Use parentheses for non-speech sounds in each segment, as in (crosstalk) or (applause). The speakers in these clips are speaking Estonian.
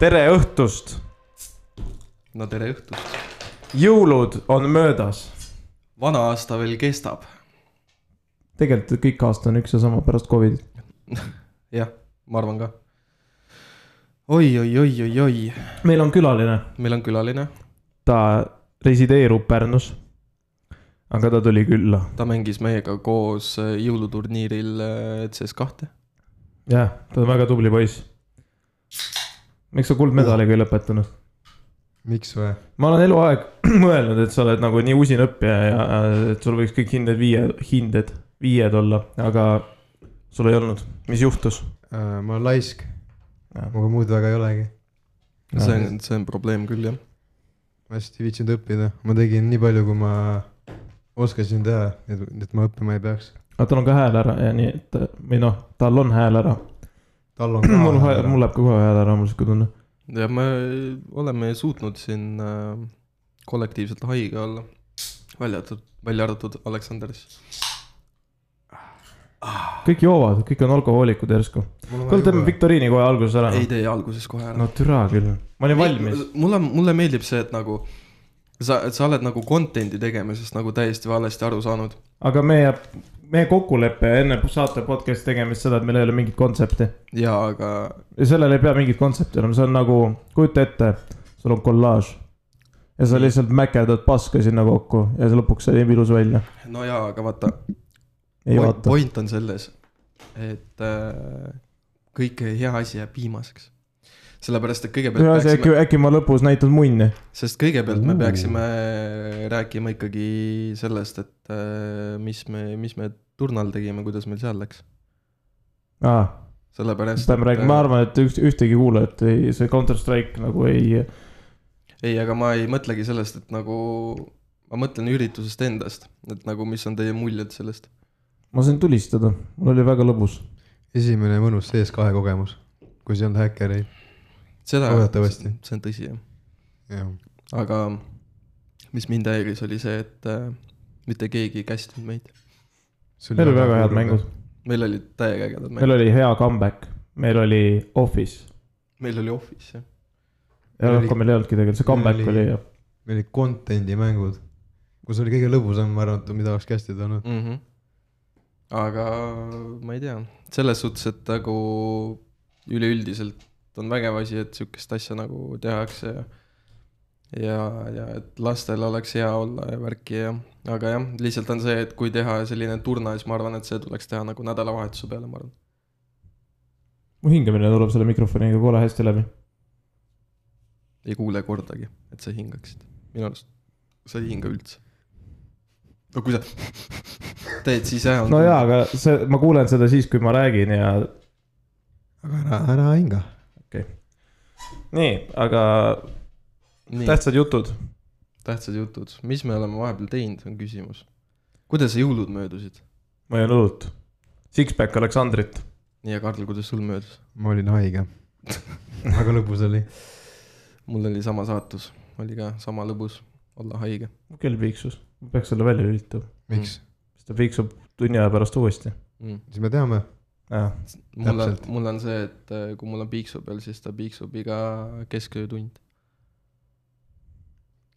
tere õhtust , no tere õhtust . jõulud on möödas . vana aasta veel kestab . tegelikult kõik aasta on üks ja sama pärast Covidit . jah , ma arvan ka oi , oi , oi , oi , oi , meil on külaline , meil on külaline , ta resideerub Pärnus . aga ta tuli külla , ta mängis meiega koos äh, jõuluturniiril äh, CS2-e . jah , ta on väga tubli poiss . miks sa kuldmedaliga ei lõpetanud ? miks või ? ma olen eluaeg (clears throat) mõelnud , et sa oled nagu nii usin õppija ja äh, et sul võiks kõik hinded viie , hinded viied olla , aga sul ei olnud , mis juhtus ? Äh, ma olen laisk , aga muud väga ei olegi . see on , see on probleem küll jah . ma hästi ei viitsinud õppida , ma tegin nii palju , kui ma oskasin teha , et , et ma õppima ei peaks . aga tal on ka hääl ära ja nii , et või noh , tal on hääl ära . (clears throat) tal on mul , ka mul . läheb ka kohe hääl ära , mul sihuke tunne . ja me oleme suutnud siin äh, kollektiivselt haige olla . välja arvatud , välja arvatud Aleksander siis . kõik joovad , kõik on alkohoolikud järsku . kuule , teeme . viktoriini kohe alguses ära . ei tee alguses kohe ära no türa küll , ma olin valmis . mulle , mulle meeldib see , et nagu sa , sa oled nagu content'i tegemisest nagu täiesti valesti aru saanud . aga meie , meie kokkulepe enne saate podcast'i tegemist seda , et meil ei ole mingit kontsepti . ja aga ja sellel ei pea mingit kontsepti olema , see on nagu , kujuta ette , sul on kollaaž . ja sa lihtsalt mäkerdad paska sinna kokku ja see lõpuks see jääb ilus välja . no jaa , aga vaata , ei point, vaata , point on selles , et äh, kõik hea asi jääb viimaseks . sellepärast , et kõigepealt ühesõnaga äkki peaksime ,, äkki ma lõpus näitan munni . sest kõigepealt me Uu. peaksime rääkima ikkagi sellest , et äh, mis me , mis me turnal tegime , kuidas meil seal läks . aa , sellepärast . äh, peame rääkima , ma arvan , et üks , ühtegi kuulajat ei , see Counter Strike nagu ei , ei , aga ma ei mõtlegi sellest , et nagu , ma mõtlen üritusest endast , et nagu , mis on teie muljed sellest . ma sain tulistada , mul oli väga lõbus . esimene mõnus CS2 kogemus , kus ei olnud häkkereid . seda , Loodetavasti. see on tõsi jah , jah , aga mis mind häiris , oli see , et äh, mitte keegi ei kästinud meid . see meil oli väga head mängud , meil olid täiega ägedad meil mängud , oli hea comeback , meil oli Office . meil oli Office jah , ja Meil rohkem meil ei olnudki tegelikult , see comeback meil oli oli- meil olid content'i mängud , kus oli kõige lõbusam , ma arvan , et mida oleks kästida olnud . mm . Mhm. -hmm. aga ma ei tea , selles suhtes , et nagu üleüldiselt on vägev asi , et sihukest asja nagu tehakse ja ja , ja et lastel oleks hea olla ja värki ja , aga jah , lihtsalt on see , et kui teha selline turna , siis ma arvan , et see tuleks teha nagu nädalavahetuse peale , ma arvan . mu hingamine tuleb selle mikrofoniga kole hästi läbi . ei kuule kordagi , et sa hingaksid , minu arust sa ei hinga üldse . no kui sa (laughs) teed , siis jah . no jaa , aga see , ma kuulen seda siis , kui ma räägin ja aga ära , ära hinga . nii , aga nii , tähtsad jutud . tähtsad jutud , mis me oleme vahepeal teinud , on küsimus . kuidas sa jõulud möödusid ? ma jään õlut . Sixpack Aleksandrit . nii , ja Karl , kuidas sul möödus ? ma olin (laughs) haige . väga lõbus oli . mul oli sama saatus , oli ka sama lõbus olla haige . mu kell piiksus , ma peaks selle välja lülitama , miks ? siis ta piiksub tunni aja pärast uuesti . siis me teame . Mm. mul on Täpselt. , mul on see , et äh, kui mul on piiksu peal , siis ta piiksub iga kesköötund .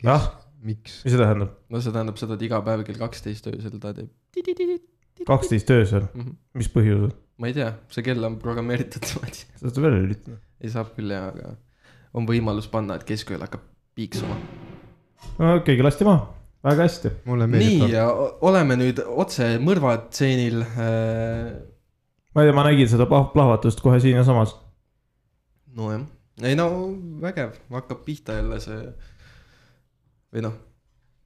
jah , miks ? mis see tähendab ? no see tähendab seda , et iga päev kell kaksteist öösel ta teeb kaksteist öösel , mm . -hmm. mis põhjusel ? ma ei tea , see kell on programmeeritud (laughs) niimoodi . sa saad välja lülitada . ei saab küll jah , aga on võimalus panna , et keskööl hakkab piiksuma . no keegi lasti maha , väga hästi . mulle nii meeldib . ja o- oleme nüüd otse mõrvatseenil äh, . ma ei tea , ma nägin seda pah- plahvatust kohe siinsamas . nojah , ei no vägev , hakkab pihta jälle see . või noh ,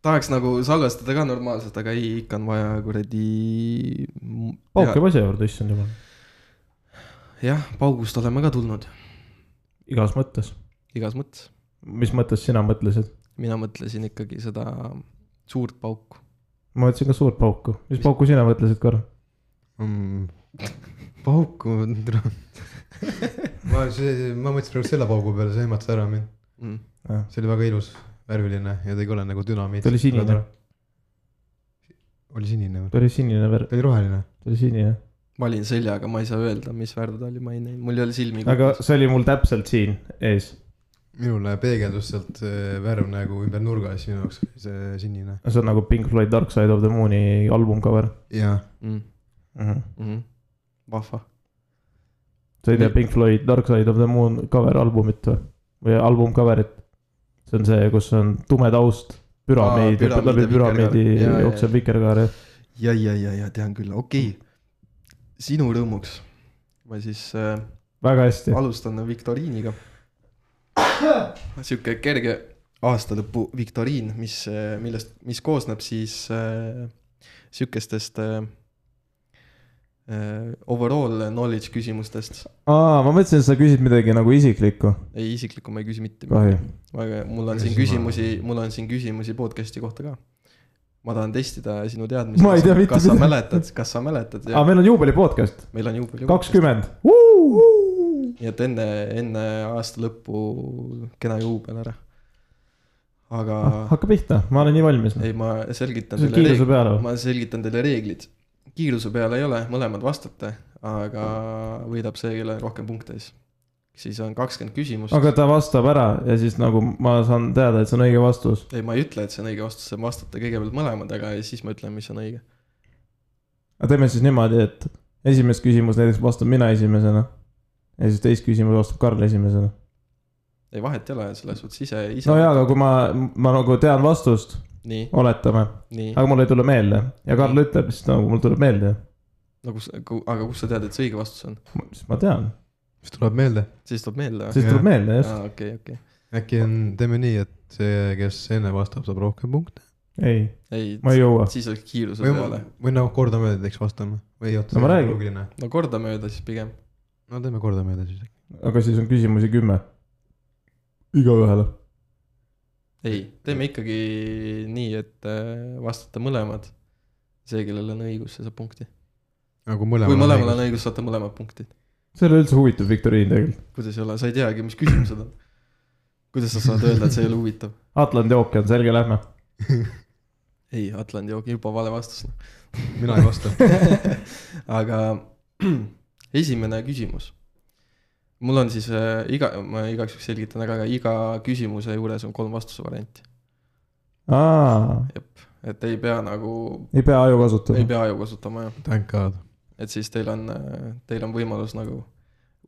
tahaks nagu salvestada ka normaalselt , aga ei , ikka on vaja kuradi . pauk jääb asja juurde , issand jumal , jah , paugust oleme ka tulnud , igas mõttes . igas mõttes . mis mõttes sina mõtlesid ? mina mõtlesin ikkagi seda suurt pauku . ma mõtlesin ka suurt pauku , mis pauku sina mõtlesid , Karl ? Mm. pauku . ma , see , ma mõtlesin praegu selle paugu peale , see ehmatas ära mind . Mm. see oli väga ilus , värviline ja tegi ole nagu dünamiit . ta oli sinine ,. oli sinine või ? ta oli sinine värv , ta oli roheline . ta oli sinine , ma olin seljaga , ma ei saa öelda , mis värv ta oli , ma ei näinud , mul ei ole silmi . aga see oli mul täpselt siin ees , minule peegeldus sealt see värv nagu ümber nurga ja siis minu jaoks oli see sinine . see on nagu Pink Floyd Dark Side of the Moon'i album cover jaa , mm. . mm . -hmm. Mm -hmm. vahva . sa ei tea Pink Floyd Dark Side of the Moon cover albumit või ? või album cover'it ? see on see , kus on tume taust , püramiid Aa, , püramiid läbi ja püramiidi vikerkaar. Jaa, jaa, jookseb vikerkaar jah . ja , ja , ja , ja tean küll , okei okay. . sinu rõõmuks ma siis äh, väga hästi . alustan viktoriiniga . (coughs) sihuke kerge aastalõpu viktoriin , mis , millest , mis koosneb siis äh, sihukestest äh, äh, overall knowledge küsimustest . aa , ma mõtlesin , et sa küsid midagi nagu isiklikku . ei , isiklikku ma ei küsi mitte midagi . kahju . aga mul on siin Küsima. küsimusi , mul on siin küsimusi podcast'i kohta ka . ma tahan testida sinu Ma ei tea teadmisi , mitte kas sa midagi. mäletad , kas sa mäletad , aga meil on juubeli podcast , meil on juubel . kakskümmend . nii et enne , enne aasta lõppu kena juubel ära . aga Ah, hakka pihta , ma olen nii valmis . ei , ma selgitan see on teile kiiruse reeglid , peale või ? ma selgitan teile reeglid . kiiruse peale ei ole , mõlemad vastate , aga võidab see , kellel on rohkem punkte siis . siis on kakskümmend küsimust . aga ta vastab ära ja siis nagu ma saan teada , et see on õige vastus . ei , ma ei ütle , et see on õige vastus , vastate kõigepealt mõlemad , aga siis ma ütlen , mis on õige . aga teeme siis niimoodi , et esimest küsimust näiteks vastan mina esimesena . ja siis teist küsimust vastab Karl esimesena . ei , vahet ei ole , selles suhtes ise , ise . no jaa , aga kui ma , ma nagu tean vastust , nii , oletame , nii , aga mul ei tule meelde ja Karl ütleb , siis nagu mul tuleb meelde , no kus , aga kust sa tead , et see õige vastus on ? siis ma tean , mis tuleb meelde , siis tuleb meelde või ? siis tuleb meelde just . aa , okei , okei . äkki on , teeme nii , et see , kes enne vastab , saab rohkem punkte . ei , ei , ma ei jõua . siis oleks kiiruse või peale ., või noh , kordamööda teeks vastame või oota , No ma räägin. loogiline . no kordamööda siis pigem . no teeme kordamööda siis . aga siis on küsimusi kümme . igaühele . ei , teeme ikkagi nii , et äh, vastate mõlemad . see , kellel on õigus , see saab punkti . aga kui kui mõlemal mõlemal on õigus , saate mõlemad punktid . see ei ole üldse huvitav viktoriin tegelikult . kuidas ei ole , sa ei teagi , mis küsimused on . kuidas sa saad öelda , et see ei ole huvitav ? Atlandi ookean , selge , lähme . ei , Atlandi ookean , juba vale vastus . mina ei vasta . (laughs) aga (clears throat) esimene küsimus . mul on siis äh, iga , ma igaks juhuks selgitan ära , aga iga küsimuse juures on kolm vastuse varianti , aa , et ei pea nagu , ei pea aju ei kasutama . pea aju kasutama jah , Thank god . et siis teil on , teil on võimalus nagu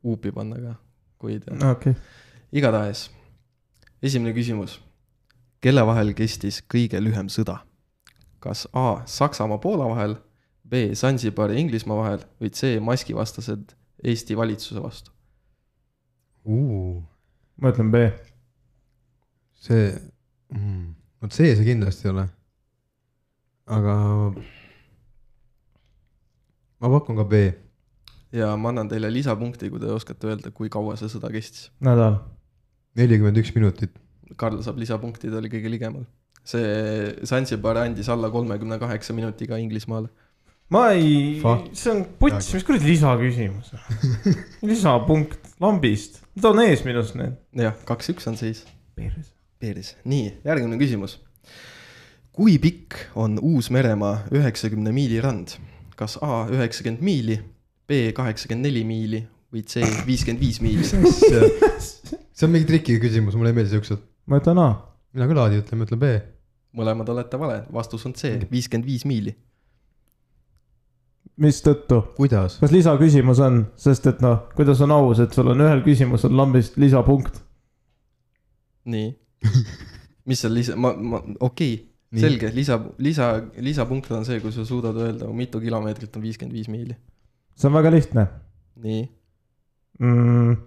huupi panna ka , kui ei tea . okei okay. , igatahes , esimene küsimus . kelle vahel kestis kõige lühem sõda ? kas A Saksamaa-Poola vahel , B Zanzibar ja Inglismaa vahel või C maskivastased Eesti valitsuse vastu ? ma ütlen B . see mm, , vot see see kindlasti ei ole . aga ma pakun ka B . ja ma annan teile lisapunkti , kui te oskate öelda , kui kaua see sõda kestis . nädal . nelikümmend üks minutit . Karl saab lisapunkti , ta oli kõige ligemal . see Zanzibar andis alla kolmekümne kaheksa minutiga Inglismaale . ma ei Fuck. , see on puts , mis kuradi (laughs) lisaküsimus . lisapunkt lambist , ta on ees minust need . jah , kaks-üks on seis . perses . Peeris . nii , järgmine küsimus . kui pikk on Uus-Meremaa üheksakümne miili rand ? kas A üheksakümmend miili , B kaheksakümmend neli miili või C viiskümmend viis miili ? (laughs) see on mingi triki küsimus , mulle ei meeldi siuksed . ma ütlen A . mina küll Aadi ütlen , ma ütlen B . mõlemad olete vale , vastus on C , viiskümmend viis miili . mistõttu ? kuidas ? kas lisaküsimus on , sest et noh , kuidas on aus , et sul on ühel küsimusel lambist lisapunkt . nii . mis seal lisa , ma , ma , okei okay. , Nii. selge , lisa , lisa , lisapunktid on see , kui sa suudad öelda , mitu kilomeetrit on viiskümmend viis miili . see on väga lihtne nii , mm, .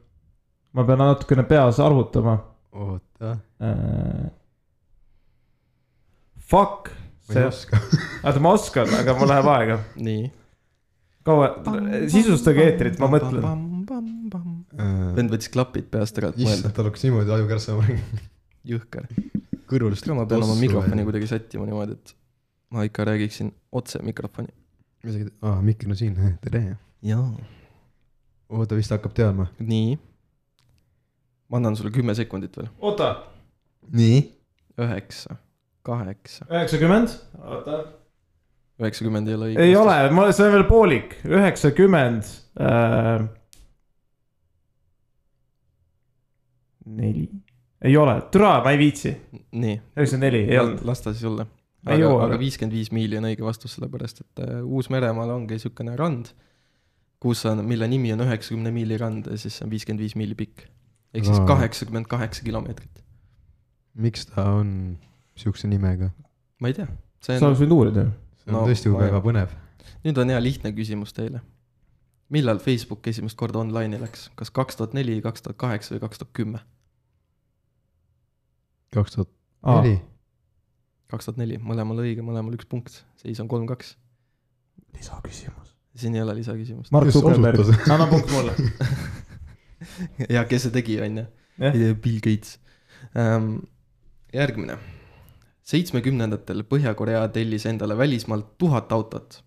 ma pean natukene peas arvutama oota , Äh, Fuck , ma ei see , oska . oota ma oskan , aga mul läheb aega . nii . kaua , sisustage eetrit , ma mõtlen . mõtlen . vend võttis klapid peast ära , et mõelda , Äh, issand , tal hakkas niimoodi aju kärssama minema . jõhker . kõrvulist ma pean oma mikrofoni . kuidagi sättima niimoodi , et ma ikka räägiksin otse mikrofoni . aa , mikker on siin , (laughs) tere . jaa . oota , vist hakkab teadma . nii . ma annan sulle kümme sekundit veel . oota , nii . üheksa , kaheksa , üheksakümmend , oota . üheksakümmend ei ole õige . ei ole , ma , see on veel poolik , üheksakümmend . äh, neli , ei ole , türa , ma ei viitsi , nii . üheksakümmend neli ei olnud . las ta siis olla . Ei aga jõua , aga veel. viiskümmend viis miili on õige vastus , sellepärast et äh, Uus-Meremaal ongi niisugune rand , kus on , mille nimi on üheksakümne miili rand ja siis see on viiskümmend viis miili pikk . ehk siis Aa. kaheksakümmend kaheksa kilomeetrit . miks ta on siukse nimega ? ma ei tea , see sa on , oleks võinud uurida . see on No, no, tõesti vaeva. väga põnev . nüüd on hea lihtne küsimus teile . millal Facebook esimest korda online'i läks , kas kaks tuhat neli , kaks tuhat kaheksa või kaks tuhat kümme ? kaks tuhat neli . kaks tuhat neli , mõlemal õige , mõlemal üks punkt , seis on kolm-kaks , lisaküsimus . siin ei ole lisaküsimust . Mark Kes Zuckerberg , osutas? anna punkt mulle . (laughs) ja kes see tegi , on ju Jah. Ja Bill Gates ähm, . järgmine . seitsmekümnendatel Põhja-Korea tellis endale välismaalt tuhat autot ,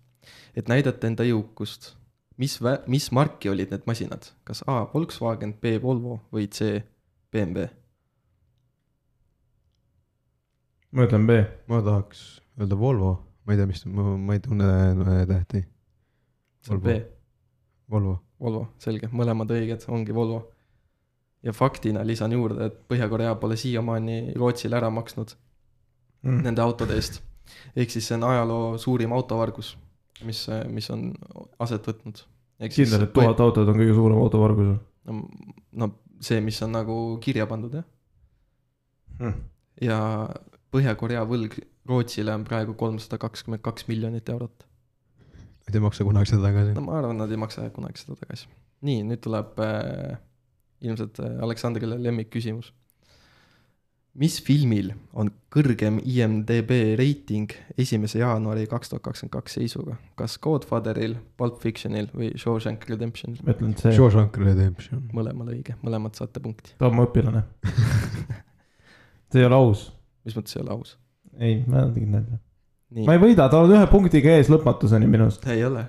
et näidata enda jõukust . mis , mis marki olid need masinad , kas A Volkswagen , B Volvo või C BMW ? ma ütlen B . ma tahaks öelda Volvo , ma ei tea , mis , ma ma ei tunne äh, tähti . see on Volvo. B , Volvo , Volvo , selge , mõlemad õiged , ongi Volvo . ja faktina lisan juurde , et Põhja-Korea pole siiamaani Rootsile ära maksnud Hmm. nende autode eest . ehk siis see on ajaloo suurim autovargus , mis , mis on aset võtnud . kindel , et tuhat autot on kõige suurem autovargus või ? no, no see , mis on nagu kirja pandud jah , Hm. ja Põhja-Korea võlg Rootsile on praegu kolmsada kakskümmend kaks miljonit eurot . et ei maksa kunagi seda tagasi no . ma arvan , nad ei maksa kunagi seda tagasi . nii , nüüd tuleb äh, ilmselt äh, Aleksandrile lemmikküsimus . mis filmil on kõrgem IMDB reiting esimese jaanuari kaks tuhat kakskümmend kaks seisuga , kas Godfatheril , Pulp Fictionil või Shawshank Redemptionil ? ma ütlen C , Shawshank Redemption . mõlemal õige , mõlemad saate punkti , ta on mu (laughs) õpilane . see ei ole aus . mis mõttes ei ole aus . ei , ma tegin nalja . nii ma , ei võida , ta on ühe punktiga ees lõpmatuseni minu arust . ei ole ,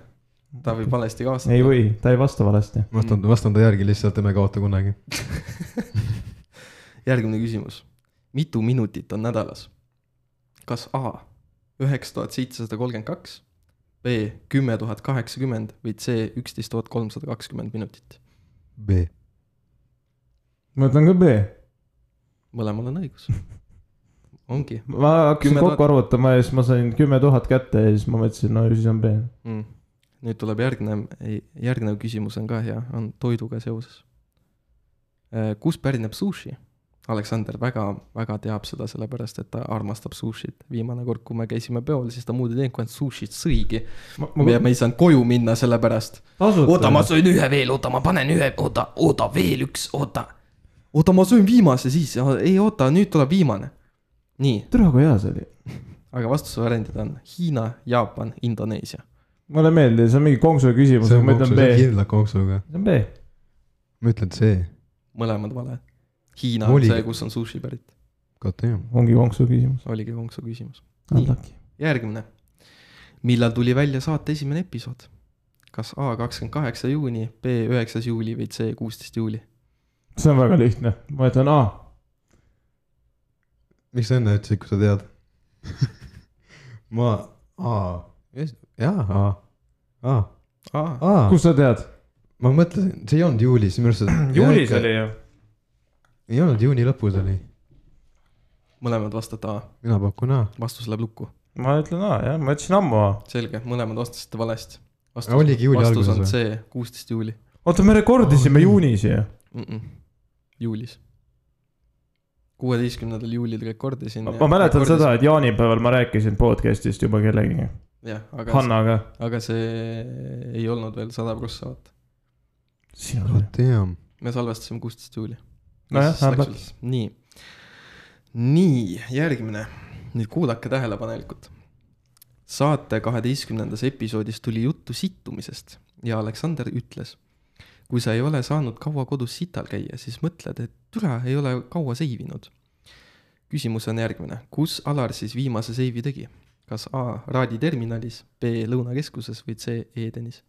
ta võib valesti kaasa . ei või , ta ei vasta valesti . vastan , vastan ta järgi lihtsalt , emme kaota kunagi . järgmine küsimus . mitu minutit on nädalas ? kas A üheksa tuhat seitsesada kolmkümmend kaks , B kümme tuhat kaheksakümmend või C üksteist tuhat kolmsada kakskümmend minutit ? B , ma ütlen ka B . mõlemal on õigus . ongi ma hakkasin 10 000. kokku arvutama ja siis ma sain kümme tuhat kätte ja siis ma mõtlesin , no ju siis on B . mm. . nüüd tuleb järgnev , järgnev küsimus on ka hea , on toiduga seoses . kust pärineb sushi ? Aleksander väga , väga teab seda , sellepärast et ta armastab sushit . viimane kord , kui me käisime peol , siis ta muud ei teinud , kui ainult sushit sõigi . ja me ei saanud koju minna selle pärast . oota , ma söön ühe veel , oota , ma panen ühe , oota , oota , veel üks , oota . oota , ma söön viimase siis , ei oota , nüüd tuleb viimane . nii , türa kui hea see oli . aga vastusevariandid on Hiina , Jaapan , Indoneesia . mulle meeldis , see on mingi konksu küsimus , see on ma ütlen konksu , B see . on kindla konksuga . see on B . ma ütlen C , mõlemad valed . Hiina on Oligi. see , kus on sushi pärit , kaota jah . ongi konksu küsimus . oligi konksu küsimus . Nii. järgmine . millal tuli välja saate esimene episood ? kas A kakskümmend kaheksa juuni , B üheksas juuli või C kuusteist juuli ? see on väga lihtne , ma ütlen A . miks sa enne ütlesid , kui sa (laughs) tead ? ma , aa , jaa , aa , aa , aa , aa . kust sa tead ? ma mõtlesin , see ei olnud juulis , minu arust . (clears throat) juulis . oli ju . ei olnud , juuni lõpus oli , mõlemad vastate A , mina pakun A . vastus läheb lukku . ma ütlen A jah , ma ütlesin ammu A . selge , mõlemad vastasite valesti . oligi juuli vastus on alguses C kuusteist juuli oota , me rekordisime Aa, juunis ju . mm . -mm. juulis . kuueteistkümnendal juulil rekordisin . ma mäletan seda ,. et jaanipäeval ma rääkisin podcast'ist juba kellegagi , jah , aga , Hannaga . aga see ei olnud veel sada prossa , vaata . sina vot tean , me salvestasime kuusteist juuli . Nojah, vähemalt. nii , nii järgmine , nüüd kuulake tähelepanelikult . saate kaheteistkümnendas episoodis tuli juttu sittumisest ja Aleksander ütles . kui sa ei ole saanud kaua kodus sital käia , siis mõtled , et türa ei ole kaua seivinud . küsimus on järgmine , kus Alar siis viimase seivi tegi ? kas A Raadi terminalis , B Lõunakeskuses või C Edenis ?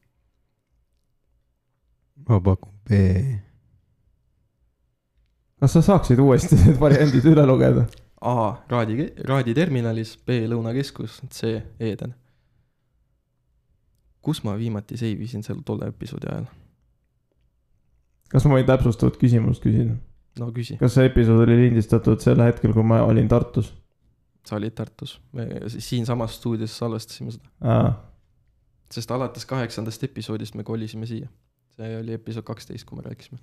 ma pakun B . kas sa saaksid uuesti (laughs) need variandid üle lugeda ? A Raadi , Raadi terminalis , B Lõunakeskus , C Eden . kus ma viimati seivisin selle tolle episoodi ajal ? kas ma võin täpsustavat küsimust küsida ? no küsi , kas see episood oli lindistatud sel hetkel , kui ma olin Tartus ? sa olid Tartus , me si- siinsamas stuudios salvestasime seda , aa , sest alates kaheksandast episoodist me kolisime siia . see oli episood kaksteist , kui me rääkisime .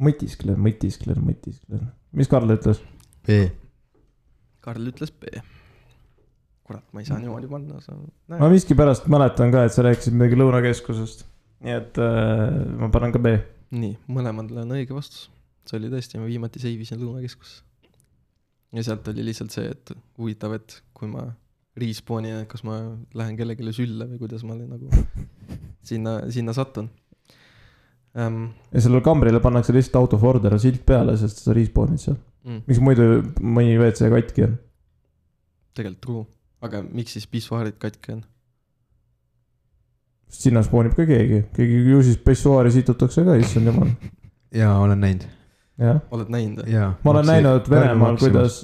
mõtisklen , mõtisklen , mõtisklen . mis Karl ütles ? B . Karl ütles B . kurat , ma ei saa niimoodi panna , sa . ma miskipärast mäletan ka , et sa rääkisid midagi Lõunakeskusest . nii et äh, ma panen ka B . nii , mõlemal on õige vastus . see oli tõesti , ma viimati seivisin Lõunakeskusse . ja sealt oli lihtsalt see , et huvitav , et kui ma respawn'in , et kas ma lähen kellelegi sülle või kuidas ma olen nagu sinna , sinna satun ähm, . ja sellele kambrile pannakse lihtsalt out of order silt peale , sest sa respawn'id seal . Mm, miks muidu mõni WC katki on ? tegelikult true , aga miks siis pissuaarid katki on ? sinna spoonib ka keegi , keegi ju siis pessuaari situtakse ka , issand jumal , jaa , olen näinud , jah . oled näinud või ? jaa . ma olen näinud Venemaal ,. kuidas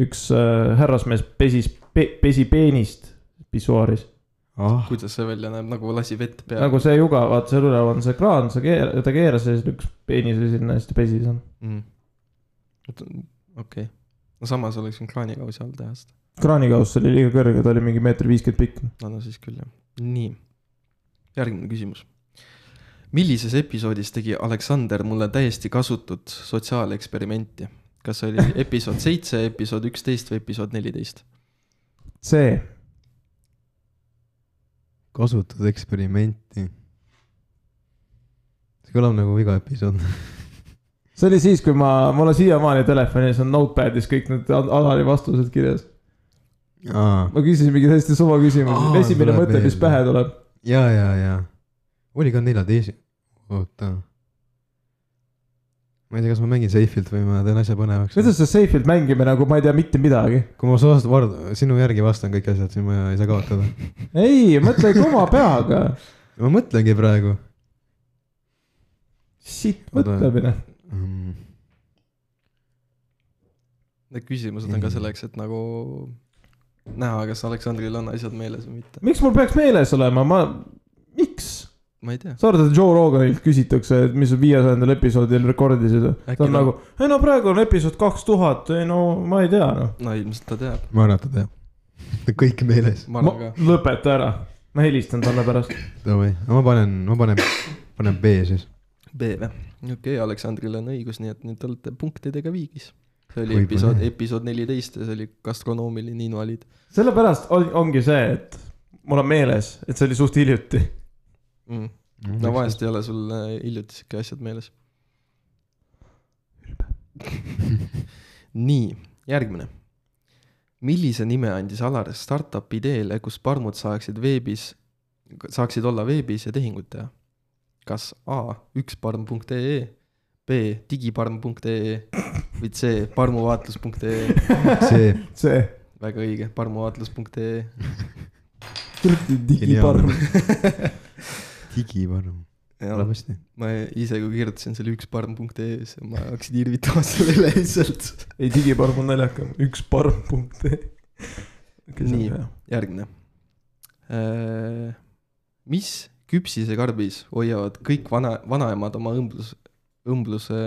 üks äh, härrasmees pesis pe, , pesi peenist pissuaaris . ah , kuidas see välja näeb , nagu lasi vett peale nagu see juga , vaata seal üleval on see kraan , sa keer- , ta keeras ja siis lükkas peenise sinna ja siis ta pesis . mm. ? okei okay. , no samas oleks võinud kraanikausi all teha seda , kraanikauss oli liiga kõrge , ta oli mingi meeter viiskümmend pikk . no no siis küll jah . nii , järgmine küsimus . millises episoodis tegi Aleksander mulle täiesti kasutut sotsiaaleksperimenti ? kas see oli episood seitse , episood üksteist või episood neliteist ? see , kasutad eksperimenti . see kõlab nagu iga episood . see oli siis , kui ma , mul on siiamaani telefonis on notepad'is kõik need Al- Alari vastused kirjas . aa , ma küsisin mingi täiesti suva küsimuse Aa, , esimene tuleb mõte , mis meelde. jaa , pähe tuleb . jaa , jaa . oli ka neljateis- , oota . ma ei tea , kas ma mängin safe'ilt või ma teen asja põnevaks . kuidas sa Safe'ilt mängime nagu ma ei tea mitte midagi ? kui ma suust vard- , sinu järgi vastan kõik asjad , siis ma ei saa kaotada . ei , mõtle ikka oma peaga . ma mõtlengi praegu sitt Oota. mõtlemine . mm. . Need küsimused on ka selleks , et nagu näha , kas Aleksandril on asjad meeles või mitte , miks mul peaks meeles olema , ma , miks ? ma ei tea . sa arvad , et Joe Roganilt küsitakse , et mis sa viiesajandal episoodil rekordisid ? ta Äkki on ta- nagu , ei no praegu on episood kaks tuhat , ei no ma ei tea noh . no ilmselt ta teab , ma arvan , et ta teab . (laughs) kõik meeles . ma arvan ka . lõpeta ära , ma helistan talle pärast . Davai , ma panen , ma panen , panen B siis . B või ? okei okay, , Aleksandril on õigus , nii et nüüd te olete punktidega viigis . see oli Võib-olla episood , jah. episood neliteist ja see oli gastronoomiline invaliid . sellepärast on, ongi see , et mul on meeles , et see oli suht hiljuti . mm. . no vahest ei ole sul äh, hiljuti sihuke asjad meeles . (laughs) nii , järgmine . millise nime andis Alar startup ideele , kus parmud saaksid veebis , saaksid olla veebis ja tehinguid teha ? kas A üksparm.ee , E, B digiparm.ee E või C parmuvaatlus.ee , see , (laughs) see , E? väga õige , E parmuvaatlus.ee . kuradi digiparm . digivaru , tuleb hästi . ma ise , kui kirjutasin selle üksparm.ee , siis ma hakkasin irvitama selle üle lihtsalt . ei , digiparm on naljakam , üks parm punkt ee . Nii. järgmine . mis küpsisekarbis hoiavad kõik vana , vanaemad oma õmblus , õmbluse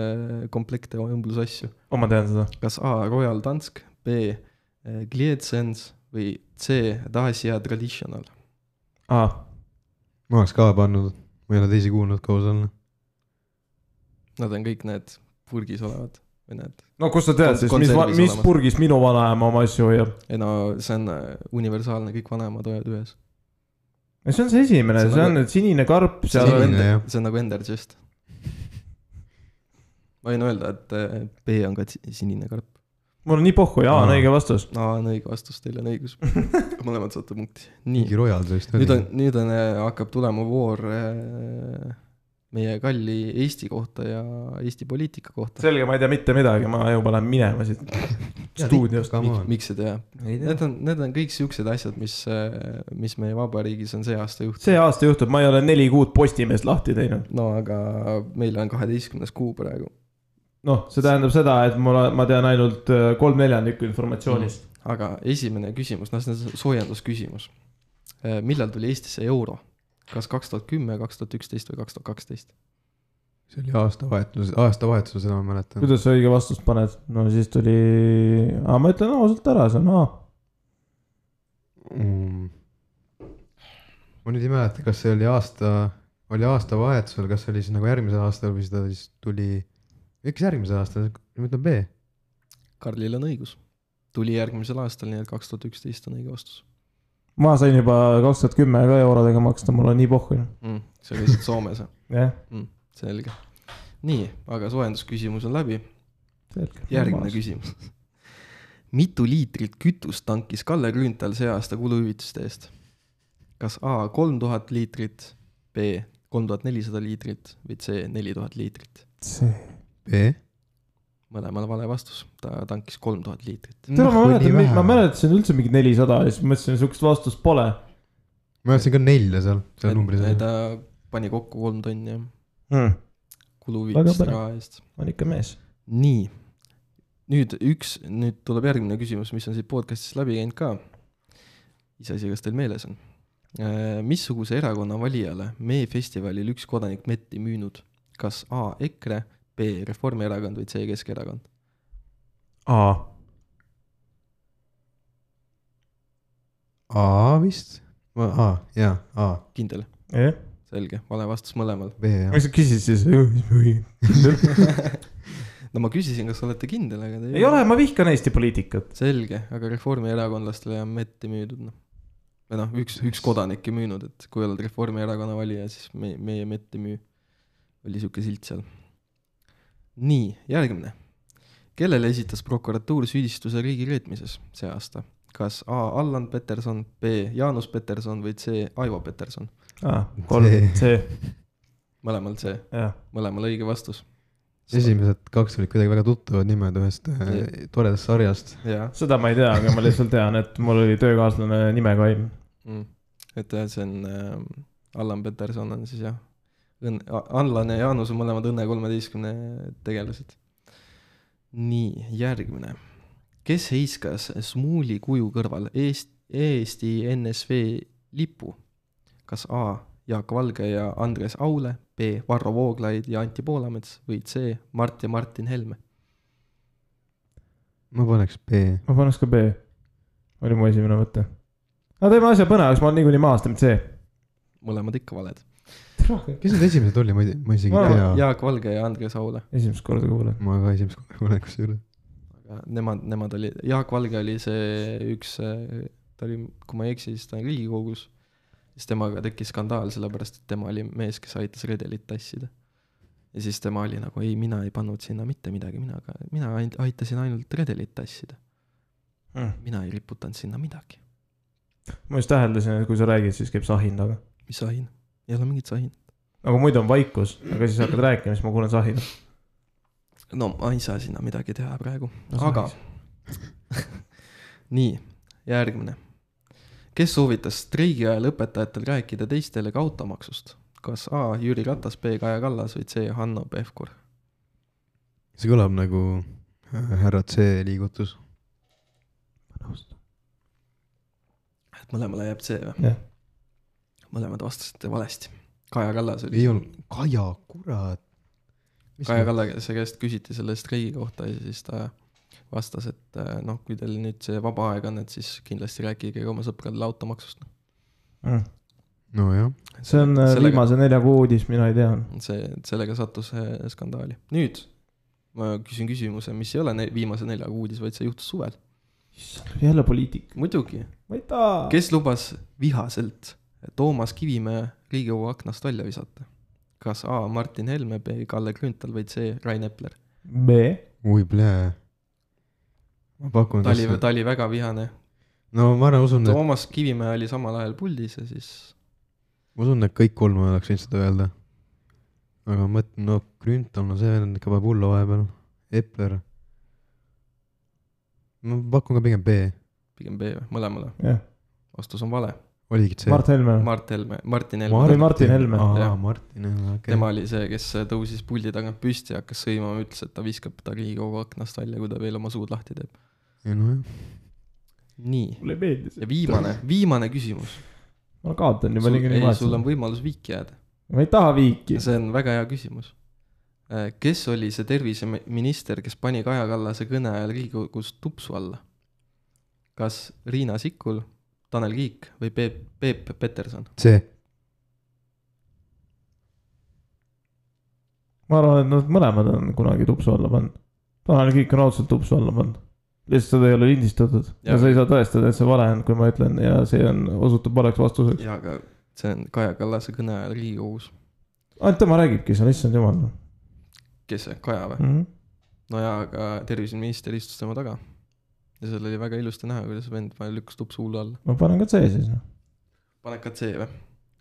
komplekte , õmblusasju ? oh , ma tean seda . kas A Royal Dansk , B eh, Glietsens või C Dacia Traditional ? aa , ma oleks ka pannud , ma ei ole teisi kuulnud koos olla . Nad on kõik need purgis olevad või need , no kust sa tead siis , mis , Konservis mis olemas. purgis minu vanaema oma asju hoiab ? ei no see on eh, universaalne , kõik vanaemad hoiavad ühes . no see on see esimene , See on see on nagu- nüüd sinine karp , see seal on nagu on , Sinine, Ender jah. , see on nagu Endergest . (laughs) ma võin öelda , et eh, B on ka si- sinine karp . mul on nii pohhu , jaa on Aa. õige vastus . (laughs) aa , on õige vastus , teil on õigus . mõlemad saate punkti . mingi nii , Royal see vist nüüd oli on ., nüüd on , hakkab tulema voor eh, meie kalli Eesti kohta ja Eesti poliitika kohta . selge , ma ei tea mitte midagi , ma juba lähen minema siit stuudiost . Come on , miks ei tea ? Need on , need on kõik siuksed asjad , mis , mis meie vabariigis on see aasta juht- . see aasta juhtub , ma ei ole neli kuud Postimeest lahti teinud . no aga meil on kaheteistkümnes kuu praegu , noh , see tähendab seda , et mul , ma tean ainult äh, kolm neljandikku informatsioonist . aga esimene küsimus , noh , see on soojendusküsimus . Äh, millal tuli Eestisse euro ? kas kaks tuhat kümme , kaks tuhat üksteist või kaks tuhat kaksteist ? see oli aastavahetus , aastavahetusel , seda ma Mm. mäletan . kuidas sa õige vastust paned ? no siis tuli , aa ma ütlen ausalt ära , see on A . mm. ? ma nüüd ei mäleta , kas see oli aasta , oli aastavahetusel , kas see oli siis nagu järgmisel aastal või seda siis tuli , miks järgmisel aastal , ma ütlen B . Karlil on õigus . tuli järgmisel aastal , nii et kaks tuhat üksteist on õige vastus ma sain juba kaks tuhat kümme ka eurodega maksta , mul on nii pohhu . noh. mm, . sa käisid Soomes , jah , selge . nii , aga soojendusküsimus on läbi . selge . järgmine . küsimus . mitu liitrit kütust tankis Kalle Grünthal see aasta kuluhüvitiste eest ? kas A kolm tuhat liitrit , B kolm tuhat nelisada liitrit või C neli tuhat liitrit ? see , B . mõlemal vale vastus , ta tankis kolm tuhat liitrit . tead ma mäletan , ma . mäletasin üldse mingi nelisada ja siis mõtlesin , sihukest vastust pole . ma mäletasin ka nelja seal , seal numbri sees . ta pani kokku kolm tonni jah , ma kuluhüvitiste Väga põnev. raha eest . olen ikka mees . nii , nüüd üks , nüüd tuleb järgmine küsimus , mis on siit podcast'ist läbi käinud ka . iseasi , kas teil meeles on . missuguse erakonna valijale meie festivalil üks kodanik metti müünud ? kas A EKRE , B Reformierakond või C Keskerakond ? A , A vist ? A , jaa , A , kindel , jah . selge , vale vastus mõlemal . (laughs) B jah . miks sa küsisid siis ? no ma küsisin , kas olete kindel , aga te ei ole , ma vihkan Eesti poliitikat . selge , aga reformierakondlastele on metti müüdud , noh . või noh , üks , üks kodanik ei müünud , et kui oled Reformierakonna valija , siis me , meie mett ei müü . oli sihuke silt seal . nii , järgmine . kellele esitas prokuratuur süüdistuse riigireetmises see aasta ? kas A Allan Peterson , B Jaanus Peterson või C Aivo Peterson ? aa , kolm See. , see , mõlemal C , jah . mõlemal õige vastus . esimesed kaks olid kuidagi väga tuttavad nimed ühest äh, Jah. toredast sarjast . jaa seda ma ei tea , aga ma lihtsalt tean , et mul oli töökaaslane nimega Aim . mm. . et jah, see on äh, , Allan Peterson on siis jah , õnn , Allan ja Jaanus on mõlemad Õnne kolmeteistkümne tegelased . nii , järgmine . kes heiskas Smuuli kuju kõrval Eest- , Eesti NSV lipu ? kas A Jaak Valge ja Andres Aule , B Varro Vooglaid ja Anti Poolamets või C Mart ja Martin Helme ? ma paneks B . ma paneks ka B . oli mu esimene mõte . no teeme asja põnevaks , ma olen niikuinii maas , teeme C . mõlemad ikka valed . kes need esimesed olid , ma ei , ma isegi ei Ma- tea . Jaak Valge ja Andres Aule . esimest korda kuulen . ma ka esimest korda kuulen kusjuures . aga nemad , nemad olid , Jaak Valge oli see üks , ta oli , kui ma ei eksi , siis ta on Riigikogus , siis temaga tekkis skandaal , sellepärast et tema oli mees , kes aitas redelit tassida . ja siis tema oli nagu ei , mina ei pannud sinna mitte midagi , mina ka , mina ain- aitasin ainult redelit tassida , Hmm. mina ei riputanud sinna midagi . ma just täheldasin , et kui sa räägid , siis käib sahin taga . mis sahin ? ei ole mingit sahin . aga muidu on vaikus , aga siis hakkad rääkima , siis ma kuulen sahinat . no ma ei saa sinna midagi teha praegu . Aga- . nii , järgmine . kes soovitas streigi ajal õpetajatel rääkida teistele ka automaksust ? kas A Jüri Ratas , B Kaja Kallas või C Hanno Pevkur ? see kõlab nagu äh, härra C liigutus . et mõlemale jääb C või ? jah , mõlemad vastasite valesti . Kaja Kallas oli ei . olnud , Kaja , kurat . Kaja Kallase käest küsiti selle streigi kohta ja siis ta vastas , et äh, noh , kui teil nüüd see vaba aeg on , et siis kindlasti rääkige ka oma sõpradele automaksust . Mm. nojah , see on äh, viimase nelja kuu uudis , mina ei tea . see , sellega sattus äh, skandaali . nüüd ma küsin küsimuse , mis ei ole ne viimase nelja kuu uudis , vaid see juhtus suvel . jälle poliitik . muidugi , ma ei taha . kes lubas vihaselt Toomas Kivimäe Riigikogu aknast välja visata ? kas A Martin Helme , B Kalle Grünthal või C Rain Epler ? B . oi plee . ma pakun . ta oli , ta oli väga vihane . no ma arvan , usun , et , Toomas Kivimäe oli samal ajal puldis ja siis ma usun , et kõik kolm oleks võinud seda öelda . aga ma mõtlen , no Grünthal , no see vend ikka paneb hullu vahepeal . Epler . ma pakun ka pigem B , pigem B või mõlemale . jah , vastus on vale . oligi C . Mart Helme . Mart Helme , Martin Mart- Helme . Või Martin Helme. aa Jah. , Martin Helme , okei tema . oli see , kes tõusis puldi tagant püsti ja hakkas sõimama , ütles , et ta viskab ta Riigikogu aknast välja , kui ta veel oma suud lahti teeb . ei nojah , nii , mulle ei meeldi see . ja viimane , viimane küsimus . ma kaotan juba ei , niikuinii sul on vahet . võimalus viiki jääda . ma ei taha viiki . see on väga hea küsimus . kes oli see terviseminister , kes pani Kaja Kallase kõne ajal Riigikogus tupsu alla ? kas Riina Sikkul , Tanel Kiik või Peep , Peep Peterson ? see , ma arvan , et nad mõlemad on kunagi tupsu alla pannud . Tanel Kiik on raudselt tupsu alla pannud . lihtsalt seda ei ole lindistatud ja, ja Jaa. sa ei saa tõestada , et see vale on , kui ma ütlen ja see on , osutub valeks vastuseks . jaa , aga see on Kaja Kallase kõne ajal Riigikogus . ainult tema räägibki seal , issand jumal mm . kes see , Kaja või ? -hmm. no jaa , aga terviseminister istus tema taga . ja seal oli väga ilusti näha , kuidas vend vahel lükkas tupsu hullu alla . ma panen ka C siis . noh. paned ka C või ?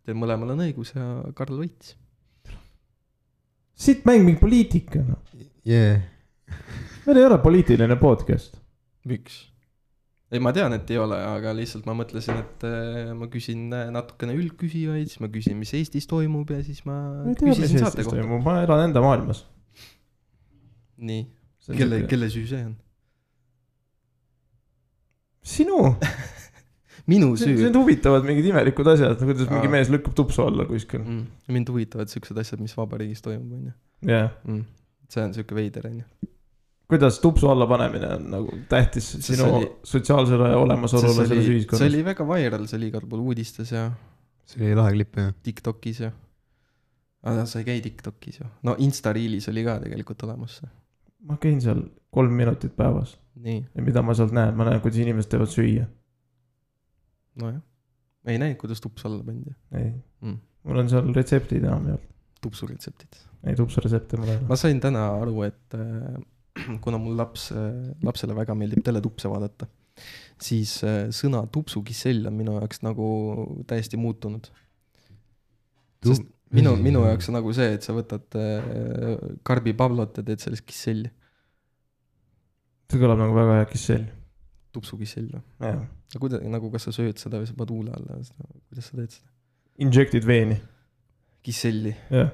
Teil mõlemal on õigus ja Karl võitis . siit mäng mingi poliitika , noh . jee . meil ei ole poliitiline podcast . miks ? ei , ma tean , et ei ole , aga lihtsalt ma mõtlesin , et äh, ma küsin äh, natukene üldküsijaid , siis ma küsin , mis Eestis toimub ja siis ma ma ei tea , mis küsisin saate Eestis kohta . toimub , ma elan enda maailmas . nii , kelle , kelle süü see on ? sinu , minu süü sind . huvitavad mingid imelikud asjad , kuidas mingi Aa. mees lükkab tupsu alla kuskil , Mm. mind huvitavad siuksed asjad , mis vabariigis toimub , onju jah . mm. . see on siuke veider , onju . kuidas tupsu alla panemine on nagu tähtis See sinu oli- sotsiaalsele olemasolule selles see ühiskonnas ? oli väga viral , see oli igal pool uudistes ja see oli lahe klipp jah . Tiktokis ja . aga sa ei käi Tiktokis ju . no Insta Reelis oli ka tegelikult olemas see . ma käin seal kolm minutit päevas nii , ja mida ma sealt näen , ma näen , kuidas inimesed teevad süüa . nojah . ei näinud , kuidas tups alla pandi . ei Mm. mm. , mul on seal retseptid enamjaolt , tupsuretseptid . ei tupsuretsepte mul ei ole ma . sain täna aru , et äh, (clears throat) kuna mul laps , lapsele väga meeldib teletupse vaadata , siis äh, sõna tupsukissell on minu jaoks nagu täiesti muutunud . sest minu , Mm. minu jaoks . on nagu see , et sa võtad äh, karbipablot ja teed sellest kisselli , see kõlab nagu väga hea kissell . tupsukissell või ? jah , aga kuidas , nagu kas sa sööd seda või sa paned huule alla või seda , kuidas sa teed seda ? injected veeni , kisselli , jah .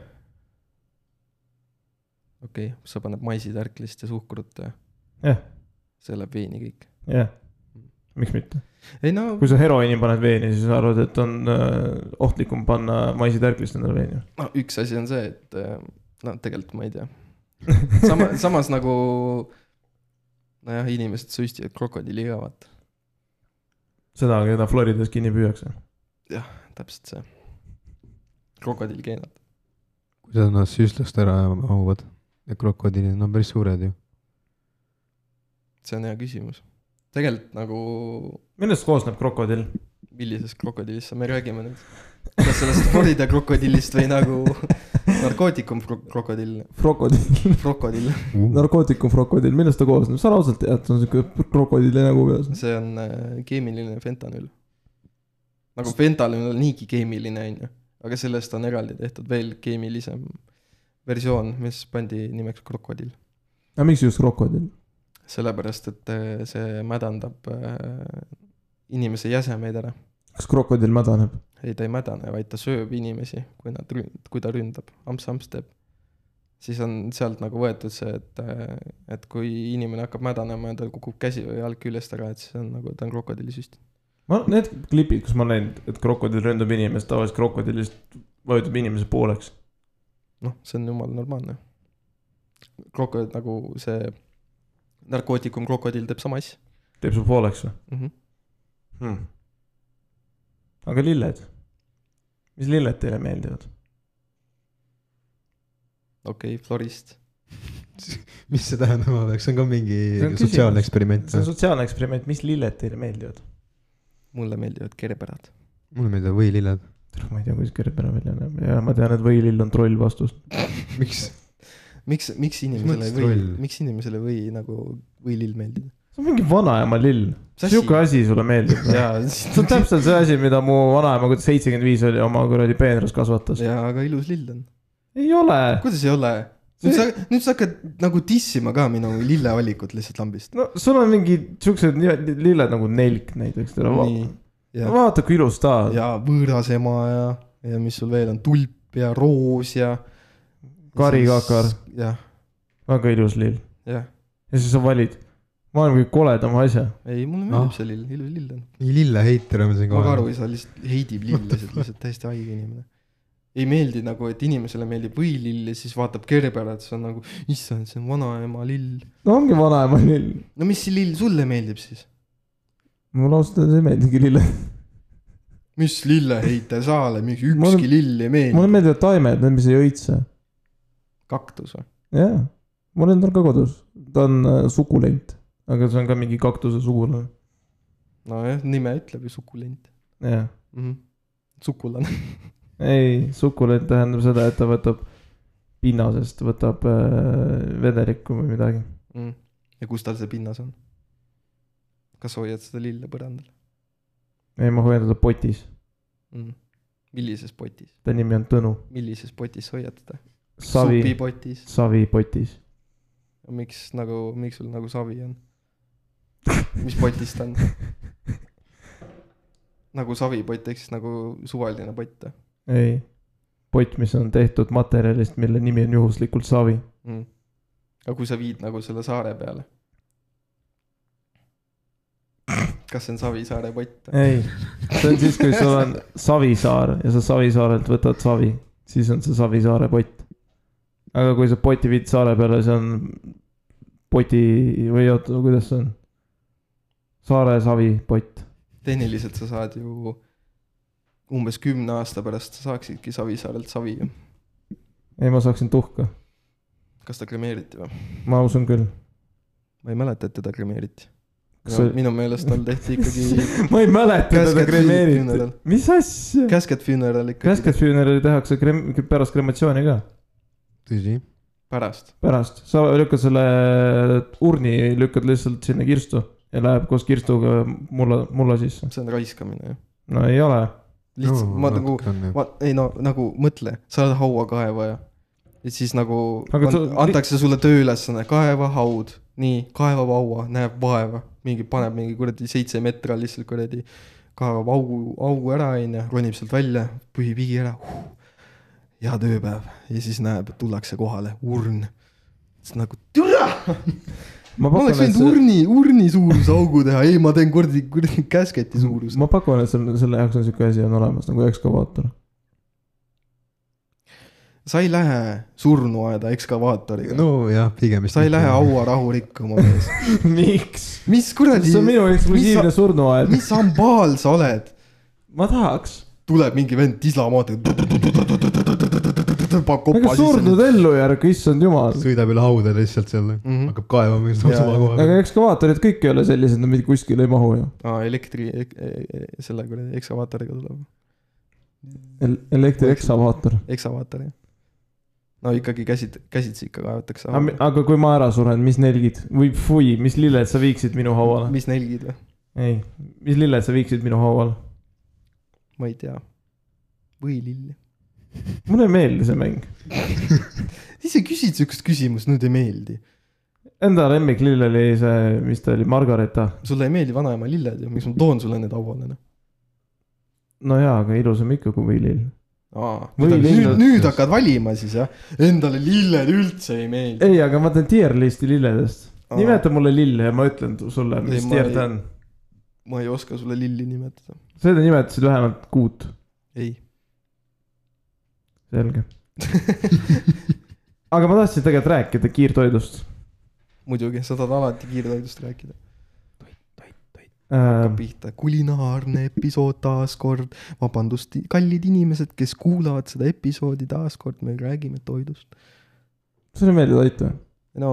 okei okay. , sa paned maisitärklist ja suhkrut ja Jah. see läheb veeni kõik . jah , miks mitte . ei no kui sa heroiini paned veeni , siis sa arvad , et on äh, ohtlikum panna maisitärklist endale (laughs) veeni . no üks asi on see , et äh, no tegelikult ma ei tea . sama , (laughs) samas nagu nojah , inimesed süstivad krokodilli ka , vaata , seda , keda Floridas kinni püüakse . täpselt see . krokodillgeenad , kuidas nad süüslast ära hauvad ? ja krokodillid , nad on päris suured ju . see on hea küsimus . tegelikult nagu , millest koosneb krokodill ? millisest krokodillist me räägime nüüd ? kas sellest Florida krokodillist või (laughs) nagu narkootikum kro- krokodill , (laughs) krokodill . krokodill , narkootikum krokodill , millest ta koosneb , sa lauselt tead , see on siuke krokodilli nägu peas . see on äh, keemiline fentanüül . nagu fentanüül on niigi keemiline , on ju , aga sellest on eraldi tehtud veel keemilisem versioon , mis pandi nimeks krokodill . aga miks just krokodill ? sellepärast , et äh, see mädandab äh, inimese jäsemeid ära . kas krokodill mädaneb ? ei , ta ei mädane , vaid ta sööb inimesi , kui nad ründ- , kui ta ründab , amps-amps teeb . siis on sealt nagu võetud see , et , et kui inimene hakkab mädanema ja tal kukub käsi või jalg küljest ära , et siis on nagu , ta on krokodillisüst . ma , need klipid , kus ma olen näinud , et krokodill ründab inimest , tavaliselt krokodillist vajutab inimese pooleks . noh , see on jumala normaalne . krokod- , nagu see narkootikum krokodill teeb sama asja teeb su pooleks või mm . -hmm. hmm. ? aga lilled ? mis lilled teile meeldivad ? okei okay, , florist . mis see tähendama peaks , see on ka mingi See on küsimus. sotsiaalne eksperiment see on . sotsiaalne eksperiment , mis lilled teile meeldivad ? mulle meeldivad kerbärad . mulle meeldivad võililled . ma ei tea , kuidas kerbera välja näeb ja ma tean , et võilill on troll vastus . miks ? miks , miks inimesele mõttes või troll? , miks inimesele või nagu võilill meeldib ? see on mingi vanaema lill . sihuke asi sulle meeldib või ? jaa , (laughs) (laughs) see on täpselt see asi , mida mu vanaema , kui ta seitsekümmend viis oli , oma kuradi peenras kasvatas . jaa , aga ilus lill on . ei ole . kuidas ei ole ? nüüd sa , nüüd sa hakkad nagu dissima ka minu lillevalikut lihtsalt lambist . no sul on mingid siuksed nii- lilled nagu nelk näiteks , tere va- . nii , ja , vaata , kui ilus ta on . ja võõras ema ja , ja mis sul veel on , tulp ja roos ja . Karikakar. . jah , väga ilus lill . jah . ja siis sa valid maailma kõige koledama asja . ei , mulle meeldib ah. see lill , ilus lill on . nii lille heiter on siin mu kohe . karuisa lihtsalt heidib lillesid , lihtsalt täiesti haige inimene . ei meeldi nagu , et inimesele meeldib võilill ja siis vaatab kerbera , et see on nagu , issand , see on vanaema lill . no ongi vanaema lill . no mis see lill sulle meeldib siis ? mulle ausalt öeldes ei meeldigi (laughs) lille . mis lilleheite saale , miks ükski Mulle- Mul... lill ei meeldi mulle Mul... ? meeldivad taimed , need , mis ei õitse . kaktus või ? jaa , mul on tal ka kodus , ta on äh, sukulent , aga see on ka mingi kaktuse sugulane . nojah , nime ütleb ju sukulent jah , mm . -hmm. sukulane . (laughs) ei , sukulent tähendab seda , et ta võtab pinnasest , võtab äh, vedelikku või midagi . mm. . ja kus tal see pinnas on ? kas hoiad seda lille põrandal ei , ma hoian teda potis , mm. ? millises potis , ta nimi on Tõnu , millises potis hoiad teda ? savi , supipotis . savi potis . miks nagu , miks sul nagu savi (laughs) on ? mis potis ta on ? nagu savipott ehk siis nagu suvaline pott või ei , pott , mis on tehtud materjalist , mille nimi on juhuslikult savi . mm. ? aga kui sa viid nagu selle saare peale ? kas see on Savisaare pott või ? ei , see on siis , kui sul on Savisaar ja sa Savisaarelt võtad savi , siis on see Savisaare pott . aga kui sa poti viid saare peale , see on poti või oota , kuidas see on ? saare savi pott , tehniliselt sa saad ju umbes kümne aasta pärast sa saaksidki Savisaarelt savi ju . ei ma saaksin tuhka , kas ta kremeeriti või ? ma usun küll . ma ei mäleta , et teda kremeeriti . Kas see- minu meelest tal tehti (laughs) ikkagi , ma ei mäleta Käsked teda fi- kremeeriti funeral. , mis asja ? käsket funeral ikkagi käsket funerali tehakse krem- , pärast krematsiooni ka , tõsi , pärast . pärast , sa lükkad selle urni , lükkad lihtsalt sinna kirstu ja läheb koos kirstuga mulla , mulla sisse . see on raiskamine ju . no ei ole , lihtsalt no, ma nagu , ma ei no nagu mõtle , sa oled hauakaevaja . ja siis nagu Aga an, sa- antakse sulle tööülesanne , kaeva haud , nii , kaevab haua , näeb vaeva , mingi paneb mingi kuradi seitse metra lihtsalt kuradi , kaevab augu , augu ära , onju , ronib sealt välja , pühib higi ära huh. . hea tööpäev ja siis näeb , et tullakse kohale , urn . siis nagu türa , ma ma pakun , oleks et võinud see , urni , urni suuruse augu teha , ei , ma teen kuradi , kuradi käsketi suuruse . ma pakun , et selle , selle jaoks on sihuke asi on olemas nagu (laughs) ekskavaator . sa ei lähe surnuaeda ekskavaatoriga . nojah , pigem vist . sa ei lähe . hauarahu rikkuma mees . miks ? mis kuradi see on , minu eksklusiivne surnuaed , mis hambaal sa oled ? ma tahaks . tuleb mingi vend tislamaatega . paneb kopa aga surnud . ellujärg , issand jumal . sõidab üle hauda lihtsalt seal mm , Mhm. -hmm. hakkab kaevama just Jaa, oma koha aga peal . ekskavaatorid kõik ei ole sellised , nad mitte kuskile ei mahu ju . aa , elektri , selle kuradi ekskavaatoriga tuleb , elektriekskavaator . ekskavaator jah . no ikkagi käsid , käsitsi ikka kaevatakse . aga kui ma ära suren , mis nelgid või fui , mis lilled sa viiksid minu hauale ? mis nelgid või ? ei , mis lilled sa viiksid minu hauale ? ma ei tea . või lill . mulle ei meeldi see mäng . ise küsid siukest küsimust , nüüd ei meeldi . Enda lemmiklille oli see , mis ta oli , Margareeta . sulle ei meeldi vanaema lilled ju , miks ma toon sulle need hauale noh ? no jaa , aga ilusam ikka kui võilill . aa , Või nüüd, nüüd, lilled- nüüd hakkad valima siis jah ? Endale lilled üldse ei meeldi . ei , aga ma teen tier listi lilledest . Aa. nimeta mulle lille ja ma ütlen tu- sulle , mis ma tier ei- ta on . ma ei oska sulle lilli nimetada . sa nimetasid vähemalt kuut , ei . (laughs) selge . aga ma tahtsin tegelikult rääkida kiirtoidust muidugi , sa tahad alati kiirtoidust rääkida . äh, . pihta , kulinaarne episood taas kord . vabandust , kallid inimesed , kes kuulavad seda episoodi taas kord , me räägime toidust . sulle ei meeldi toit või ? no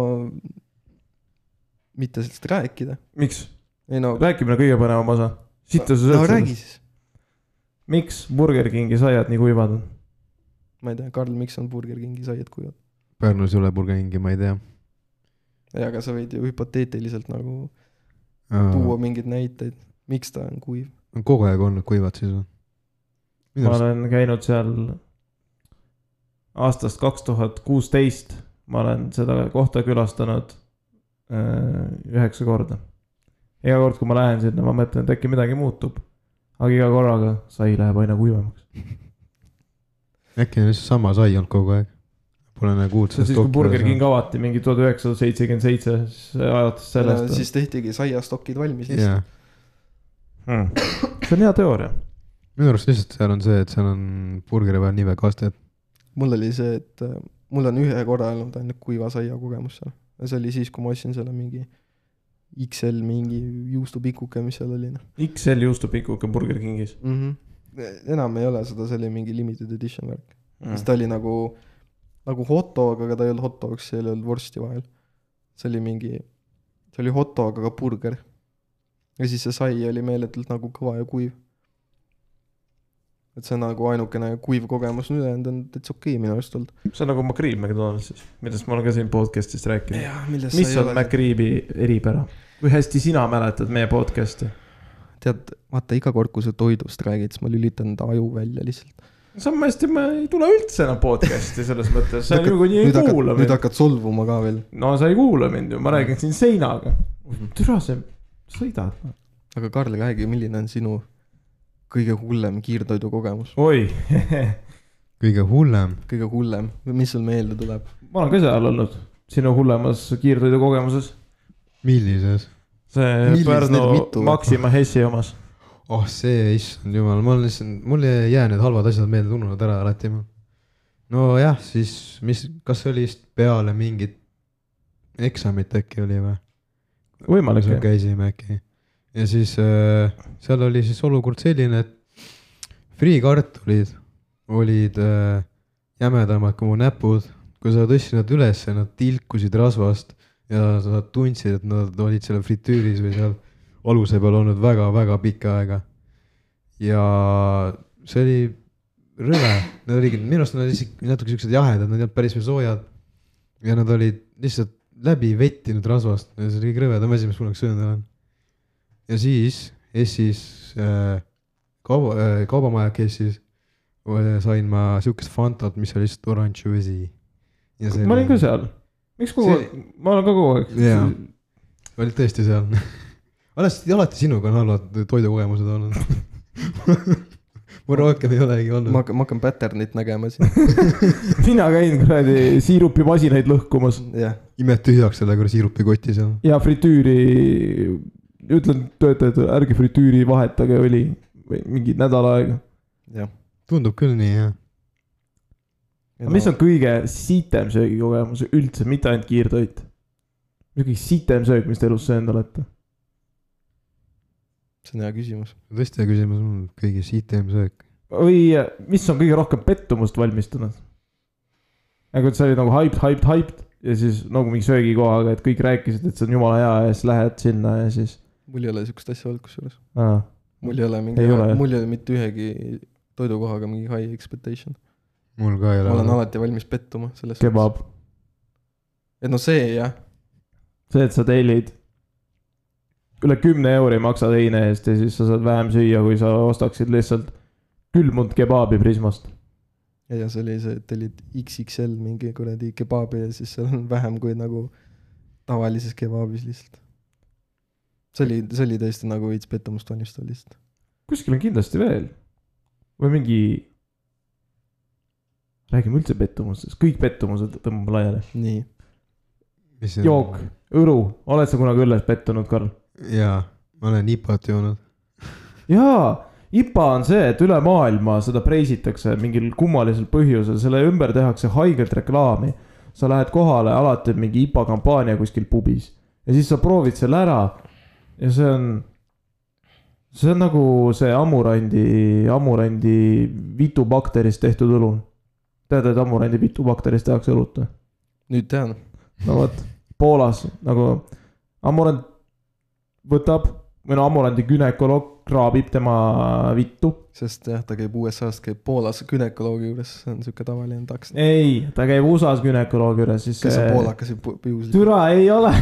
mitte sellest rääkida . miks ? ei no . rääkimine on kõige põnevam osa . siit sa no sööd räägi . siis . miks Burger Kingi saiad nii kuivad on ? ma ei tea , Karl , miks on Burger Kingi saiad kuivad ? Pärnus ei ole burgeringi , ma ei tea . ei , aga sa võid ju hüpoteetiliselt nagu tuua mingeid näiteid , miks ta on kuiv . on kogu aeg olnud kuivad siis või ? minu ma arust olen käinud seal aastast kaks tuhat kuusteist , ma olen seda kohta külastanud äh, üheksa korda . iga kord , kui ma lähen sinna , ma mõtlen , et äkki midagi muutub . aga iga korraga sai läheb aina kuivemaks . äkki on lihtsalt sama sai olnud kogu aeg . Pole nagu kuulnud see on siis , kui Burger King . avati mingi tuhat üheksasada seitsekümmend seitse , siis Äh, alates sellest siis tehtigi saiastokid valmis lihtsalt . jah , hmm. . see on hea teooria . minu arust lihtsalt seal on see , et seal on burgeri peal nii väga astet . mul oli see , et äh, mul on ühe korra olnud ainult kuiva saia kogemus seal . ja see oli siis , kui ma ostsin selle mingi XL mingi juustupikuke , mis seal oli , noh XL juustupikuke Burger Kingis mm . -hmm. enam ei ole seda , see oli mingi limited edition värk mm. , siis ta oli nagu , nagu hot dog , aga ta ei olnud hot dog , seal ei olnud vorsti vahel . see oli mingi , see oli hot dog , aga burger . ja siis see sai oli meeletult nagu kõva ja kuiv . et see on nagu ainukene kuiv kogemus , nüüd ülejäänud on täitsa okei minu arust olnud . see on nagu McRib McDonaldsis , millest ma olen ka siin podcast'is rääkinud . millest mis on ? McRibi eripära ? kui hästi sina mäletad meie podcast'i ? tead , vaata iga kord , kui sa toidust räägid , siis ma lülitan enda aju välja lihtsalt . samas hästi , ma ei tule üldse enam podcast'i selles mõttes , sa niikuinii ei kuula nüüd mind . hakkad solvuma ka veel , no sa ei kuula mind ju , ma räägin siin seinaga . türa see , sõidad . aga Karl , räägi , milline on sinu kõige hullem kiirtoidukogemus ? oi , kõige hullem , kõige hullem või mis sul meelde tuleb ? (laughs) ma olen ka seal olnud , sinu hullemas kiirtoidukogemuses . millises ? see Millis neid mitu Pärnu või? Maxima Hessi omas . oh see , issand jumal , ma olen lihtsalt , mul ei jää need halvad asjad meelde , ununenud ära alati . nojah , siis mis , kas see oli vist peale mingit eksamit äkki oli või ? võimalik seal okay. , käisime äkki . ja siis äh, seal oli siis olukord selline , et friikartulid olid äh, jämedamad kui mu näpud . kui sa tõstsid nad ülesse , nad tilkusid rasvast ja sa tundsid , et nad olid seal fritüüris või seal aluse peal olnud väga-väga pikka aega . ja see oli rõve , nad olid , minu arust nad olid isegi natuke siuksed jahedad , nad ei olnud päris veel soojad . ja nad olid lihtsalt läbi vettinud rasvast , see oli kõige rõvedam asi , mis ma oleks söönud olen . ja siis Eestis äh, kauba äh, , kaubamaja Eestis äh, sain ma siukest Fantat , mis oli lihtsalt oranž vesi . ma olin ka . seal . miks kogu aeg , ma olen ka kogu aeg jaa , olid tõesti seal . (laughs) alati , alati sinuga on halvad toidukogemused olnud . (laughs) mul rohkem ei olegi olnud ma . hakkan , ma hakkan pattern'it (laughs) nägema siin , (laughs) mina käin kuradi siirupimasinaid lõhkumas jah . imed tühjaks selle kuradi siirupikoti seal . ja fritüüri , ütlen töötajatele , ärge fritüüri vahetage õli või mingi nädal aega . tundub küll nii jah . mis on kõige sitem söögikogemus üldse , mitte ainult kiirtoit ? mis on kõige sitem söök , mis te elus söönud olete ? see on hea küsimus . tõesti hea küsimus , mul on kõige sitem söök . või äh, mis on kõige rohkem pettumust valmistunud ? nagu , et sa olid nagu hyped , hyped , hyped ja siis nagu mingi söögikohaga , et kõik rääkisid , et see on jumala hea ja siis lähed sinna ja siis mul ei ole siukest asja olnud kusjuures . aa, mul ei ole mingi Ei ole, jah. , mul ei ole mitte ühegi toidukohaga mingi high expectation . mul ka ei ma olen ole . alati valmis pettuma selles . kebab . et no see jah , see , et sa tellid üle kümne euri maksa teine eest ja siis sa saad vähem süüa , kui sa ostaksid lihtsalt külmunud kebaabi Prismast . ja , ja see oli see , et tellid XXL mingi kuradi kebaabi ja siis seal on vähem kui nagu tavalises kebaabis lihtsalt . see oli , see oli tõesti nagu veits pettumust valmistav lihtsalt . kuskil on kindlasti veel või mingi . räägime üldse pettumustest , kõik pettumused tõmbame laiali . nii , jook ,. õlu , oled sa kunagi õlles pettunud , Karl ? jaa , ma olen IPA-t joonud . jaa , IPA on see , et üle maailma seda preisitakse mingil kummalisel põhjusel , selle ümber tehakse haigelt reklaami . sa lähed kohale , alati on mingi IPA kampaania kuskil pubis ja siis sa proovid selle ära ja see on , see on nagu see amurandi , amurandi vitubakterist tehtud õlu . tead , et amurandi vitubakterist tehakse õlut või ? nüüd tean . no vot , Poolas nagu Amorand võtab või no Amorandi günekoloog kraabib tema vittu . sest jah , ta käib USA-st , käib Poolas günekoloogi juures , see on siuke tavaline taks . ei , ta käib USA-s günekoloogi juures , siis . kes on poolakas ja pu- juhuslikult türa ei ole ,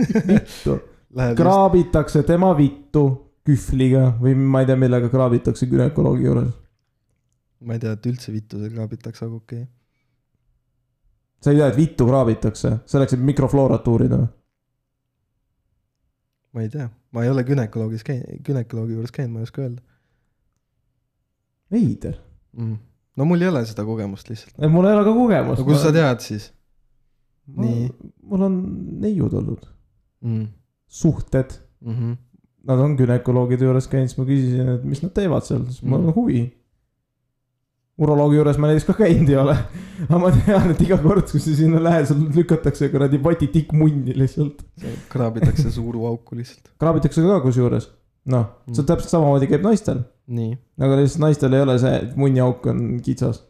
(laughs) läheb just , kraabitakse tema vittu kühvliga või ma ei tea , millega kraabitakse günekoloogi juures . ma ei tea , et üldse vittu seal kraabitakse , aga okei okay. . sa ei tea , et vittu kraabitakse selleks , et mikrofloorat uurida või ? ma ei tea , ma ei ole günekoloogis käinud , günekoloogi juures käinud , ma ei oska öelda veider , mm. . no mul ei ole seda kogemust lihtsalt . mul ei ole ka kogemust . no kust sa ? tead siis nii? mul on neiud olnud , mm. ? suhted Mm -hmm. nad on günekoloogide juures käinud , siis ma küsisin , et mis nad teevad seal , siis mul on Mhm. huvi . uroloogi juures ma näiteks ka käinud ei ole , aga ma tean , et iga kord , kui sa sinna lähed , sul lükatakse kuradi poti tikk munni lihtsalt . kraabitakse suuru auku lihtsalt . kraabitakse ka kusjuures , noh , see Mm. täpselt samamoodi käib naistel , nii , aga lihtsalt naistel ei ole see , et munniauk on kitsas .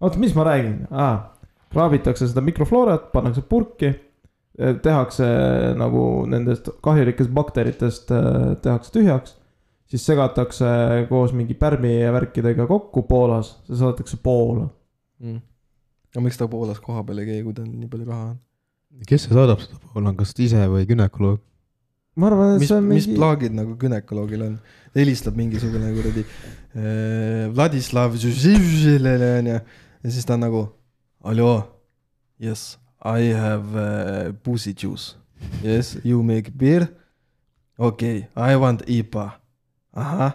oota , mis ma räägin ah, , kraabitakse seda mikrofloorat , pannakse purki , tehakse nagu nendest kahjulikest bakteritest eh, tehakse tühjaks , siis segatakse eh, koos mingi pärmi ja värkidega kokku Poolas , see saadetakse Poola . mm. . aga miks ta Poolas kohapeal ei käi , kui tal nii palju raha on ? kes see saadab seda Poola , kas ta ise või günekoloog ? ma arvan , et mis see on , mis mingi , plaagid nagu günekoloogil on ? helistab mingisugune kuradi äh, Vladislav Žuživžilele onju ja siis ta on nagu halloo , yes , I have uh, pussy juice . Yes , you make beer . okei okay, , I want IPA . ahah ,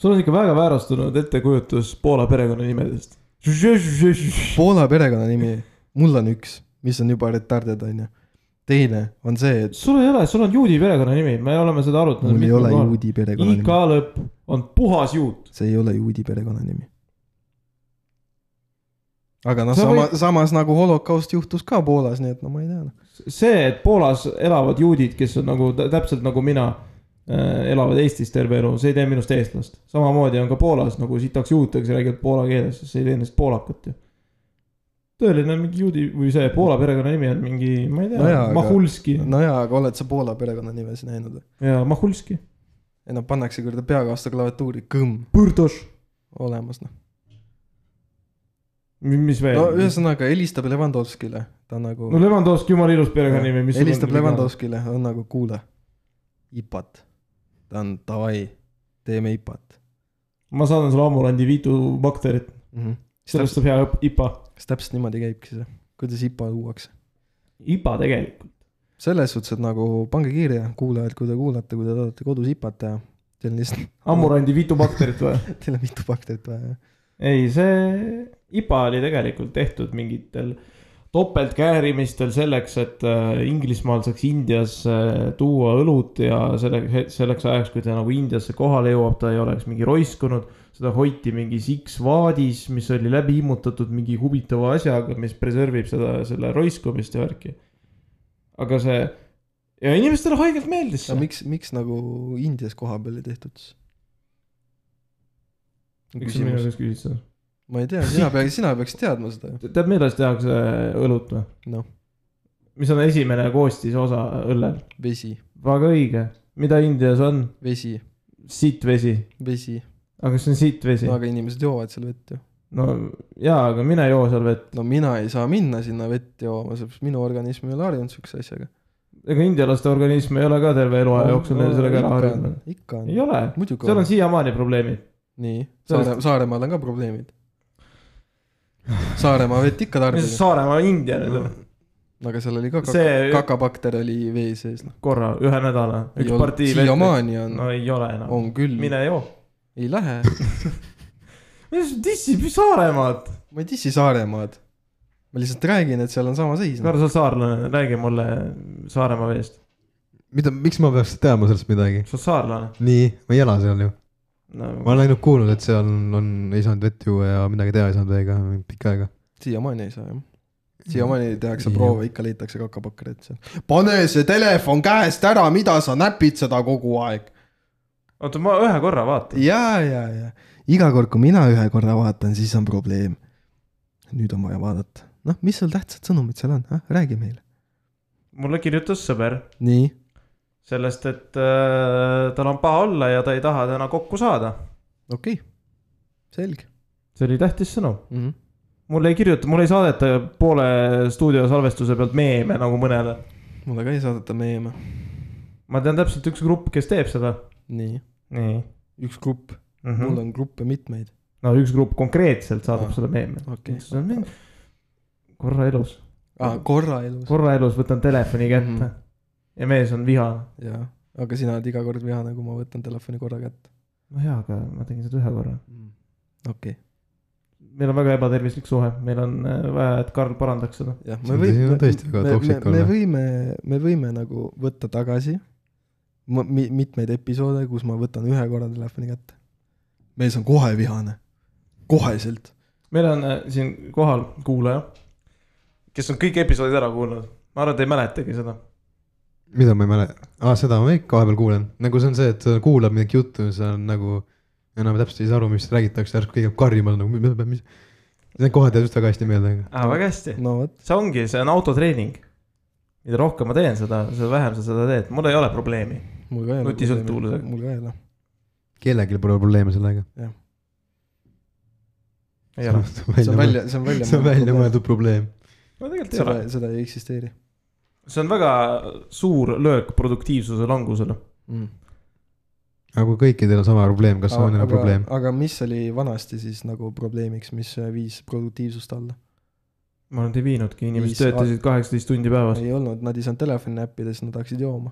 sul on ikka väga väärastunud ettekujutus Poola perekonnanimedest . Poola perekonnanimi , mul on üks , mis on juba retarded onju . teine on see , et sul ei ole , sul on juudi perekonnanimi , me oleme seda arutanud . mul ei ole juudi IK perekonnanimi , lõpp on puhas juut . see ei ole juudi perekonnanimi . aga noh , Sa sama võid- , samas nagu holokaust juhtus ka Poolas , nii et no ma ei tea noh . see , et Poolas elavad juudid , kes on nagu tä- täpselt nagu mina , elavad Eestis terve elu , see ei tee minust eestlast . samamoodi on ka Poolas nagu sitaks juute , kes räägivad poola keeles , see ei tee neist poolakat ju . tõeline mingi juudi või see Poola perekonnanimi on mingi , ma ei tea No jaa, aga- no , Mahulski no. nojaa , aga oled sa Poola perekonnanimesid näinud või ? ja Mahulski , ei no pannakse kuradi peaga vastu klaviatuuri , kõmm , Põrdoš , olemas noh . mis veel no no, ? ühesõnaga helistab Levandovskile , ta nagu no Levandovski , jumala ilus perekonnanimi , mis . helistab . Levandovskile , on nagu kuule , IPA-t , ta on davai , teeme IPA-t ma saadan sulle Amulandi Vitu bakterit , mm . -hmm. Mhm. sellest saab hea õp- IPA . kas täpselt niimoodi käibki see , kuidas IPA luuakse ? IPA tegelikult . selles suhtes , et nagu pange kirja , kuulajad , kui te kuulate , kui te tahate kodus IPA-t teha , teil on (laughs) lihtsalt , Amurandi Vitu bakterit või ? (laughs) teil on mitu bakterit vaja . (laughs) ei , see IPA oli tegelikult tehtud mingitel topeltkäärimistel selleks , et äh, Inglismaal saaks Indias äh, tuua õlut ja selle , selleks ajaks , kui ta nagu Indiasse kohale jõuab , ta ei oleks mingi roiskunud . seda hoiti mingis X-vaadis , mis oli läbi immutatud mingi huvitava asjaga , mis preservib seda , selle roiskumist ja värki . aga see ja inimestele haigelt meeldis aga see . miks , miks nagu Indias koha peal ei tehtud siis ? miks sa minu küsimus , käest küsid seda ? ma ei tea , (laughs) sina peaks , sina peaksid teadma seda ju . tead , millest tehakse õlut või ? Noh. mis on esimene koostisosa õllel ? vesi , väga õige , mida Indias on ? vesi , sittvesi , vesi , aga see on sittvesi no no, . aga inimesed joovad seal vett ju . no jaa , aga mine joo seal vett , no mina ei saa minna sinna vett jooma , sellepärast minu organism ei ole harjunud siukse asjaga . ega indialaste organism ei ole ka terve eluaja jooksul neil sellega ära harjunud . ikka on ei , ole , muidugi seal on on . siiamaani probleemid . nii , Sellest- Saare , Saaremaal on ka probleemid . Saaremaa vett ikka tarbib (laughs) mis . Saaremaa India nüüd on , aga seal oli ka kaka, see... See- kakabakter oli vee sees , noh . korra ühe nädala , üks partii vett . siiamaani on no, , no ei ole enam , on küll , mine joo . ei lähe . mis dissib Saaremaad ? ma ei dissi Saaremaad . ma lihtsalt räägin , et seal on sama seis noh. no. . Karl , sa oled saarlane , räägi mulle Saaremaa veest , mida , miks ma peaks teadma sellest midagi ? sa oled saarlane nii , ma ei ela seal ju , ma no, . olen ainult kuulnud , et seal on, on , ei saanud vett juua ja midagi teha ei saanud veega pikka aega . siiamaani ei saa jah . Mm. siiamaani tehakse Jah. proove , ikka leitakse kakabakterit seal . pane see telefon käest ära , mida sa näpid seda kogu aeg . oota , ma ühe korra vaatan . ja , ja , ja iga kord , kui mina ühe korra vaatan , siis on probleem . nüüd on vaja vaadata , noh , mis sul tähtsad sõnumid seal on , räägi meile . mulle kirjutas sõber nii , sellest , et äh, tal on paha olla ja ta ei taha täna kokku saada . okei okay. , selge see oli tähtis sõnum . mm . -hmm. mulle ei kirjuta , mulle ei saadeta poole stuudiosalvestuse pealt meeme nagu mõnele . mulle ka ei saadeta meeme , ma tean täpselt üks grupp , kes teeb seda . nii , nii üks grupp mm , mm . -hmm. mul -hmm. on gruppe mitmeid , no üks grupp konkreetselt saadab Ah, ah, seda meeme okei. okay. . korra elus , ah, korra elus Kor , korra elus võtan telefoni kätte mm . Mhm. -hmm. ja mees on vihane . jaa , aga sina oled iga kord vihane , kui ma võtan telefoni korra kätte no jaa , aga ma tegin seda ühe korra . mm. . okei okay. , meil on väga ebatervislik suhe , meil on äh, vaja , et Karl parandaks seda . jah , See on tõesti- tõesti väga toksik olla . me olla. võime , me võime nagu võtta tagasi ma mi, mitmeid episoode , kus ma võtan ühe korra telefoni kätte . mees on kohe vihane , koheselt . meil on äh, siin kohal kuulaja , kes on kõik episoodid ära kuulanud , ma arvan , et ei mäletagi seda . mida ma ei mäleta , aa seda ma ikka vahepeal kuulen , nagu see on see , et sa kuulad mingit juttu ja sa nagu enam täpselt ei saa aru , mis räägitakse , järsku keegi hakkab karjuma nagu mis , mis . Need kohad jäävad just väga hästi meelde , aga aa , väga hästi . no vot , see ongi , see on autotreening . mida rohkem ma teen seda , seda vähem sa seda teed , mul ei ole probleemi . mul ka ei ole . Nutisõltuvusega. mul ka ei ole . kellelgi pole probleeme sellega . ei ole , see on välja , see on välja . (laughs) see on välja . mõeldud probleem . ma tegelikult ei seda ole ., seda ei eksisteeri see on väga suur löök produktiivsuse langusele . mm. . aga kui kõikidel on sama probleem , kas see on enam probleem ? aga mis oli vanasti siis nagu probleemiks , mis viis produktiivsust alla ? ma arvan , et ei viinudki , inimesed Viis- töötasid kaheksateist tundi päevas . ei olnud , nad ei saanud telefoni näppida , sest nad hakkasid jooma .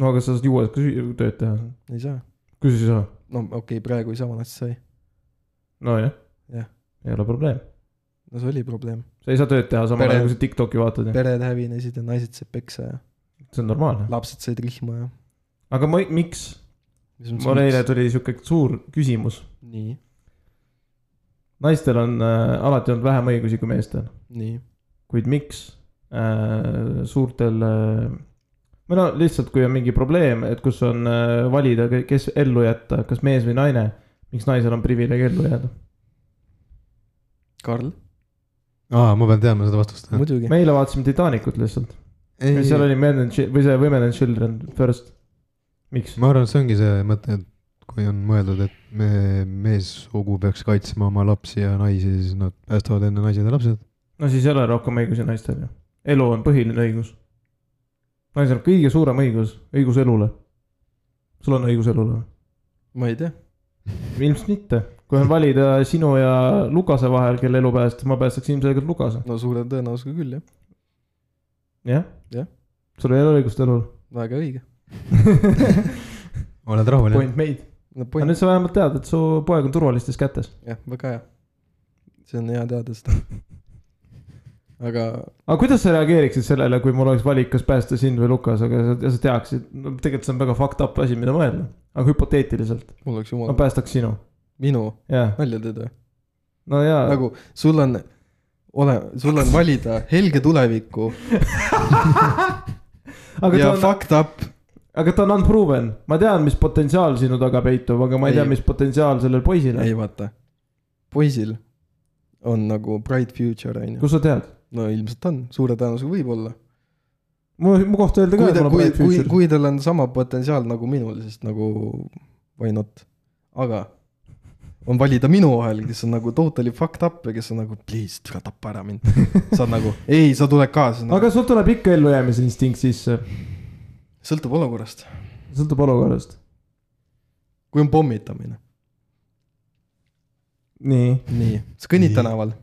no aga sa saad juues ka süüa- tööd teha , ei saa . kui sa ei saa . no okei okay, , praegu ei saa , vanasti sai . nojah Jah. , ei ole probleem , no see oli probleem . sa ei saa tööd teha samal Pere- ajal kui sa Tiktoki vaatad ja pered hävinesid ja naised said peksa ja see on normaalne . lapsed said rihma ja . aga ma , miks ? mul eile . tuli sihuke suur küsimus . nii , naistel on äh, alati olnud vähem õigusi kui meestel , nii , kuid miks äh, suurtel äh, või no lihtsalt , kui on mingi probleem , et kus on äh, valida , kes ellu jätta , kas mees või naine , miks naisel on privileeg ellu jääda ? Karl , aa , ma pean teadma seda vastust . muidugi . me eile vaatasime Titanicut lihtsalt , ei , seal oli men and chi- või see women and children first . miks ? ma arvan , et see ongi see mõte , et kui on mõeldud , et me , meessugu peaks kaitsma oma lapsi ja naisi , siis nad päästavad enne naised ja lapsed . no siis ei ole rohkem õigusi naistel ju . elu on põhiline õigus . naisel on kõige suurem õigus , õigus elule . sul on õigus elule või ? ma ei tea , ilmselt mitte . kui on valida sinu ja Lukase vahel , kelle elu päästa , ma päästaks ilmselgelt Lukase , no suure tõenäosusega küll jah , jah Jah. ? sul ei ole õigust elule . väga õige . oled rahul , jah ? Point made . no aga point , nüüd sa vähemalt tead , et su poeg on turvalistes kätes . jah , väga hea . see on hea teada seda . (laughs) aga aga kuidas sa reageeriksid sellele , kui mul oleks valik , kas päästa sind või Lukas , aga sa, ja sa teaksid , no tegelikult see on väga fucked up asi , mida mõelda . aga hüpoteetiliselt , mul oleks ma jumal , päästaks sinu , minu jah . nalja teed või ? no jaa . nagu sul on , ole , sul on valida helge tuleviku aga ta ja on , fucked up . aga ta on unproven , ma tean , mis potentsiaal sinu taga peitub , aga ma ei, ei Ei. tea , mis potentsiaal sellel poisil on . ei vaata , poisil on nagu bright future on ju , kust sa tead ? no ilmselt on , suure tõenäosusega võib-olla . mu , mu kohta öelda ka , kui et ta , mul on kui , bright kui , future . kui tal on sama potentsiaal nagu minul , siis nagu why not , aga on valida minu vahel , kes on nagu totally fucked up ja kes on nagu please , tule tapa ära (laughs) mind . sa oled nagu ei , sa tuled kaasa nagu. , aga sul tuleb ikka ellujäämise instinkt sisse , sõltub olukorrast , sõltub olukorrast . kui on pommitamine , nii , nii , sa kõnnid Nii. tänaval ,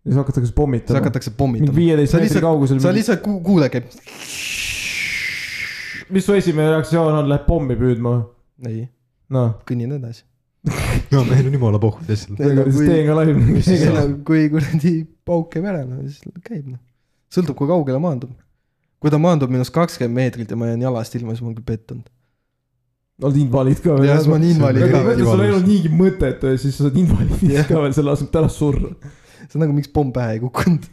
siis hakatakse siis pommitama . hakatakse mingi pommitama , viieteist Sa meetri lihtsalt- kaugusel sa , lihtsalt ku- kuule käib , mis su esimene reaktsioon on , läheb pommi püüdma või ? ei , noh , kõnnin edasi . no meil on jumala pohhu lihtsalt . Ei, no siis kui- teen ka (laughs) ei laivi . no kui kuradi pauk käib ära , no siis käib noh , sõltub , kui kaugele maandub . kui ta maandub minust kakskümmend meetrit ja ma jään jalast ilma , siis ma olen küll pettunud . oled invaliid ka ja siis ma või ? olen invaliid aga Väga ka hea. kui sul ei olnud niigi mõtet , siis sa oled invaliid Jah. ka veel selle asemel , et ära surra . see on nagu , miks pomm pähe ei kukkunud .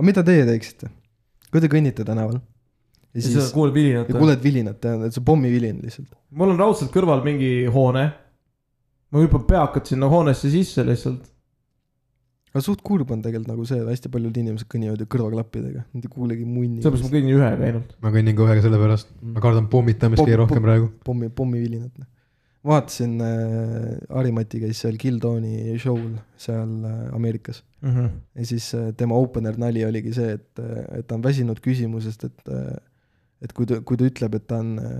aga mida teie teeksite ? kui te kõnnite tänaval ja ja siis siis sa kuuled vilinat ja . kuuled vilinat , tead , et see pommivilin lihtsalt . mul on raudselt kõrval mingi hoone . ma hüppan peakad sinna hoonesse sisse lihtsalt . aga suht kurb on tegelikult nagu see , et hästi paljud inimesed kõnnivad ju kõrvaklappidega , nad ei kuulegi munni . sellepärast ma kõnnin ühega ainult . ma kõnnin ka ühega sellepärast , ma kardan pommitamist Pom- kõige rohkem pom- praegu . pommi , pommivilinat . vaatasin äh, , Harimati käis seal Kildoni show'l seal äh, Ameerikas . ja siis äh, tema opener nali oligi see , et , et ta on väsinud küsimusest , et , et kui ta , kui ta ütleb , et ta on äh,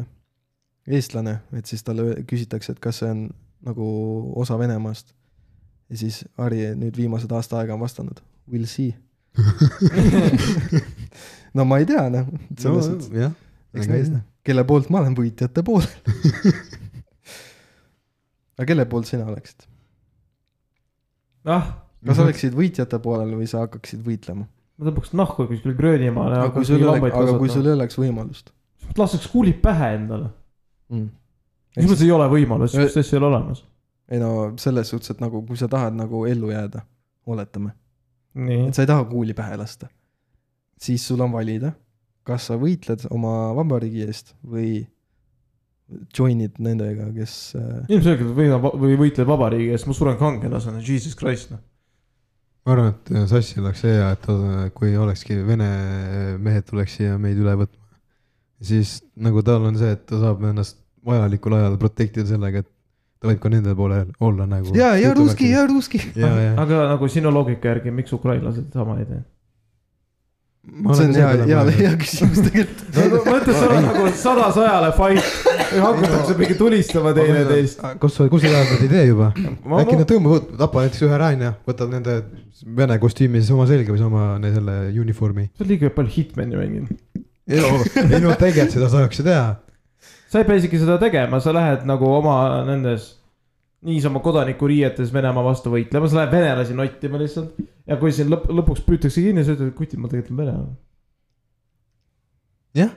eestlane , et siis talle öö- küsitakse , et kas see on nagu osa Venemaast . ja siis Harri nüüd viimased aasta aega on vastanud , we'll see . no ma ei tea , noh , selles mõttes , jah . eks näis , noh , kelle poolt ma olen , võitjate poolel (laughs) aga kelle poolt sina oleksid ? ah , kas oleksid võitjate poolel või sa hakkaksid võitlema ? ma tõmbaks nahku kuskil Gröönimaale . aga kui sul ei oleks , aga kui sul ei oleks võimalust , lastakse kuulid pähe endale . mm. . minu meelest ei ole võimalust , sihukest asja ei ole olemas . ei no selles suhtes , et nagu , kui sa tahad nagu ellu jääda , oletame , nii et , sa ei taha kuuli pähe lasta , siis sul on valida , kas sa võitled oma vabariigi eest või join'id nendega , kes äh, ilmselgelt võidab või võitleb vabariigi eest , ma suren kangelasena , jesus christ noh . ma arvan , et äh, sassi oleks see hea , et ta- kui olekski vene mehed tuleks siia meid üle võtma , siis nagu tal on see , et ta saab ennast vajalikul ajal protect ida sellega , et ta võib ka nende poole olla nagu . ja , ja russki , ja . russki . ja , ja . aga nagu sinu loogika järgi , miks ukrainlased sama ei tee ? see on hea , hea , hea küsimus tegelikult . mõtle , sa oled nagu sada sõjale fight , hakatakse mingi tulistama teineteist . Ah, kus , kus sa tahad , nad ei tee juba ? Ma- äkki nad tõmbavad , tapa näiteks ühe räine , võtad nende vene kostüümi siis oma selga või oma ne- selle uniformi . sa oled liiga palju hitmani mänginud . ei no tegelikult seda saaks ju teha . sa ei pea isegi seda tegema , sa lähed nagu oma nendes niisama kodanikuriietes Venemaa vastu võitlema , sa lähed venelasi nottima lihtsalt . ja kui sind lõp- , lõpuks püütakse kinni , sa ütled , et kuti , ma tegelikult olen venelane . jah ,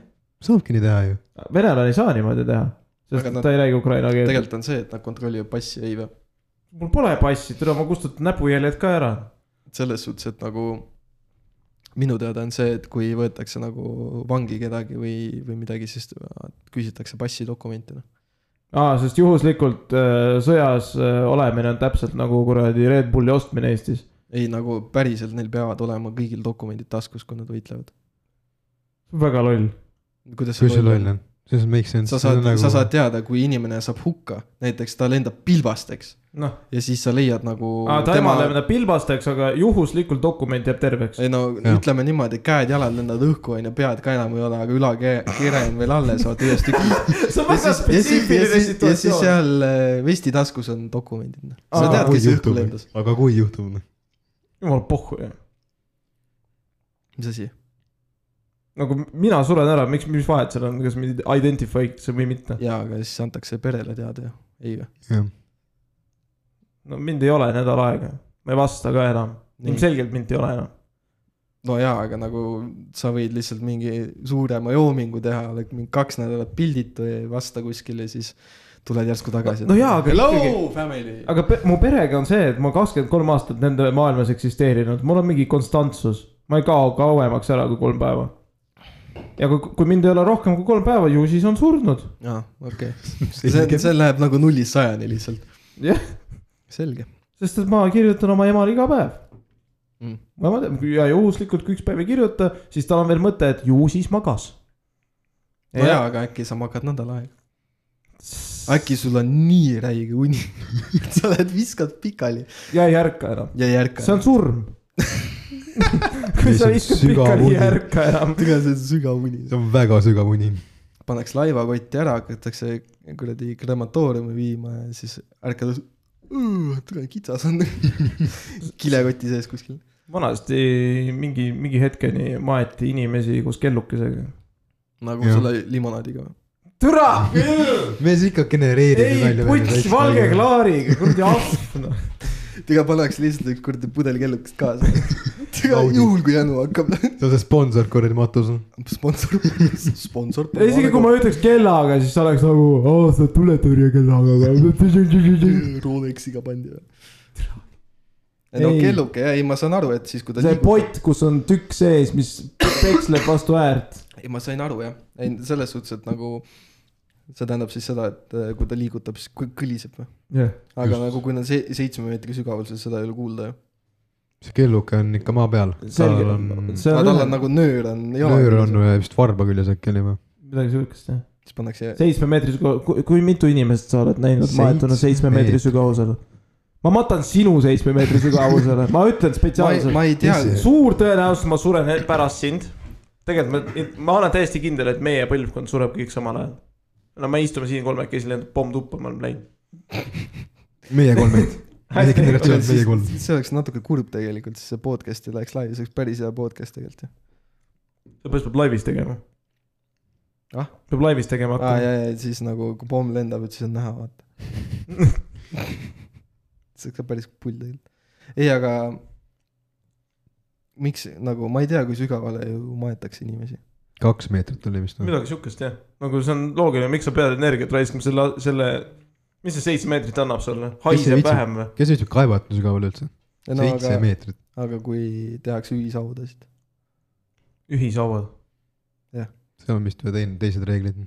saabki nii teha ju . venelane ei saa niimoodi teha , sest Aga nad- ta ei räägi ukraina keelt . tegelikult on see , et nad kontrollivad passi , ei vä ? mul pole passi , tule ma kustutan näpujäljed ka ära . selles suhtes , et nagu minu teada on see , et kui võetakse nagu vangi kedagi või , või midagi , siis küsitakse passidokumente , noh . aa , sest juhuslikult äh, sõjas äh, olemine on täpselt nagu kuradi Red Bulli ostmine Eestis . ei , nagu päriselt neil peavad olema kõigil dokumendid taskus , kui nad võitlevad . väga loll . kuidas kui see loll ? on , see on make sense . sa saad , nagu... sa saad teada , kui inimene saab hukka , näiteks ta lendab pilbasteks noh , ja siis sa leiad nagu ta ema läheb enda pilbasteks , aga juhuslikult dokument jääb terveks . ei no ja. Jah. ütleme niimoodi , käed-jalad lendavad õhku , onju , pead ka enam ei ole , aga ülakere on veel alles , vaata täiesti . see on ja väga siis , ja siis , ja spetsiifiline siis , ja siis situatsioon . seal äh, vesti taskus on dokumendid , noh . sa Aa, tead , kui kes õhku lendas ,. aga kui juhtub ? noh. jumal pohhu jah . mis asi ? nagu mina suren ära , miks , mis vahet seal on , kas mind identify itakse või mitte ? jaa , aga siis antakse perele teada ju , ei vä ? jah , no mind ei ole nädal aega , ma ei vasta ka enam . ilmselgelt mind ei ole enam . no jaa , aga nagu sa võid lihtsalt mingi suurema joomingu teha , oled mingi kaks nädalat pilditu ja ei vasta kuskil ja siis tuled järsku tagasi . No jaa, aga hello ikkagi- family . aga pe- mu perega on see , et ma kakskümmend kolm aastat nende maailmas eksisteerinud , mul on mingi konstantsus . ma ei kao kauemaks ära kui kolm päeva . ja kui , kui mind ei ole rohkem kui kolm päeva , ju siis on surnud . aa , (laughs) okei okay. , see , see läheb nagu nullist sajani lihtsalt . jah , selge sest et ma kirjutan oma emale iga päev . mm. . ma mõtlen , ja juhuslikult , kui üks päev ei kirjuta , siis tal on veel mõte , et ju siis magas . no jaa , aga äkki sa magad nädal aega . äkki sul on nii räige uni , (laughs) et sa lähed viskad pikali ja ei ärka enam , ja ei ärka . see on (laughs) surm . kui sa See on viskad sügav pikali , ei uni. ärka enam . tegelikult see on sügav uni . see on väga sügav uni . pannakse laevakotti ära , hakatakse kuradi krematooriumi viima ja siis ärkad üles . tule kitsas on (laughs) kilekoti sees kuskil . vanasti mingi , mingi hetkeni maeti inimesi koos kellukesega . nagu Jah. selle limonaadiga . türa , mees ikka genereerib ju ei välja . puts valge . klaariga , kuradi ahv (laughs) noh . tegelikult pannakse lihtsalt üks kuradi pudel kellukest (laughs) kaasa . Audi. juhul kui janu hakkab , (laughs) see on see sponsor kuradi matus . noh. sponsor , (laughs) sponsor . isegi kui ma ütleks kellaga , siis oleks nagu , aa sa tuled tõrjekellaga . Rolexiga pandi või ? Ei. no kelluke jah , ei ma saan aru , et siis kui ta see liigub- pott , kus on tükk sees , mis peksleb vastu äärt . ei , ma sain aru jah , ei selles suhtes , et nagu see tähendab siis seda , et äh, kui ta liigutab , siis kõ- kõliseb või ? jah , aga Just. Just. nagu kui ta on se- seitsme meetri sügavuses , seda ei ole kuulda ju . see kelluke on ikka maa peal . selge tal on ,. see aga on tal on ähm, nagu nöör on . nöör on . vist varba küljes äkki oli või ? midagi siukest jah . siis pannakse see... , seitsme meetri sügav- , kui, kui mitu inimest sa oled näinud maetuna seitsme Seitsme meetri meetri. sügavusel ? ma matan sinu seitsme meetri sügavusele , ma ütlen ma ei , spetsiaalselt . ma ei tea , Mis see- suur tõenäosus , ma suren he- pärast sind . tegelikult ma , ma olen täiesti kindel , et meie põlvkond sureb kõik samal ajal . no me istume siin kolmekesi , lendab pomm tuppa , me oleme läinud . meie kolmelt . (laughs) meie generatsioon , meie kolm . see oleks natuke kurb tegelikult , siis see podcast ei läheks laivi , see oleks päris hea podcast tegelikult ju . seepärast peab laivis tegema Ah? . peab laivis tegema aa hakkama . ja , ja siis nagu kui pomm lendab , et siis on näha , vaata . see oleks ka päris pull tegelikult . ei , aga miks nagu ma ei tea , kui sügavale ju maetakse inimesi . kaks meetrit oli vist . noh. midagi sihukest jah , nagu see on loogiline , miks sa pead energiat raiskama selle , selle , mis see seitse meetrit annab sulle , haiseb viitsib? vähem või ? kes viitsib kaevata nii sügavale üldse ? no seitse aga , meetrit . aga kui tehakse ühishaudasid , ühishauad , seal on vist ühe teine , teised reeglid .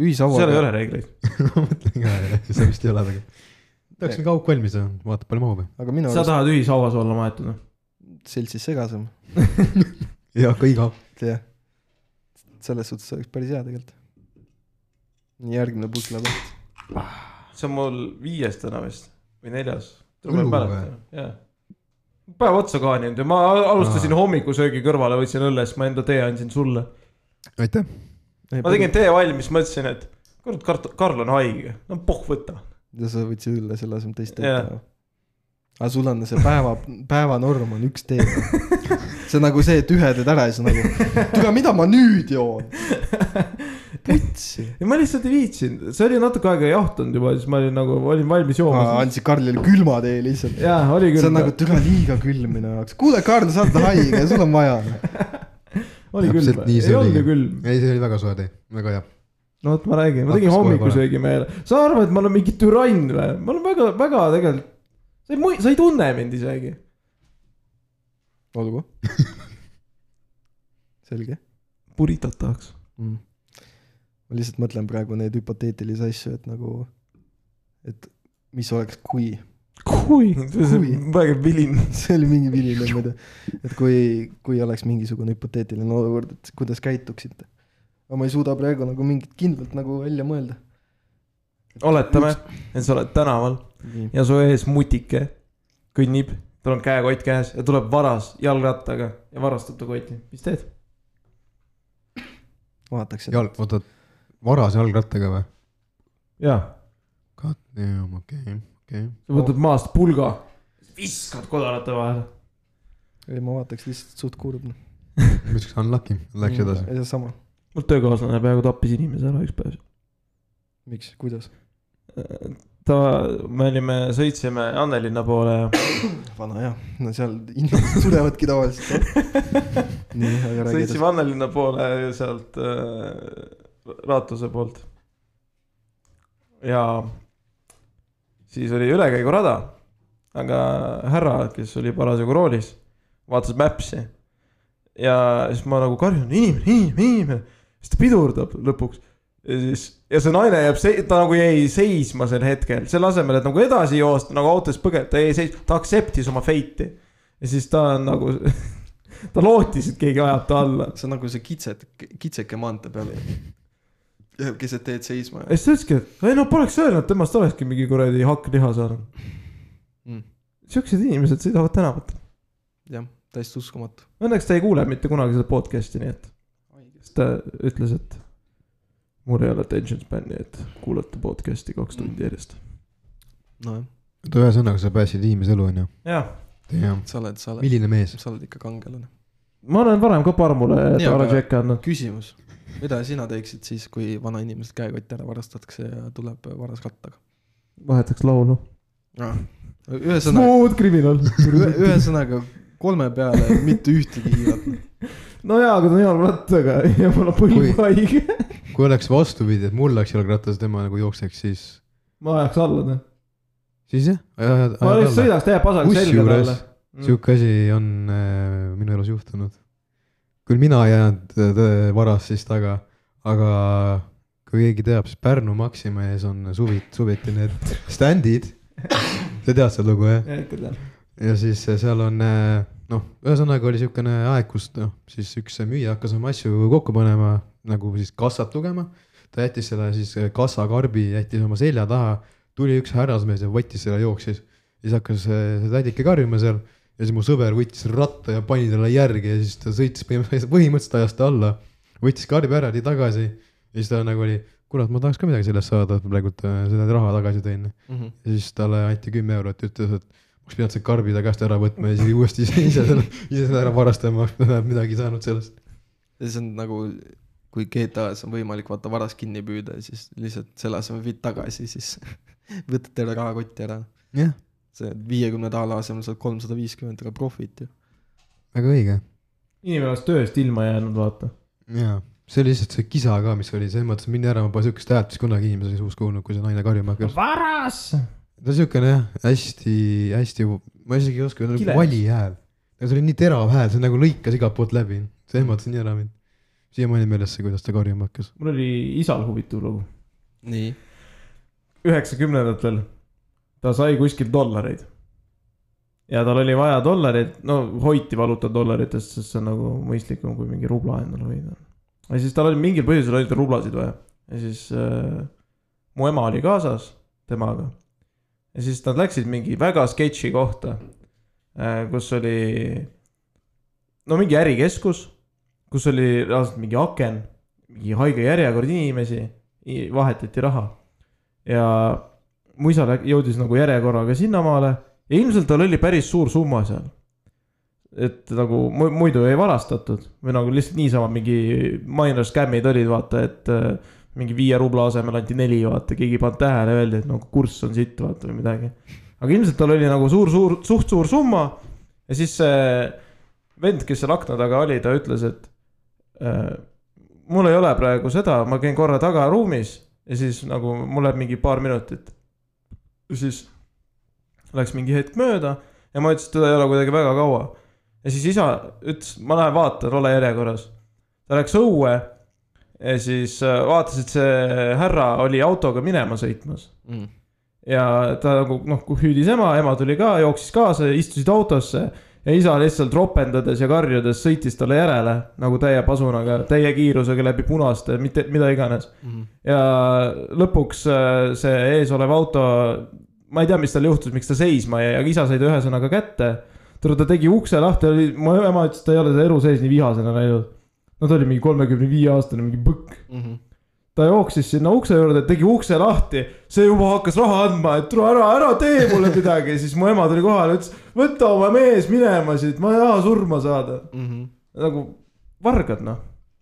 (laughs) seal ei ole ühishauad , reegleid . ma mõtlen ka jah , see vist ei ole väga . tahaks nagu auk valmis saada , vaatab palju mahub . aga minu sa arust tahad ühishauas olla maetud noh. või ? seltsis segasem , jah , kõik auk . et jah . selles suhtes oleks päris hea tegelikult . nii , järgmine puslepaat . see on mul viies täna vist või neljas . Hullu päev otsa kaaninud ja ma alustasin Aa. hommikusöögi kõrvale , võtsin õlle , siis ma enda tee andsin sulle . aitäh . ma tegin tee valmis , mõtlesin , et kurat , Karl , Karl on haige , no pohh võta . ja sa võtsid õlle selle asemel teist teed Jah. yeah. päeva . aga sul on see päeva , päevanorm on üks tee . see on nagu see , et ühe teed ära ja siis on nagu , kuule , mida ma nüüd joon ? putsi . ja ma lihtsalt ei viitsinud , see oli natuke aega jahtunud juba , siis ma olin nagu , olin valmis jooma . andsid Karlile külma tee lihtsalt . jaa , oli see küll on , nagu türa liiga külm minu jaoks . kuule , Karl , sa oled haige , sul on vaja . oli küll täpselt , nii see ei olnud oligi. ju külm . ei , see oli väga soe tee , väga hea . no vot , ma räägin , ma tegin Hakkas kohe hommikusöögi meele , sa arvad , et ma olen mingi türann või ? ma olen väga , väga tegelikult , sa ei mõi- , sa ei tunne mind isegi . olgu . selge Buritat tahaks . mm. . ma lihtsalt mõtlen praegu neid hüpoteetilisi asju , et nagu , et mis oleks , kui kui , see Kui? on väga vilin . (laughs) see oli mingi viline muide , et kui , kui oleks mingisugune hüpoteetiline olukord , et kuidas käituksite . aga ma ei suuda praegu nagu mingit kindlalt nagu välja mõelda . oletame , et sa oled tänaval nii , ja su ees mutike kõnnib , tal on käekott käes ja tuleb varas jalgrattaga ja varastab ta koti , mis teed ? vaataks seda . jalg , oota , varas jalgrattaga või ? jaa , God damn , okei okay, , okei okay. . sa võtad maast pulga , viskad kodarate vahele . ei , ma vaataks lihtsalt suht kurb . ma ütleks unlucky , Mm. läks edasi . ja sama , mul töökaaslane peaaegu tappis inimese ära üks päev . miks , kuidas ? ta , me olime , sõitsime Annelinna poole ja vana jah , no seal inimesed surevadki tavaliselt . (laughs) nii , aga räägi edasi sõitsime . Annelinna poole sealt äh, Raatuse poolt . ja siis oli ülekäigurada , aga härra , kes oli parasjagu roolis , vaatas Maps'i . ja siis ma nagu karjun , inimene , inimene , inimene , siis ta pidurdab lõpuks ja siis , ja see naine jääb , ta nagu jäi seisma sel hetkel , selle asemel , et nagu edasi joosta , nagu autos põgeneda , ta jäi seisma , ta aktseptis oma feiti . ja siis ta on nagu , (laughs) ta lootis , et keegi ajab ta alla . see on nagu see kitset , kitseke maantee peal . jääb keset teed seisma ja siis ta ütleski , et ei no poleks öelnud , temast olekski mingi kuradi hakkliha saanud . mm, . siuksed inimesed sõidavad tänavatel . jah , täiesti uskumatu . Õnneks ta ei kuule mitte kunagi seda podcast'i , nii et siis ta ütles , et mul ei ole attention span'i , et kuulata podcast'i kaks Mm. tundi järjest . nojah , oota , ühesõnaga sa päästsid inimese elu , onju . jah , damn , sa oled , sa oled , milline mees . sa oled ikka kangelane . ma olen varem ka parmule Nii, aga- tšekke andnud . küsimus , mida sina teeksid siis , kui vanainimesed käekott ära varastatakse ja tuleb varas rattaga ? vahetaks laulu . ühesõnaga , Smooth (laughs) criminal . ühesõnaga kolme peale mitte ühtegi hiilat . no jaa , aga ta on jalgrattaga ja mul on põlv Kui- haige . kui oleks vastupidi , et mul läks jalgratas , tema nagu jookseks , siis , ma ajaks alla , siis jah . ma lihtsalt sõidaks täie pasaga selga kusjuures talle . sihuke asi on äh, minu elus juhtunud . küll mina ei jäänud äh, tõ- varast siis taga , aga kui keegi teab , siis Pärnu Maxima ees on suvi , suviti need stand'id . sa tead seda lugu jah ? ikka tean . ja siis äh, seal on äh, noh , ühesõnaga oli siukene aeg , kus noh , siis üks müüja hakkas oma asju kokku panema nagu siis kassat lugema . ta jättis selle siis äh, kassakarbi jättis oma selja taha , tuli üks härrasmees ja võttis selle , jooksis . siis hakkas äh, see tädike karjuma seal ja siis mu sõber võttis ratta ja pani talle järgi ja siis ta sõitis põhimõtteliselt , põhimõtteliselt ajas ta alla . võttis karbi ära , tuli tagasi ja siis ta nagu oli , kurat , ma tahaks ka midagi sellest saada , et praegult äh, selle raha tagasi tõin ja siis talle anti kümme eurot ja ütles , et oleks pidanud see karbi ta käest ära võtma ja siis uuesti ise ise selle , ise selle ära varastama , midagi ei saanud sellest . ja siis on nagu , kui GTA-s on võimalik vaata varas kinni püüda ja siis lihtsalt selle asemel viid tagasi , siis (laughs) võtad terve rahakotti ära . jah , see viiekümne daala asemel saad kolmsada viiskümmend ära profiti . väga õige . inimene oleks tööst ilma jäänud , vaata . jaa , see oli lihtsalt see kisa ka , mis oli , selles mõttes , et mine ära , ma pole sihukest häält vist kunagi inimese suus kuulnud , kui see naine karjuma hakkas . varas . ta siukene jah , hästi-hästi , ma isegi ei oska öelda , Kile. nagu vali hääl . see oli nii terav hääl , see nagu lõikas igalt poolt läbi , see ehmatas nii ära mind . siiamaani on meeles see , kuidas ta karjuma hakkas . mul oli isal huvitav lugu . nii , üheksakümnendatel ta sai kuskilt dollareid . ja tal oli vaja dollareid , no hoiti valuta dollaritest , sest see on nagu mõistlikum kui mingi rubla endale hoida . ja siis tal oli mingil põhjusel oli tal rublasid vaja ja siis äh, mu ema oli kaasas temaga . ja siis nad läksid mingi väga sketši kohta äh, , kus oli no mingi ärikeskus , kus oli reaalselt mingi aken , mingi haige järjekord inimesi , vahetati raha ja mu isa läk- jõudis nagu järjekorraga sinnamaale ja ilmselt tal oli päris suur summa seal . et nagu mu- muidu ei varastatud või nagu lihtsalt niisama mingi minor scam'id olid , vaata , et äh, mingi viie rubla asemel anti neli , vaata , keegi ei pannud tähele , öeldi , et nagu kurss on sitt , vaata või midagi . aga ilmselt tal oli nagu suur , suur , suht suur summa ja siis see vend , kes seal akna taga oli , ta ütles , et äh, mul ei ole praegu seda , ma käin korra tagaruumis ja siis nagu mul läheb mingi paar minutit . siis läks mingi hetk mööda ja ma ütlesin , et teda ei ole kuidagi väga kaua . ja siis isa ütles , ma lähen vaatan , ole järjekorras . ta läks õue ja siis äh, vaatas , et see härra oli autoga minema sõitmas mm. ja ta nagu noh , hüüdis ema , ema tuli ka , jooksis kaasa ja istusid autosse . ja isa lihtsalt ropendades ja karjudes sõitis talle järele nagu täie pasunaga , täie kiirusega läbi punaste , mitte mida iganes . Mm. ja lõpuks äh, see eesolev auto , ma ei tea , mis tal juhtus , miks ta seisma jäi , aga isa sai ta ühesõnaga kätte . tule , ta tegi ukse lahti , oli , mu ema ütles , ta ei ole seda elu sees nii vihasena näinud . no ta oli mingi kolmekümne viie aastane , mingi põkk Mm -hmm. ta jooksis sinna ukse juurde , tegi ukse lahti , see juba hakkas raha andma , et tule ära , ära tee mulle midagi , siis mu ema tuli kohale , ütles võta oma mees minema siit , ma ei taha surma saada . Mm -hmm. nagu vargad noh ,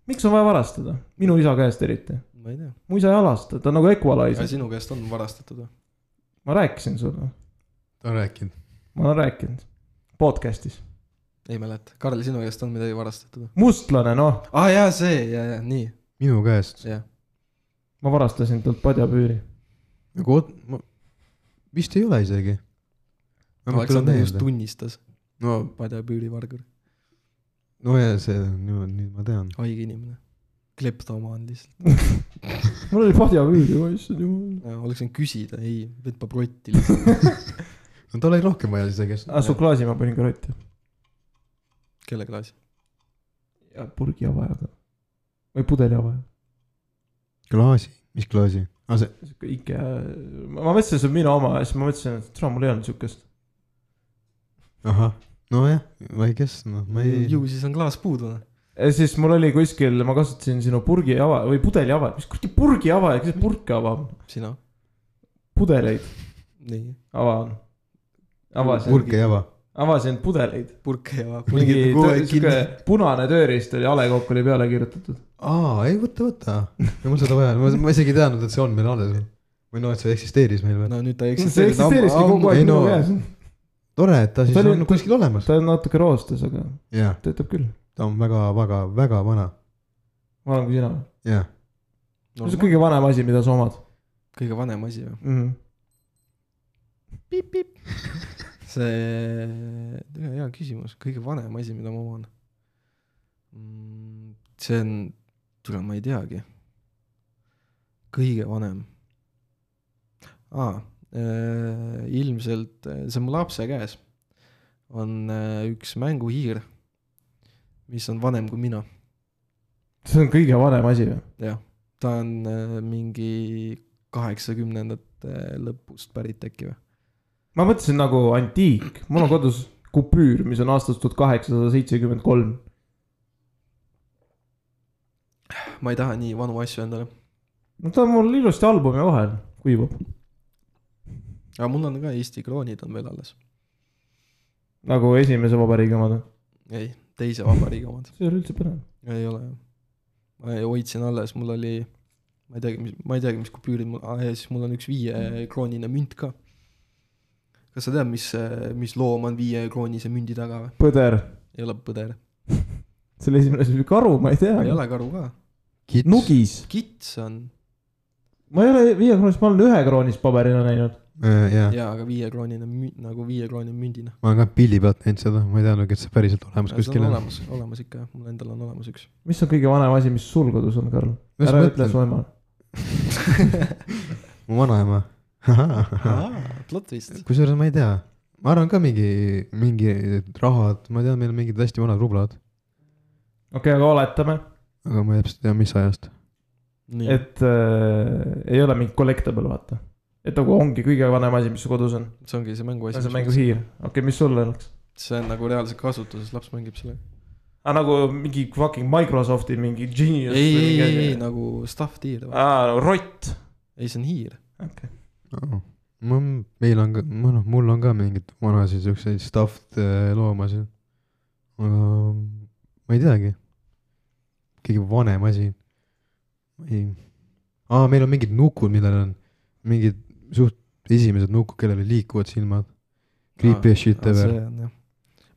miks on vaja varastada , minu isa käest eriti , ma ei tea , mu isa ei alasta , ta on nagu aga Equalizer , sinu käest on varastatud või ? ma rääkisin sulle , ta on rääkinud . ma olen rääkinud podcast'is , ei mäleta , Karl , sinu käest on midagi varastatud või ? mustlane noh , aa ah, jaa , see ja , ja nii , minu käest jah . ma varastasin talt padjapüüri , nagu oot- , ma vist ei ole isegi . Aleksander just tunnistas , no , padjapüürivargur , no ja see , nüüd , nüüd ma tean . haige inimene , kleptomaan lihtsalt . mul oli padjapüür juba , issand jumal . oleks võinud küsida , ei , võtma protti lihtsalt , no tal oli rohkem vaja isegi , aa , Ah, su klaasi ma panin kraati kelle klaasi ? ja purgi avajaga või pudeli avajaga . klaasi , mis klaasi ? aa , see , sihuke IKEA , ma mõtlesin , see on minu oma ja siis ma mõtlesin , et tule , mul ei olnud siukest . ahah , nojah , ma ei kes- , noh , ma ei . ju siis on klaas puudu , noh . ja siis mul oli kuskil , ma kasutasin sinu purgi ava või pudeli ava , mis kuradi purgi ava , kes purke avab , sina , pudeleid nii , avan . avasin , purk ei ava . avasin pudeleid . purke ja mingi mingi kogu tõ- aeg kinni sihuke . punane tööriist oli , A Le Coq oli peale kirjutatud . aa , ei võta , võta . mul seda vaja , ma , ma isegi ei teadnud , et see on meil alles . või noh , et see eksisteeris meil veel . no nüüd ta see eksisteerib , eksisteeriski kogu aeg ei minu no. käes . tore , et ta siis Ta oli- on kuskil olemas . ta on natuke roostes , aga jaa , töötab küll , ta on väga , väga , väga vana . vanem kui sina . jaa , see on kõige vanem asi , mida sa omad kõige vanem asi või ? mm . -hmm. see , hea küsimus , kõige vanem asi , mida ma oman . see on , tule , ma ei teagi . kõige vanem . aa , ilmselt äh, see on mu lapse käes . on äh, üks mänguhiir , mis on vanem kui mina , see on kõige vanem asi või ? jah . ta on äh, mingi kaheksakümnendate äh, lõpust pärit äkki või ? ma mõtlesin nagu antiik , mul on kodus kupüür , mis on aastast tuhat kaheksasada seitsekümmend kolm . ma ei taha nii vanu asju endale . no ta on mul ilusti albumi vahel , kuivab . aga mul on ka Eesti kroonid on veel alles . nagu esimese vabariigi omad . ei , teise vabariigi omad see ei ole üldse põnev . ei ole jah . ma ei- hoidsin alles , mul oli , ma ei teagi , mis , ma ei teagi , mis kupüürid mul , ja siis mul on üks viiekroonine münt ka . kas sa tead , mis , mis loom on viiekroonise mündi taga või ? põder , ei ole põder , selle esimene asi oli karu , ma ei tea ei . ole karu ka . kits . nugis , kits on ma ei ole viiekroonist , ma olen ühekroonist paberina näinud . Äh, jaa , jaa , aga viiekroonine müü- , nagu viiekroonine mündina . ma olen ka pilli pealt näinud seda , ma ei teadnudki , et see päriselt olemas see kuskil on on . olemas , olemas ikka jah , mul endal on olemas üks . mis on kõige vanem asi , mis sul kodus on , Karl ? Mis ära ma ütle ütlen? su ema . mu vanaema . plot vist . (laughs) kusjuures ma ei tea , ma arvan ka mingi , mingi rahad , ma tean , meil on mingid hästi vanad rublad , okei , aga oletame , aga ma ei täpselt tea , mis ajast . nii , et äh, ei ole mingit collectible , vaata . et nagu ongi kõige vanem asi , mis su kodus on . see ongi see mänguasi . see on mängusiir , okei okay, , mis sul oleks ? see on nagu reaalselt kasutuses , laps mängib sellega . aga nagu mingi fucking Microsofti mingi ei , genius . ei , ei , ei nagu stuffed hiir , aa , rott . ei see on hiir . ma , meil on ka , ma noh , mul on ka mingid vanasid siukseid stuffed eh, loomasid . aga ma ei teagi . kõige vanem asi . ei , aa , meil on mingid nukud , millel on mingid suht esimesed nukud , kellel liikuvad silmad . Creepy as shit ever . see Ah, on jah .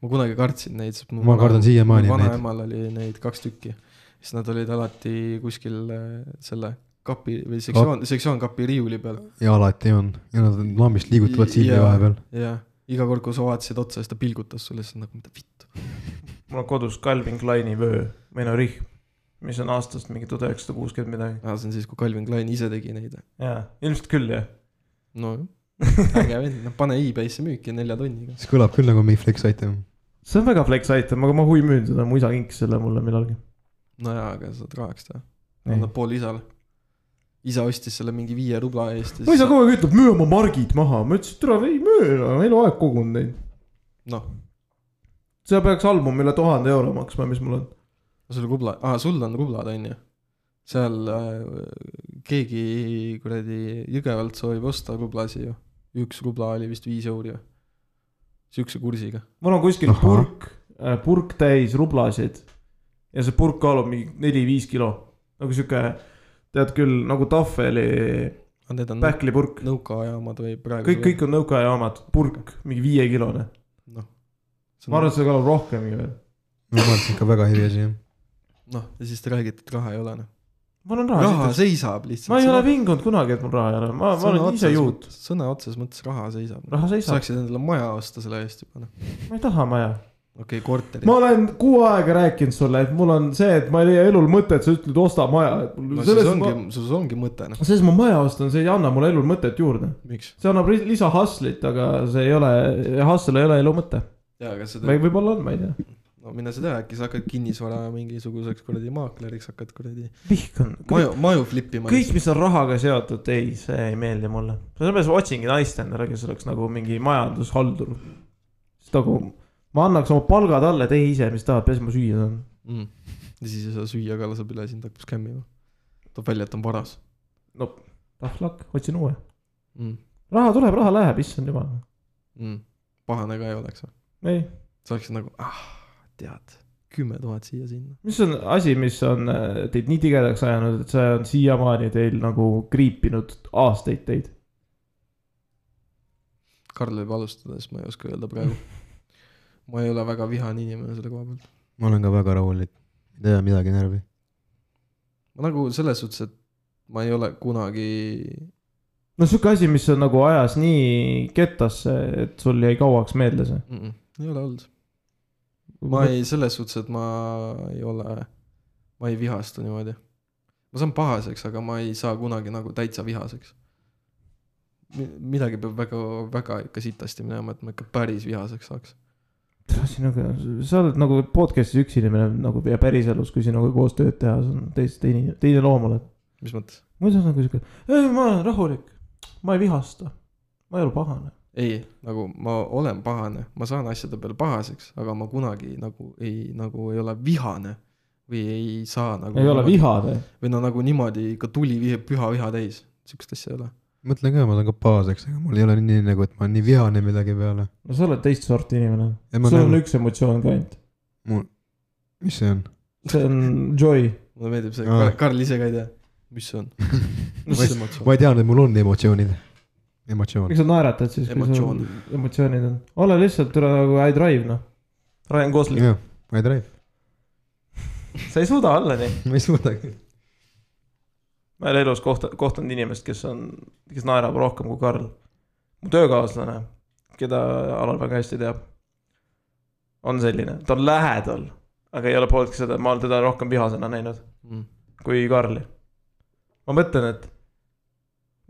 ma kunagi kartsin neid , sest mu Ma kardan siiamaani neid . neid. vanaemal oli neid kaks tükki . siis nad olid alati kuskil äh, selle kapi või sektsioon , sektsioonkapi riiuli peal . ja alati on ja nad lambist liigutavad silmi Jaa. vahepeal . jah , iga kord , kui sa vaatasid otsa , siis ta pilgutas sulle , siis nagu mida vittu . mul on kodus Calvin Kleini vöö või no rihm , mis on aastast mingi tuhat üheksasada kuuskümmend midagi . aa , see on siis , kui Calvin Klein ise tegi neid . jaa , ilmselt küll jah . nojah , äge vend , noh pane e-base'i müüki nelja tonniga . see kõlab küll nagu mingi flex item . (laughs) see on väga flex item , aga ma huvi müün seda , mu isa kinkis selle mulle millalgi . nojaa , aga saad rahaks teha , annad pool isale . isa ostis selle mingi viie rubla eest mu ja isa siis kogu aeg ütleb , müü oma margid maha , ma ütlesin , et tere , ei müü , ma eluaeg kogun neid . noh , see peaks album üle tuhande euro maksma , mis mul on . sul rubla , aa sul on rublad on ju . seal äh, keegi kuradi Jõgevalt soovib osta rublasi ju , üks rubla oli vist viis euri või , siukse kursiga . mul on kuskil Ahah. Aha. purk , purk täis rublasid ja see purk kaalub mingi neli-viis kilo , nagu sihuke tead küll nagu tahveli aga need on pähklipurk , nõukaaja omad või praegu . kõik , kõik on nõukaaja omad , purk , mingi viiekilone . noh . ma arvan , et see kaalub rohkemgi veel . ma arvan , et see on ikka väga heri asi jah . noh , ja siis te räägite , et raha ei ole noh . mul on raha raha , seisab lihtsalt . ma ei ole vingunud kunagi , et mul raha ei ole , ma , ma olen ise juut ,. sõna otseses mõttes raha seisab . raha seisab , saaksid endale maja osta selle eest juba noh , ma ei taha maja . okei okay, , korteri ma . olen kuu aega rääkinud sulle , et mul on see , et ma ei leia elul mõtet , sa ütled osta maja , et mul no no, selles sellest ongi ongi... , selles ongi mõte noh , ma , selles ma maja ostan , see ei anna mulle elul mõtet juurde . miks . see annab ri- lisa hustle'it , aga see ei ole , hustle ei ole elu mõte . jaa , aga seda või , võib-olla on , ma ei tea . no mine sa tea , äkki sa hakkad kinnisvara mingisuguseks kuradi maakleriks hakkad kuradi vihkan . maju , maju flip ima . kõik , mis on rahaga seotud , ei , see ei meeldi mulle . sellepärast ma otsingi naist endale , kes oleks nagu mingi majandushaldur . sest nagu ma annaks oma palga talle , tee ise , mis tahad , peaasi , et ma süüa saan . Mm. ja siis ei saa süüa ka , laseb üle , sind hakkab skämmima . tuleb välja , et on varas ah lakk , otsin uue . mm. . raha tuleb , raha läheb , issand jumal . Mm. pahane ka ei oleks , ei , saaksid nagu , ah , tead , kümme tuhat siia-sinna . mis on asi , mis on äh, teid nii tigedaks ajanud , et see on siiamaani teil nagu kriipinud aastaid teid ? Karl võib alustada , siis ma ei oska öelda praegu . ma ei ole väga vihane inimene selle koha pealt . ma olen ka väga rahulik , ei tea midagi närvi . ma nagu selles suhtes , et ma ei ole kunagi , no sihuke asi , mis on nagu ajas nii kettasse , et sul jäi kauaks meelde see . ei ole olnud . ma . ei , selles suhtes , et ma ei ole , ma ei vihasta niimoodi . ma saan pahaseks , aga ma ei saa kunagi nagu täitsa vihaseks . midagi peab väga , väga ikka sitasti minema , et ma ikka päris vihaseks saaks . sinuga , sa oled nagu podcast'is üks inimene nagu ja päriselus , kui sinuga koos tööd teha , see on täiesti teine , teine loom oled . mis mõttes ? muidu on nagu sihuke , ei ma olen rahulik , ma ei vihasta , ma ei ole pahane . ei , nagu ma olen pahane , ma saan asjade peale pahaseks , aga ma kunagi nagu ei , nagu ei ole vihane või ei saa nagu . ei ole . vihane . või no nagu niimoodi ikka tuli vihe, püha viha täis , sihukest asja ei ole . mõtlen ka , ma olen ka pahaseks , aga mul ei ole nii nagu , et ma olen nii vihane millegi peale . no sa oled teist sorti inimene . ja ma sul on nagu , üks emotsioon ka ainult , mis see on ? (laughs) see on joy . (laughs) mulle meeldib see Aa. , Karl ise ka ei tea , mis see on . see- mis emotsioon ? ma ei teadnud , et mul on emotsioonid . emotsioon . miks sa naeratad siis , kui sul emotsioon , emotsioonid on ? ole lihtsalt üle nagu I drive noh . Ryan Gosling , jah , ma ei drive , sa ei suuda olla nii . ma ei suuda küll . ma ei ole elus kohta- , kohtunud inimest , kes on , kes naerab rohkem kui Karl . mu töökaaslane , keda Alar väga hästi teab , on selline , ta on lähedal , aga ei ole pooltki seda , ma olen teda rohkem vihasena näinud mm. . kui Karli . ma mõtlen , et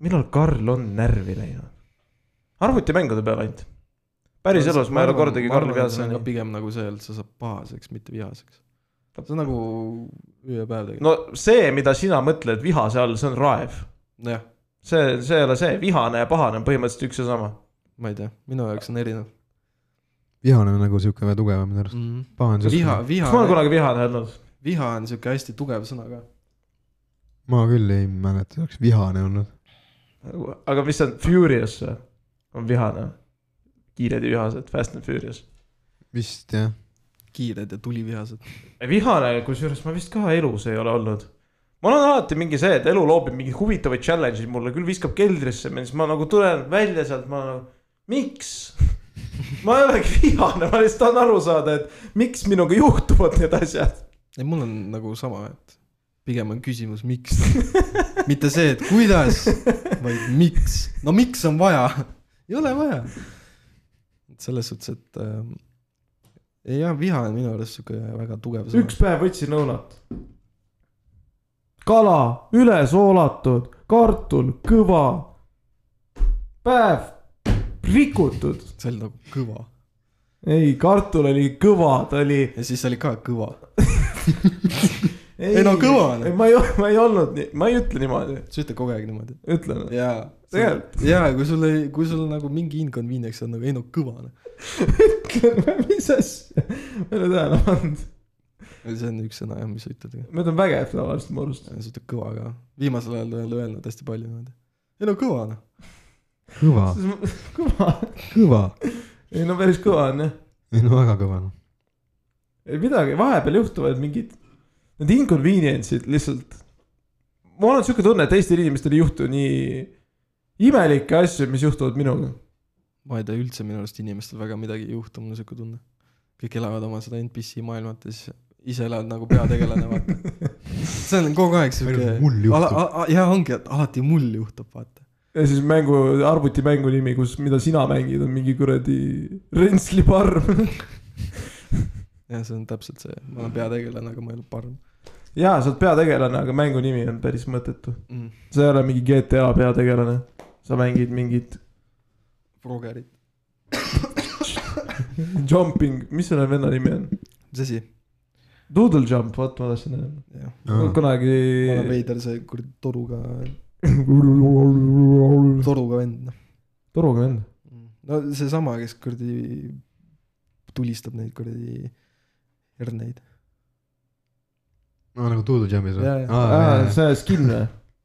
millal Karl on närvi läinud ? arvutimängude peale ainult . päriselus ma ei ole kordagi Karli peas näinud . näinud . pigem nagu see , et sa saad pahaseks , mitte vihaseks . see on nagu ööpäev tegelikult no see , mida sina mõtled vihase all , see on raev . no. . jah , see , see ei ole see , vihane ja pahane on põhimõtteliselt üks ja sama . ma ei tea , minu jaoks on erinev vihane on nagu siuke vähe tugevam minu arust . mm. . pahan viha , siuke . kas ma olen viha , kunagi vihane olnud ? viha on sihuke hästi tugev sõna ka . ma küll ei mäleta , oleks vihane olnud . aga mis see on , Furious või ? on vihane . kiired ja vihased , Fast and Furious . vist jah . kiired ja tulivihased . vihane , kusjuures ma vist ka elus ei ole olnud . mul on alati mingi see , et elu loobib mingeid huvitavaid challenge'id mulle , küll viskab keldrisse mind , siis ma nagu tulen välja sealt , ma nagu , miks ? ma ei olegi vihane , ma lihtsalt tahan aru saada , et miks minuga juhtuvad need asjad . ei , mul on nagu sama , et pigem on küsimus , miks . (laughs) mitte see , et kuidas , vaid miks . no miks on vaja ? (laughs) ei ole vaja . et selles suhtes , et ähm, ei jah , viha on minu arust sihuke väga tugev sõna . üks päev võtsin õunat . kala ülesoolatud , kartul kõva . päev rikutud , see oli nagu kõva . ei kartul oli kõva , ta oli ja siis oli ka kõva . ei, Ei no kõva on. ei, ma ei , ma ei olnud nii , ma ei ütle niimoodi , sa ütled kogu aeg niimoodi . ütlen . jaa . Tegelikult. jaa , kui sul ei , kui sul nagu mingi inconvenience on nagu ei no kõva . (laughs) mis asja , ma ei ole tähele pannud , see on üks sõna jah , mis sa ütled . ma ütlen vägev tavaliselt mu arust . sa ütled kõva ka . viimasel ajal olen öelnud hästi palju niimoodi . ei no kõva noh . Ah. kõva , kõva , kõva . ei no päris kõva on jah , ei no väga kõva noh . ei midagi , vahepeal juhtuvad mingid , need inconvenience'id lihtsalt . mul on sihuke tunne , et Eestil inimestel ei juhtu nii imelikke asju , mis juhtuvad minuga . ma ei tea üldse minu arust inimestel väga midagi ei juhtu , mul on siuke tunne . kõik elavad oma seda NPC maailmat ja siis ise elad nagu peategelane vaata . see on kogu aeg siuke . Mul juhtub. jaa , ongi , et alati mul juhtub vaata . ja siis mängu , arvutimängu nimi , kus , mida sina mängid , on mingi kuradi Rensli parm . jah , see on täpselt see , ma olen peategelane , aga ma ei ole parm (laughs) jaa , sa oled peategelane , aga mängu nimi on päris mõttetu . mm. . sa ei ole mingi GTA peategelane , sa mängid mingit Progerit . jumping , mis selle venna nimi on ? mis asi ? Doodle jump , vot ma tahtsin öelda . jah , kunagi . ma olen veider see kuradi toruga , toruga vend noh . (laughs) toruga vend . no seesama , kes kuradi tulistab neid kuradi herneid . aa nagu Doodle Jamis või Jaa, ? jaa. see skin või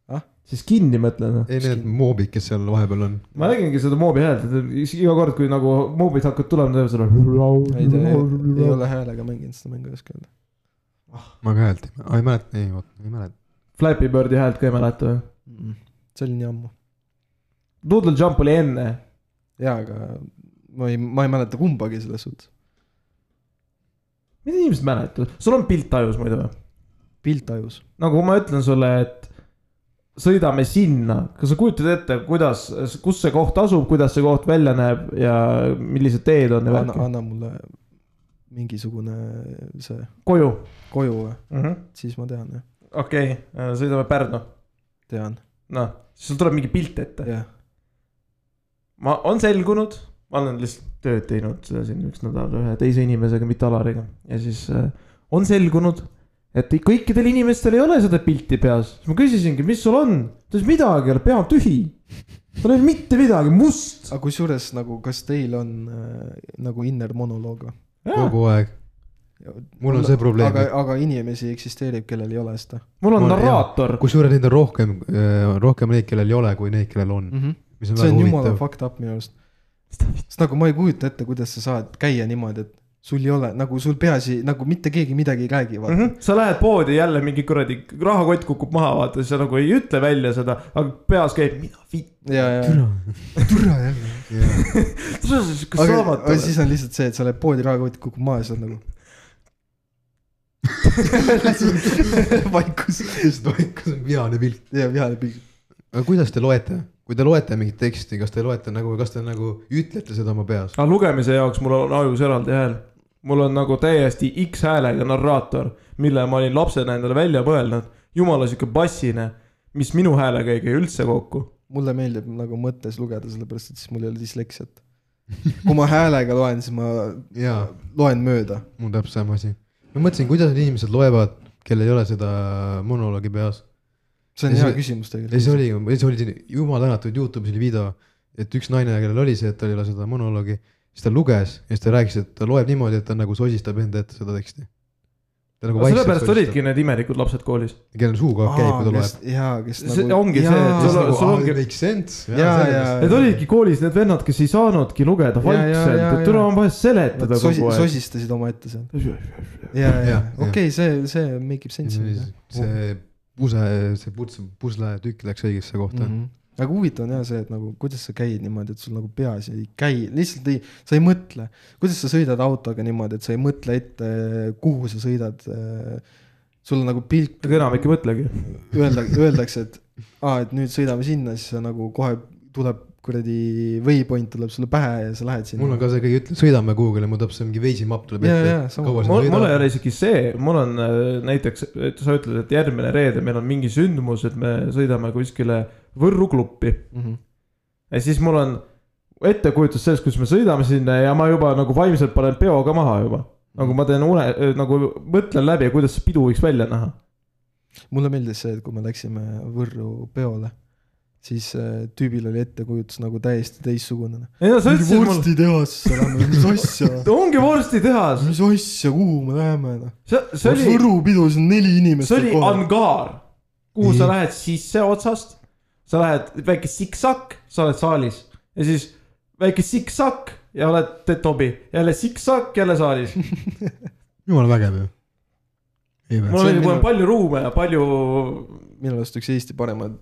Ah? ? see skin'i mõtled või ? ei need moobid , kes seal vahepeal on . ma nägingi seda moobi häält , et iga kord , kui nagu moobid hakkavad tulema , teevad selle . ei tea , ei ole häälega mänginud seda mängu , ei oska öelda . ma ka häält ei mäleta , ei mäleta , ei oota , ei mäleta . Flappy Birdi häält ka ei mäleta või ? Mm. see oli nii ammu . Doodle jump oli enne . jaa , aga ma ei , ma ei mäleta kumbagi selles suhtes . mida inimesed mäletavad , sul on pilt ajus muidu või ? pilt ajus . nagu ma ütlen sulle , et sõidame sinna , kas sa kujutad ette , kuidas , kus see koht asub , kuidas see koht välja näeb ja millised teed on ja anna , värki , anna mulle mingisugune see koju koju või , mm -hmm. . siis ma tean jah , okei okay. , sõidame Pärnu , tean , noh , siis sul tuleb mingi pilt ette . jah . ma , on selgunud , ma olen lihtsalt tööd teinud siin üks nädal ühe teise inimesega , mitte Alariga ja siis äh, on selgunud , et kõikidel inimestel ei ole seda pilti peas . siis ma küsisingi , mis sul on , ta ütles midagi ei ole , pea on tühi . tal ei ole mitte midagi , must . aga kusjuures nagu , kas teil on äh, nagu inner monoloog või ? kogu aeg . mul on see probleem , aga et , aga inimesi eksisteerib , kellel ei ole seda mul on Mul- jah. narraator , kusjuures neid on rohkem , rohkem neid , kellel ei ole , kui neid , kellel on . mm . -hmm. mis on see Mhm. väga on jumala huvitav . fucked up minu arust . sest nagu ma ei kujuta ette , kuidas sa saad käia niimoodi , et sul ei ole nagu sul peas ei , nagu mitte keegi midagi ei räägi , vaata mm . -hmm. sa lähed poodi jälle mingi kuradi rahakott kukub maha , vaata , siis sa nagu ei ütle välja seda , aga peas käib , mina vitt , Mhm. ja , ja , (laughs) türa , türa jälle . kas (laughs) sa sihuke aga saamatu (laughs) aga siis on lihtsalt see , et sa lähed poodi rahakotti , kukub maha ja sa oled nagu . vaikus . lihtsalt vaikus on vihane pilk . ja vihane pilk . aga kuidas te loete , kui te loete mingit teksti , kas te loete nagu , kas te nagu ütlete seda oma peas ? aga lugemise jaoks mul on ajus eraldi hääl . mul on nagu täiesti X häälega narraator , mille ma olin lapsena endale välja mõelnud . jumala sihuke bassine , mis minu häälega ei käi üldse kokku . mulle meeldib nagu mõttes lugeda , sellepärast et siis mul ei ole disleksiat . kui ma häälega loen , siis ma jaa , loen mööda . mul täpselt sama asi . ma mõtlesin , kuidas need inimesed loevad , kellel ei ole seda monoloogi peas . see on Ja hea see- küsimus ja siis tegelikult . oli , siis oli siin jumala tänatud Youtube'is oli video , et üks naine , kellel oli see , et tal ei ole seda monoloogi , siis ta luges ja siis ta rääkis , et ta loeb niimoodi , et ta nagu sosistab enda ette seda teksti . ta nagu sellepärast . olidki need imelikud lapsed koolis . kellel suu ka käib , kui ta loeb . jaa , kes See ongi see, et sul Ja siis on- nagu, sul "Aa, ongi- makes sense . Jaa, jaa. Need olidki koolis need vennad , kes ei saanudki lugeda Ja, ja, vaikselt , ja, et tule ja. on vaja seletada Nad nagu sosi- kogu , aeg . sosistasid omaette seal . ja , ja Jah, , okei , see , see make ib sense'i . see puse , see puts- , pusletükk läks õigesse kohta mm . -hmm. aga huvitav on jah see , et nagu kuidas sa käid niimoodi , et sul nagu peas ei käi , lihtsalt ei , sa ei mõtle . kuidas sa sõidad autoga niimoodi , et sa ei mõtle ette , kuhu sa sõidad . sul on nagu pilk , ega enam ikka ei mõtlegi . öelda , öeldakse , et aa , et nüüd sõidame sinna , siis sa nagu kohe tuleb kuradi waypoint tuleb sulle pähe ja sa lähed mul sinna on . ka see kõik , ütle , sõidame kuhugile , mul täpselt mingi veisi mapp tuleb Jaa, ette jaa, , et sama. kaua sa mul , mul ei sõidad . ole isegi see , mul on äh, näiteks , et sa ütled , et järgmine reede meil on mingi sündmus , et me sõidame kuskile Võrru kluppi . Mhm. ja siis mul on ettekujutus sellest , kuidas me sõidame sinna ja ma juba nagu vaimselt panen peo ka maha juba . nagu ma teen une , nagu mõtlen läbi , kuidas see pidu võiks välja näha . mulle meeldis see , et kui me läksime Võrru peole , siis äh, tüübil oli ettekujutus nagu täiesti teistsugune . ei no sa mingi ütlesid mulle , vorstitehasesse lähme , nagu mis asja ongi vorstitehas , mis asja , kuhu me läheme noh ? see , see oli , Võru pidu , siis on neli inimest . see oli (laughs) angaar , kuhu sa Mhm. lähed sisse otsast . sa lähed väike siksak , sa oled saalis ja siis väike siksak ja oled , teed tobi , jälle siksak , jälle (laughs) saalis . jumala vägev ju . ei vä ? mul See oli on mul minu- on palju ruume ja palju , minu arust üks Eesti paremaid ,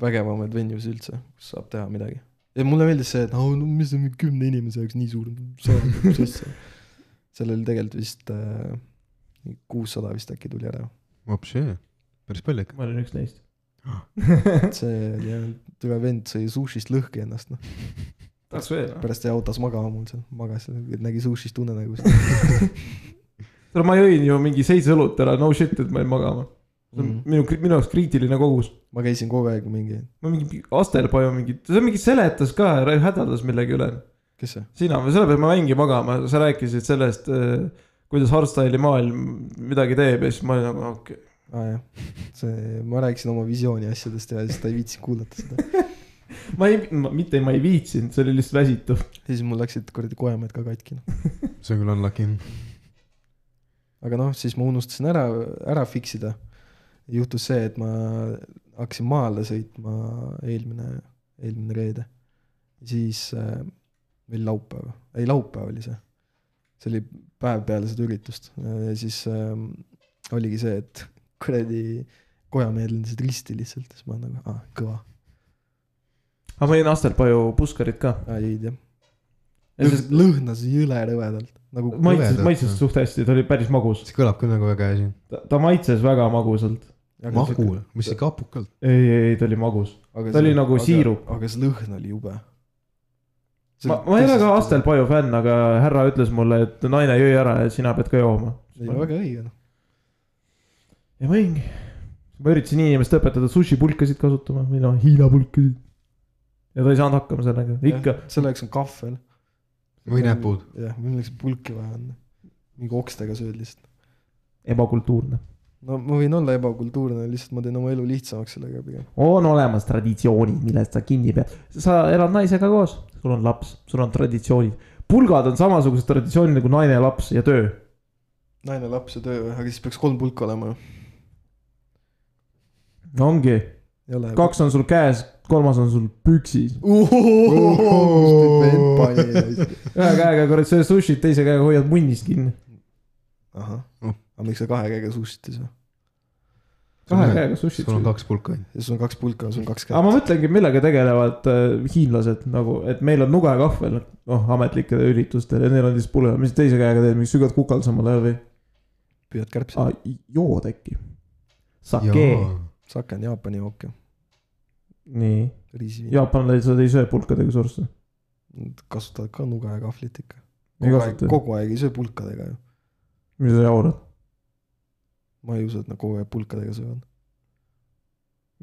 vägevamaid venues üldse , kus saab teha midagi . ja mulle meeldis see , et oh, no mis on kümne inimese jaoks nii suur saal , mis (laughs) asja . seal oli tegelikult vist äh, kuussada vist äkki tuli ära . hoopis jah , päris palju ikka . ma olin üks neist . see oli jah , tüve vend sõi sushist lõhki ennast noh , (laughs) tahaks veel ? pärast jäi autos magama mul seal , magas , nägi sushist unenägusid . no ma jõin ju mingi seitse õlut ära , no shit , et ma jäin magama . see on mm Mhm. -hmm. minu , minu jaoks kriitiline kogus . ma käisin kogu aeg mingi , ma mingi Asterpaju mingi , ta mingi seletas ka , hädadas millegi üle . kes see ? sina , selle peale ma jäingi magama , sa rääkisid sellest , kuidas hardstyle'i maailm midagi teeb ja siis ma olin nagu okei okay. . aa ah, jah , see , ma rääkisin oma visiooni asjadest ja siis ta ei viitsinud kuulata seda . ma ei , mitte ma ei viitsinud , see oli lihtsalt väsitav . ja siis mul läksid kuradi koemed ka katki noh . see on küll unlucky . aga noh , siis ma unustasin ära , ära fix ida . juhtus see , et ma hakkasin maale sõitma eelmine , eelmine reede . siis äh, , või laupäev , ei laupäev oli see . see oli päev peale seda üritust ja siis äh, oligi see , et kuradi kojamehed lendasid risti lihtsalt , siis ma nagu , aa , kõva , aga ma jõin Asterpaju puskarit ka . aa jõid jah . lõhnas jõle rõvedalt , nagu maitses , Kõvedalt, maitses jah. suht hästi , ta oli päris magus . see kõlab küll nagu väga hea asi . ta maitses väga magusalt . magu , mis see kapukalt . ei , ei , ei , ta oli magus . aga Ta oli see- nagu aga- siirup. aga see lõhn oli jube . ma , ma ei ole ka . Astelpaju fänn , aga härra ütles mulle , et naine jõi ära ja sina pead ka jooma . ei , väga õige noh . ja ma jõingi . ma üritasin inimest õpetada sushipulkasid kasutama või noh , Hiina pulkasid . ja ta ei saanud hakkama sellega , ikka . selle jaoks on kahvel . või näpud . jah , milleks pulki vaja on . mingi okstega sööd lihtsalt . ebakultuurne . no ma võin olla ebakultuurne , lihtsalt ma teen oma elu lihtsamaks sellega pigem . on olemas traditsioonid , millest sa kinni pead . sa elad naisega koos , sul on laps , sul on traditsioonid . pulgad on samasugused traditsioonid nagu naine , laps ja töö . naine , laps ja töö , aga siis peaks kolm pulka olema ju . ongi , ei ole . kaks on sul käes , kolmas on ust püksis . ühe käega kurat sööd sushit , teise käega hoiad munnist kinni . ahah , aga miks sa kahe käega sushit ei saa ? kahe käega sushit . sul on kaks pulka ainult . ja sul on kaks pulka , sul on kaks aga kätt . ma mõtlengi , millega tegelevad äh, hiinlased nagu , et meil on nuga ja kahvel , noh , ametlikel üritustel ja neil on siis pulga , mis sa teise käega teed , mingi sügad kukal samal ajal või ? püüad kärbseid ah, . jood äkki ? Sake . sake on Jaapani jook ju , nii , riisiviin . jaapanlased ei söö pulkadega sursse . Nad kasutavad ka nuga ja kahvlit ikka . ei kogu aeg , kasuta , kogu aeg ei söö pulkadega ju . mis sa jaurad ? ma ei usu , et nad kogu aeg pulkadega söövad .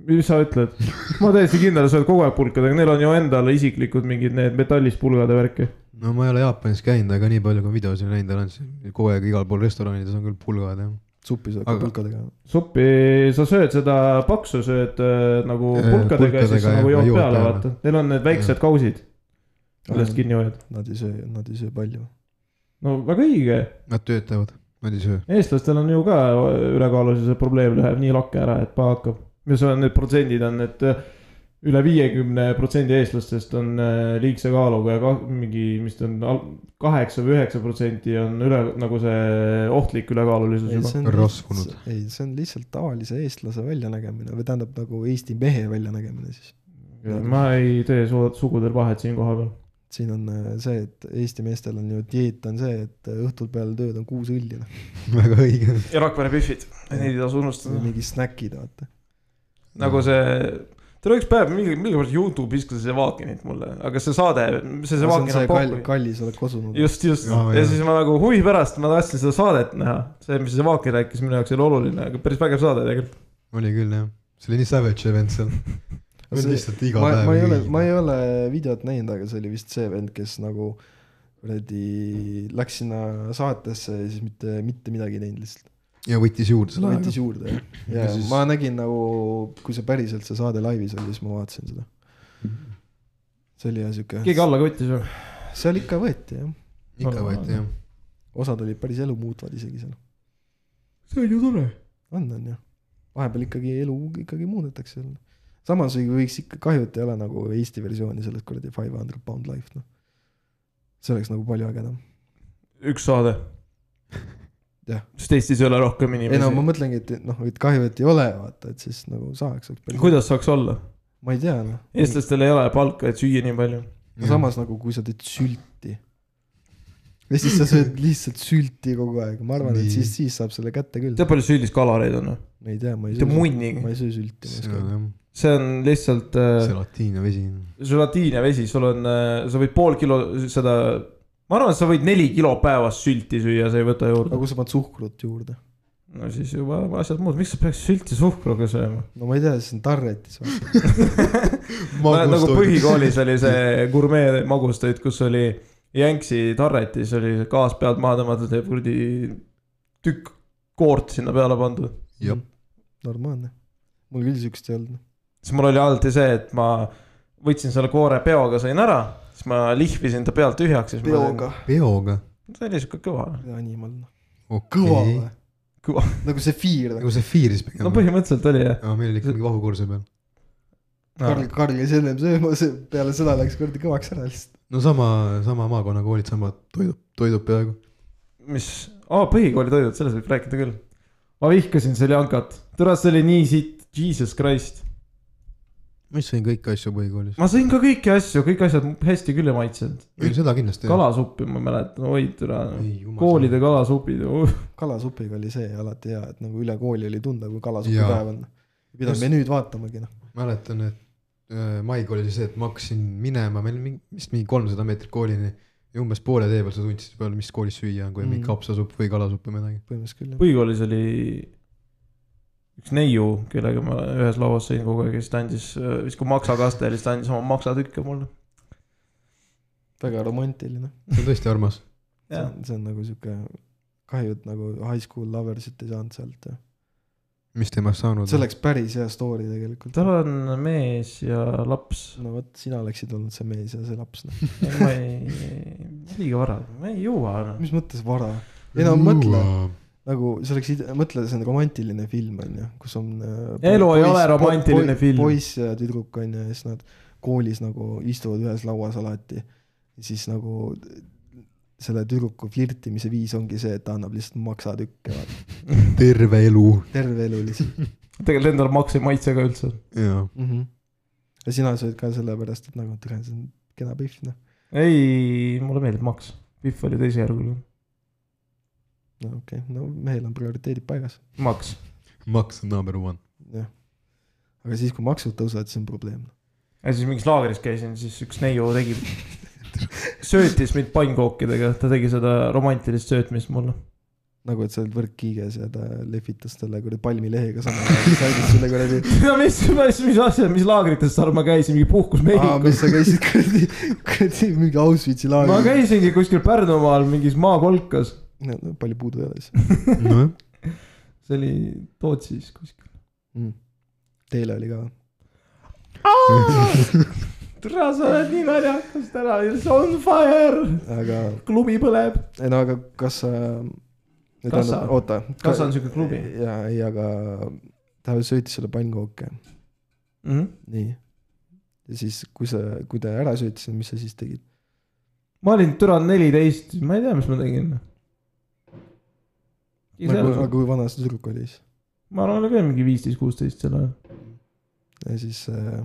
mis sa ütled ? ma olen täiesti kindel , sa oled kogu aeg pulkadega , neil on ju endal isiklikud mingid need metallist pulgade värki . no ma ei ole Jaapanis käinud , aga nii palju , kui videosi näinud olen , siis kogu aeg igal pool restoranides on küll pulgad ja . suppi sööd ka Aga- pulkadega . suppi , sa sööd seda paksu , sööd äh, nagu Eh, pulkadega ja siis pulkadega sa nagu ja jood jood peale , peale. vaata . Neil on need väiksed kausid , millest kinni hoiad . Nad ei söö , nad ei söö palju . no väga õige , Nad töötavad , nad ei söö . eestlastel on ju ka ülekaalususe probleem läheb nii lakke ära , et paha hakkab . mis on need protsendid on , et äh, üle viiekümne protsendi eestlastest on äh, liigse kaaluga ja ka, mingi , mis ta on , kaheksa või üheksa protsenti on üle nagu see ohtlik ülekaalulisus ei , juba . see on rasvunud. lihtsalt- ei , see on lihtsalt tavalise eestlase väljanägemine või tähendab nagu Eesti mehe väljanägemine siis . ma ei tee su sugudel vahet siin kohapeal . siin on äh, see , et Eesti meestel on ju dieet on see , et äh, õhtul peale tööd on kuus õlli noh , (laughs) väga õige . ja Rakvere pühvid , neid ei tasu unustada mingi snäkid vaata . nagu see , tal üks päev mingi , millegipärast Youtube viskas Zevakinit mulle , aga see saade , see Zevakin on Kall, pop . kallis oled kosunud . just , just Jaa, ja jaa. siis ma nagu huvi pärast ma tahtsin seda saadet näha , see , mis Zevakin rääkis , minu jaoks ei ole oluline , aga päris vägev saade tegelikult . oli küll jah , see oli nii savage (laughs) event seal . See- lihtsalt iga ma , päev . ma ei ole , ma ei ole videot näinud , aga see oli vist see vend , kes nagu kuradi läks sinna saatesse ja siis mitte , mitte midagi ei teinud lihtsalt . ja võttis juurde selle võttis aega . juurde ja, Ja ja siis- ma nägin nagu , kui see päriselt see saade laivis oli , siis ma vaatasin seda . see oli jah keegi siuke , alla ka võttis või ? seal ikka võeti jah , ikka võeti jah . osad olid päris elumuutvad isegi seal , see on ju tore . on on ju . vahepeal ikkagi elu ikkagi muudetakse seal . samas ei võiks ikka , kahju , et ei ole nagu Eesti versiooni sellest kuradi Five Hundred Pound Life noh . see oleks nagu palju ägedam . üks saade Jah. . sest Eestis ei ole rohkem ei no ma inimesi . mõtlengi , et noh , et kahju , et ei ole , vaata , et siis nagu saaks . kuidas saaks olla ? ma ei tea noh . eestlastel ei ole palka , et süüa nii palju . samas nagu , kui sa teed sülti . ja siis sa sööd lihtsalt sülti kogu aeg , ma arvan , et Nii. siis , siis saab selle kätte küll . tead , palju süülis kaloreid on noh? või ? ma ei tea , ma ei mitte söö , munnigi . ma ei söö sülti , ma ei see oska on öelda . jah , see on lihtsalt äh, selatiina vesi . želatiini ja vesi , sul on , sa võid pool kilo seda , ma arvan , et sa võid neli kilo päevas sülti süüa , sa ei võta aga juurde . kui sa paned suhkrut juurde , no siis juba asjad muud , miks sa peaks sülti suhkruga sööma ? no ma ei tea , siis on tarretis . nagu põhikoolis oli (laughs) see gurmee magustoit , kus oli Jänksi tarretis oli see gaas pealt maha tõmmatud ja kuradi tükk koort sinna peale pandud . jah , Hmm. normaalne , mul küll siukest ei olnud . noh. siis mul oli alati see , et ma võtsin selle koore peoga , sain ära , siis ma lihvisin ta pealt tühjaks . peoga . peoga . see oli siuke kõva . animal , noh . kõva okei või ? Kõva. nagu see fiir , nagu see Fear'is pigem no . põhimõtteliselt oli jah . aga meil oli ikkagi vahukursi peal . Karl , Karl käis ennem söömas , peale seda läks kuradi kõvaks ära lihtsalt . no sama , sama maakonnakoolid , samad toidud , toidud peaaegu . mis , aa põhikooli toidud , sellest võib rääkida küll . ma vihkasin seljankat , tere , see oli nii siit , jesus christ . ma just sõin kõiki asju põhikoolis . ma sõin ka kõiki asju , kõik asjad hästi küll ei maitsenud . ei , seda kindlasti . kalasuppi ma mäletan , oi tere , koolide kalasupid , kalasupiga oli see alati hea , et nagu üle kooli oli tunda , kui Jaa. kalasupipäev on . mida Just- me nüüd vaatamegi noh , mäletan , et äh, maik oli see , et ma hakkasin minema , meil mingi , vist mingi kolmsada meetrit koolini ja umbes poole tee peal sa tundsid peale , mis koolis süüa on , kui on mingi Mhm. kapsasupp või kalasupp või midagi . põhimõtteliselt küll jah . põhikoolis oli üks neiu , kellega ma ühes lauas sõin kogu aeg ja siis ta andis , siis kui maksakaste oli , siis ta andis oma maksatükke mulle . väga romantiline . see on tõesti armas . see on- see on nagu sihuke , kahju , et nagu high school lovers'it ei saanud sealt ja . mis temast saanud see ? oleks päris hea story tegelikult . tal on mees ja laps no vot , sina oleksid olnud see mees ja see laps noh . Ei, ma ei , liiga vara , ma ei jõua noh. enam . mis mõttes vara ? ei no mõtle , nagu see oleks , mõtle , see on romantiline film on ju , kus on . äh, Elu ei ole romantiline film. poiss ja tüdruk on ju ja siis nad koolis nagu istuvad ühes lauas alati . siis nagu selle tüdruku flirtimise viis ongi see , et ta annab lihtsalt maksatükke , terve elu . terve elu (laughs) lihtsalt tegelikult endal maks ei maitse ka üldse . jaa . mm . Mhm. -hmm. ja sina sööd ka sellepärast , et nagu tere , see on kena pihv noh . ei , mulle meeldib maks . Pihv oli teisejärguline . no okei okay. , no mehel on prioriteedid paigas , maks . maks on number one . jah . aga siis , kui maksud tõusevad , siis on probleem . noh. ja siis mingis laagris käisin , siis üks neiu tegi , söötis mind pannkookidega , ta tegi seda romantilist söötmist mulle . (laughs) nagu , et sa oled võrk kiiges ja ta lehvitas talle kuradi palmilehega samal ajal , siis andis sulle kuradi . mis , mis , mis asja , mis laagrites , Tarmo , ma käisin , mingi puhkus aa , Mehhikos mis sa . käisid kuradi , kuradi mingi Auschwitzi ma laagris . käisingi kuskil Pärnumaal mingis maakolkas , No, no, palju puudu ei ole siis nojah , see oli Tootsis kuskil . mm. . Teile oli ka või ? tere , sa oled nii naljakas täna , it's on fire , aga , klubi põleb . ei no aga kas sa . Kas sa- oota . kas on siuke klubi ? ja , ei , aga ta söötis sulle pannkooke , Mm -hmm. nii . ja siis , kui sa , kui ta ära söötis , mis sa siis tegid ? ma olin türa neliteist , ma ei tea , mis ma tegin . aga ma kui Nagu- vana see tüdruk oli siis ? arvan , oli ka mingi viisteist , kuusteist sel ajal . ja siis äh,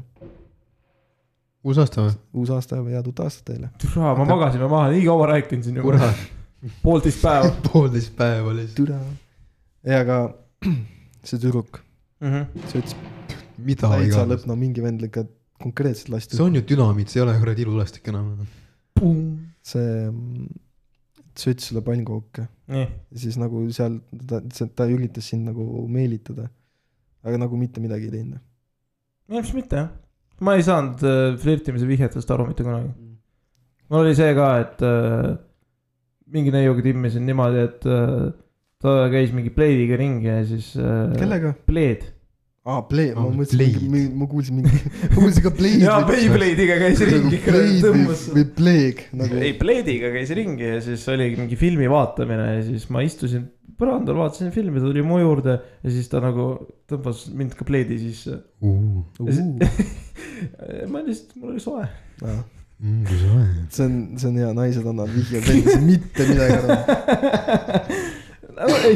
USA-st või ? uus aasta ja head uut aastat teile . türa , ma magasin maha , nii kaua rääkinud siin juba , kurat , poolteist päeva (laughs) poolteist päeva lihtsalt . türa . ei , aga (clears throat) see tüdruk mm . -hmm. söötis mida täitsa iganes . lõpna , mingi vend ikka konkreetselt lasti . see on ju dünamiit , see ei ole kuradi ilulestik enam . see mm, söötis sulle pannkooke nii , ja siis nagu seal ta, see- ta üritas sind nagu meelitada . aga nagu mitte midagi ei teinud . ilmselt mitte jah . ma ei saanud äh, flirtimise vihjetest aru mitte kunagi . mul oli see ka , et äh, mingi neiuga timmisin niimoodi , et äh, ta käis mingi pleidiga ringi ja siis äh, . kellega ? pleed . aa , Play , ma Aa, mõtlesin Blade. , ma kuulsin mingi , (laughs) ma kuulsin ka Play'd . jaa , Beyblade'iga käis ringi , tõmbas . Nagu või Plague nagu ei , pleediga käis ringi ja siis oligi mingi filmi vaatamine ja siis ma istusin põrandal , vaatasin filmi , ta tuli mu juurde ja siis ta nagu tõmbas mind ka pleedi sisse . uh, . ma lihtsalt , mul oli (laughs) soe . mm, kui soe . see on , see on hea , naised annavad vihje , ta ei saa mitte midagi aru .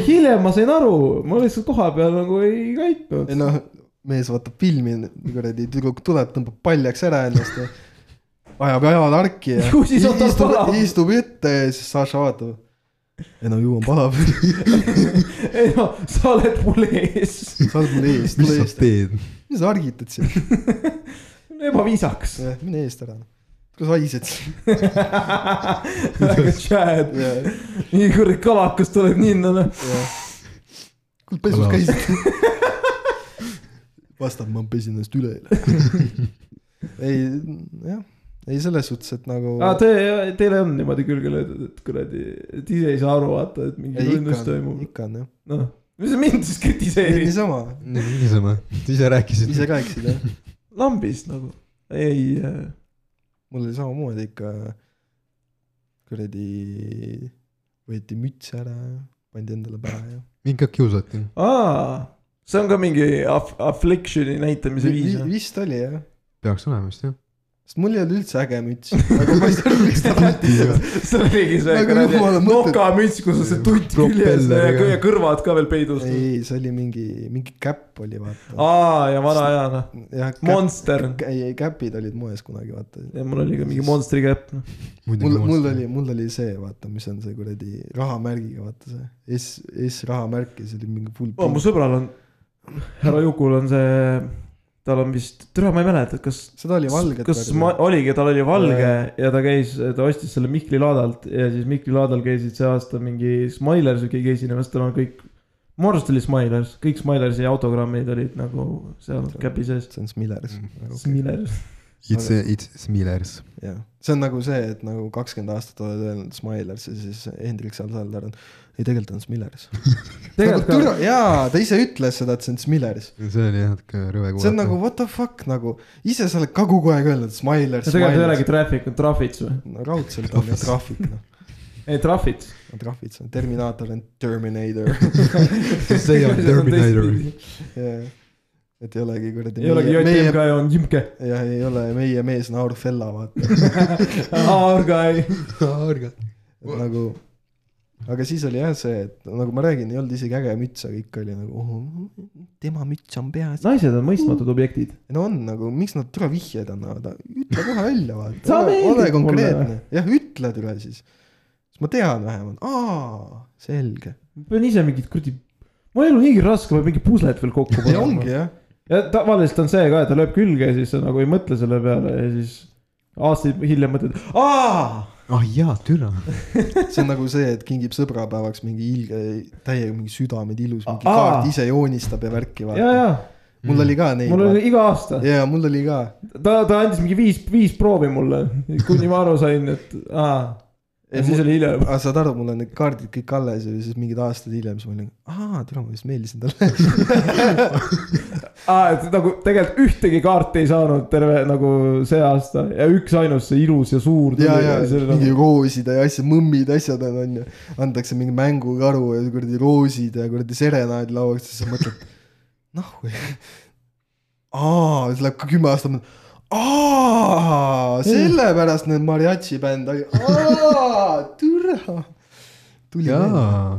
hiljem ma sain aru , ma lihtsalt koha peal nagu ei käitunud . ei noh , mees vaatab filmi , kuradi tüdruk tuleb , tõmbab paljaks ära ennast ja ajab jalad arki ja (laughs) Ju siis on tal istub palav. , istub ette ja siis Saša vaatab . ei no ju on palav , ei noh , sa oled mul ees . (laughs) sa oled mul ees , mis tule sa eest , teed ? mis sa argitad siin , ebaviisakas . mine eest ära . kas haised siin ? (laughs) väga tšääd . jah , nii kuradi kalakas tuleb nii endale . jah . kus pesus Palav. käisid ? (laughs) vastab , ma pesin ennast üle . (laughs) ei , jah , ei selles suhtes , et nagu . aa , te , teile on niimoodi külge löödud , et kuradi , et ise ei saa aru , vaata , et mingi tunnus ikka on , toimub . ikka on jah . noh , mis sa mind siis kritiseerid ? niisama , niisama , ise rääkisid . ise (laughs) ka eksid jah . lambist nagu , ei . äh, mul oli samamoodi ikka kuradi , võeti müts ära ja pandi endale pähe ja . mind ka kiusati . aa , see on ka mingi af- , affliction'i näitamise viis või ? vist oli jah , peaks olema vist jah . sest mul ei olnud üldse äge müts , aga ma ei saa aru , miks (laughs) ta võttis . (laughs) see oligi see Nagu kuradi jumala mõtted- nokamüts , kus on see tutt küljes ja Propelleriga. kõ- ja kõrvad ka veel peidus . ei , ei see oli mingi , mingi käpp oli vaata . aa , ja vana hea noh , jah , Monster . ei , ei käpid olid moes kunagi vaata . ja mul oli ka mingi Monsteri käpp , noh . mul , mul . oli , mul oli see , vaata , mis on see kuradi rahamärgiga , vaata see S , S rahamärk ja see oli mingi full Oh, mu pink . sõbral on , härra Jukul on see , tal on vist , türa ma ei mäleta , kas seda oli valget . Äh. kas ma , oligi , tal oli valge ja ta käis , ta ostis selle Mihkli laadalt ja siis Mihkli laadal käisid see aasta mingi Smilers keegi esinemas , tal on kõik . mu arust oli Smilers , kõik Smilersi autogrammid olid nagu seal käpi sees . see on Smilers Mm. Aga okei. Smilers , It's , it's Smilers . jah , see on nagu see , et nagu kakskümmend aastat oled öelnud Smilers ja siis Hendrik Salsalar on , ei tegelikult on Smilers . nagu (laughs) tegelikult türa , jaa , ta ise ütles seda , et see on Smilers . see oli jah natuke rõve kuulata . see on nagu what the fuck nagu , ise sa oled ka kogu aeg öelnud Smilers , ka , tegelikult ei Smilers olegi . Traffic , on Traffic või ? no raudselt on jah trahvid noh , ei , Traffic . on trahvid , see on Terminaator on (laughs) Terminator see ei ole (laughs) Terminator . yeah. . et ei olegi kuradi . ei olegi JTM ka , on (laughs) Jimke . jah , ei ole meie mees on Aur Fella vaata , Argai . Ah, arga . et nagu . aga siis oli jah see , et nagu ma räägin , ei olnud isegi äge müts , aga ikka oli nagu oh, , tema müts on peas . naised on mõistmatud objektid . no on nagu , miks nad türa vihjeid annavad , ütle kohe välja vaata Sa , ole, meeldid ole mulle. konkreetne , jah ütle türa siis . siis ma tean vähemalt , aa , selge . ma pean ise mingit kuradi , mul elu niigi raske , ma pean mingi puslet veel kokku see ongi jah , ja tavaliselt on see ka , et ta lööb külge ja siis sa nagu ei mõtle selle peale ja siis aastaid hiljem mõtled , aa , ah jaa , türa . see on nagu see , et kingib sõbrapäevaks mingi ilge , täiega mingi südamed ilus , mingi Aa. kaart ise joonistab ja ja , värki vaata . ja mul oli ka neid . mul oli iga aasta , jaa , mul oli ka . ta , ta andis mingi viis , viis proovi mulle , kuni ma aru sain , et aa , ja siis oli hilja juba . aga saad aru , mul on need kaardid kõik alles ja siis mingid aastad hiljem , siis ma olin , aa , türa , ma vist meeldisin (laughs) talle . aa , et nagu tegelikult ühtegi kaarti ei saanud terve nagu see aasta ja üksainus see ilus ja suur . ja , ja mingi roosid ja asjad , mõmmid , asjad on , on ju . antakse mingi mängukaru ja kuradi roosid ja kuradi serenaad lauaks ja siis sa mõtled , noh . (laughs) aa , siis läheb ka kümme aastat , aa , sellepärast need mariachi bänd oli , aa , türa . tuli meelde . jaa ,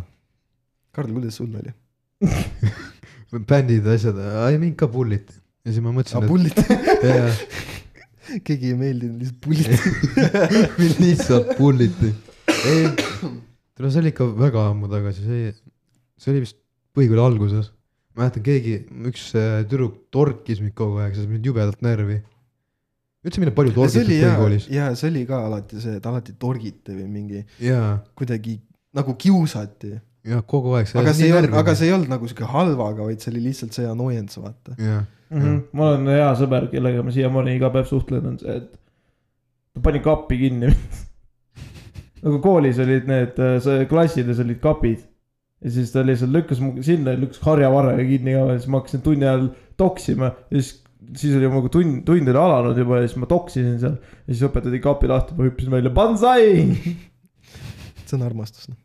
Karl , kuidas sul oli ? bändid , asjad , ei mind ka pulliti . ja siis ma aa , mõtlesin , pullit , (laughs) et jaa, keegi ei meeldinud , lihtsalt pullit . (laughs) mind lihtsalt pulliti . ei , tule see oli ikka väga ammu tagasi , see , see oli vist põhikooli alguses . mäletan , keegi , üks äh, tüdruk torkis mind kogu aeg , see sai mind jubedalt närvi . üldse mind on palju see torgitud oli jaa põhikoolis ,. jaa , see oli ka alati see , et alati torgiti või mingi jaa , kuidagi nagu kiusati jaa , kogu aeg . aga see ei olnud , aga see ei olnud nagu sihuke halvaga , vaid see oli lihtsalt see annoyance , vaata . jaa , mm . -hmm. mul on hea sõber , kellega ma siiamaani iga päev suhtlen , on see , et ta pani kapi kinni . (laughs) nagu koolis olid need , klassides olid kapid ja siis ta lihtsalt lükkas mu sinna ja lükkas harjavarraga kinni ka , siis ma hakkasin tunni ajal toksima ja siis , siis oli nagu tund , tund oli alanud juba ja siis ma toksisin seal ja siis õpetati kapi lahti , ma hüppasin välja , banzai , (laughs) see on armastus . noh.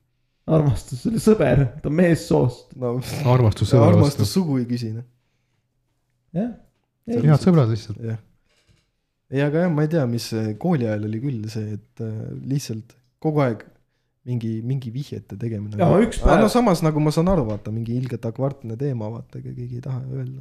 armastus , see oli sõber , ta on meessoost , (laughs) no armastus sõbra vastu armastus . sugu ei küsi , noh . jah . head sõbrad lihtsalt . jah . ei , aga jah , ma ei tea , mis äh, kooli ajal oli küll see , et äh, lihtsalt kogu aeg mingi , mingi vihjete tegemine . ja ma üks aga päev no , samas nagu ma saan aru , vaata mingi ilgelt akvaartne teema , vaata , ega keegi ei taha öelda .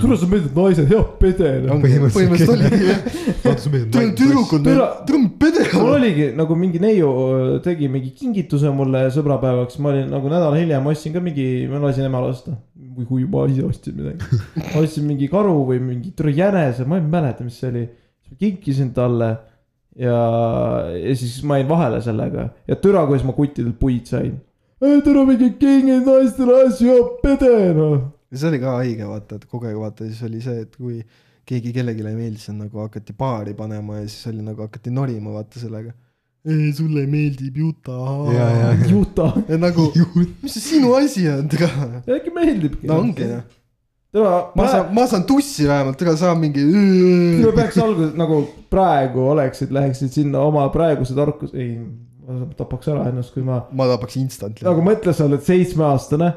tule sa meeldid naised , jah , pede . noh. põhimõtteliselt põhimõtteliselt (laughs) oligi jah . tüdruk on , Türa- tüdruk on pede . mul oligi nagu mingi neiu tegi mingi kingituse mulle sõbrapäevaks , ma olin nagu nädal hiljem ostsin ka mingi , ma lasin emal osta . või kui ma ise ostsin (laughs) midagi . ma ostsin mingi karu või mingi tore jänese , ma ei mäleta , mis see oli . siis ma kinkisin talle ja , ja siis ma jäin vahele sellega ja türa , kuidas ma kuttidelt puid sain . türa mingi kingid naistele asju , pede noh . ja see oli ka haige vaata , et kogu aeg vaata , siis oli see , et kui keegi kellelegi ei meeldis , siis nagu hakati paari panema ja siis oli nagu hakati norima vaata sellega . sulle meeldib juta . Ja, ja. (laughs) juta , nagu , mis see sinu asi on , tega . äkki meeldibki . no ongi noh , türa , ma saan , ma saan tussi vähemalt , tega saa mingi . no (laughs) peaks alguses nagu praegu oleksid , läheksid sinna oma praeguse tarkus , ei , ma tapaks ära ennast , kui ma , ma tapaks instant'i . nagu mõtle , sa oled seitsmeaastane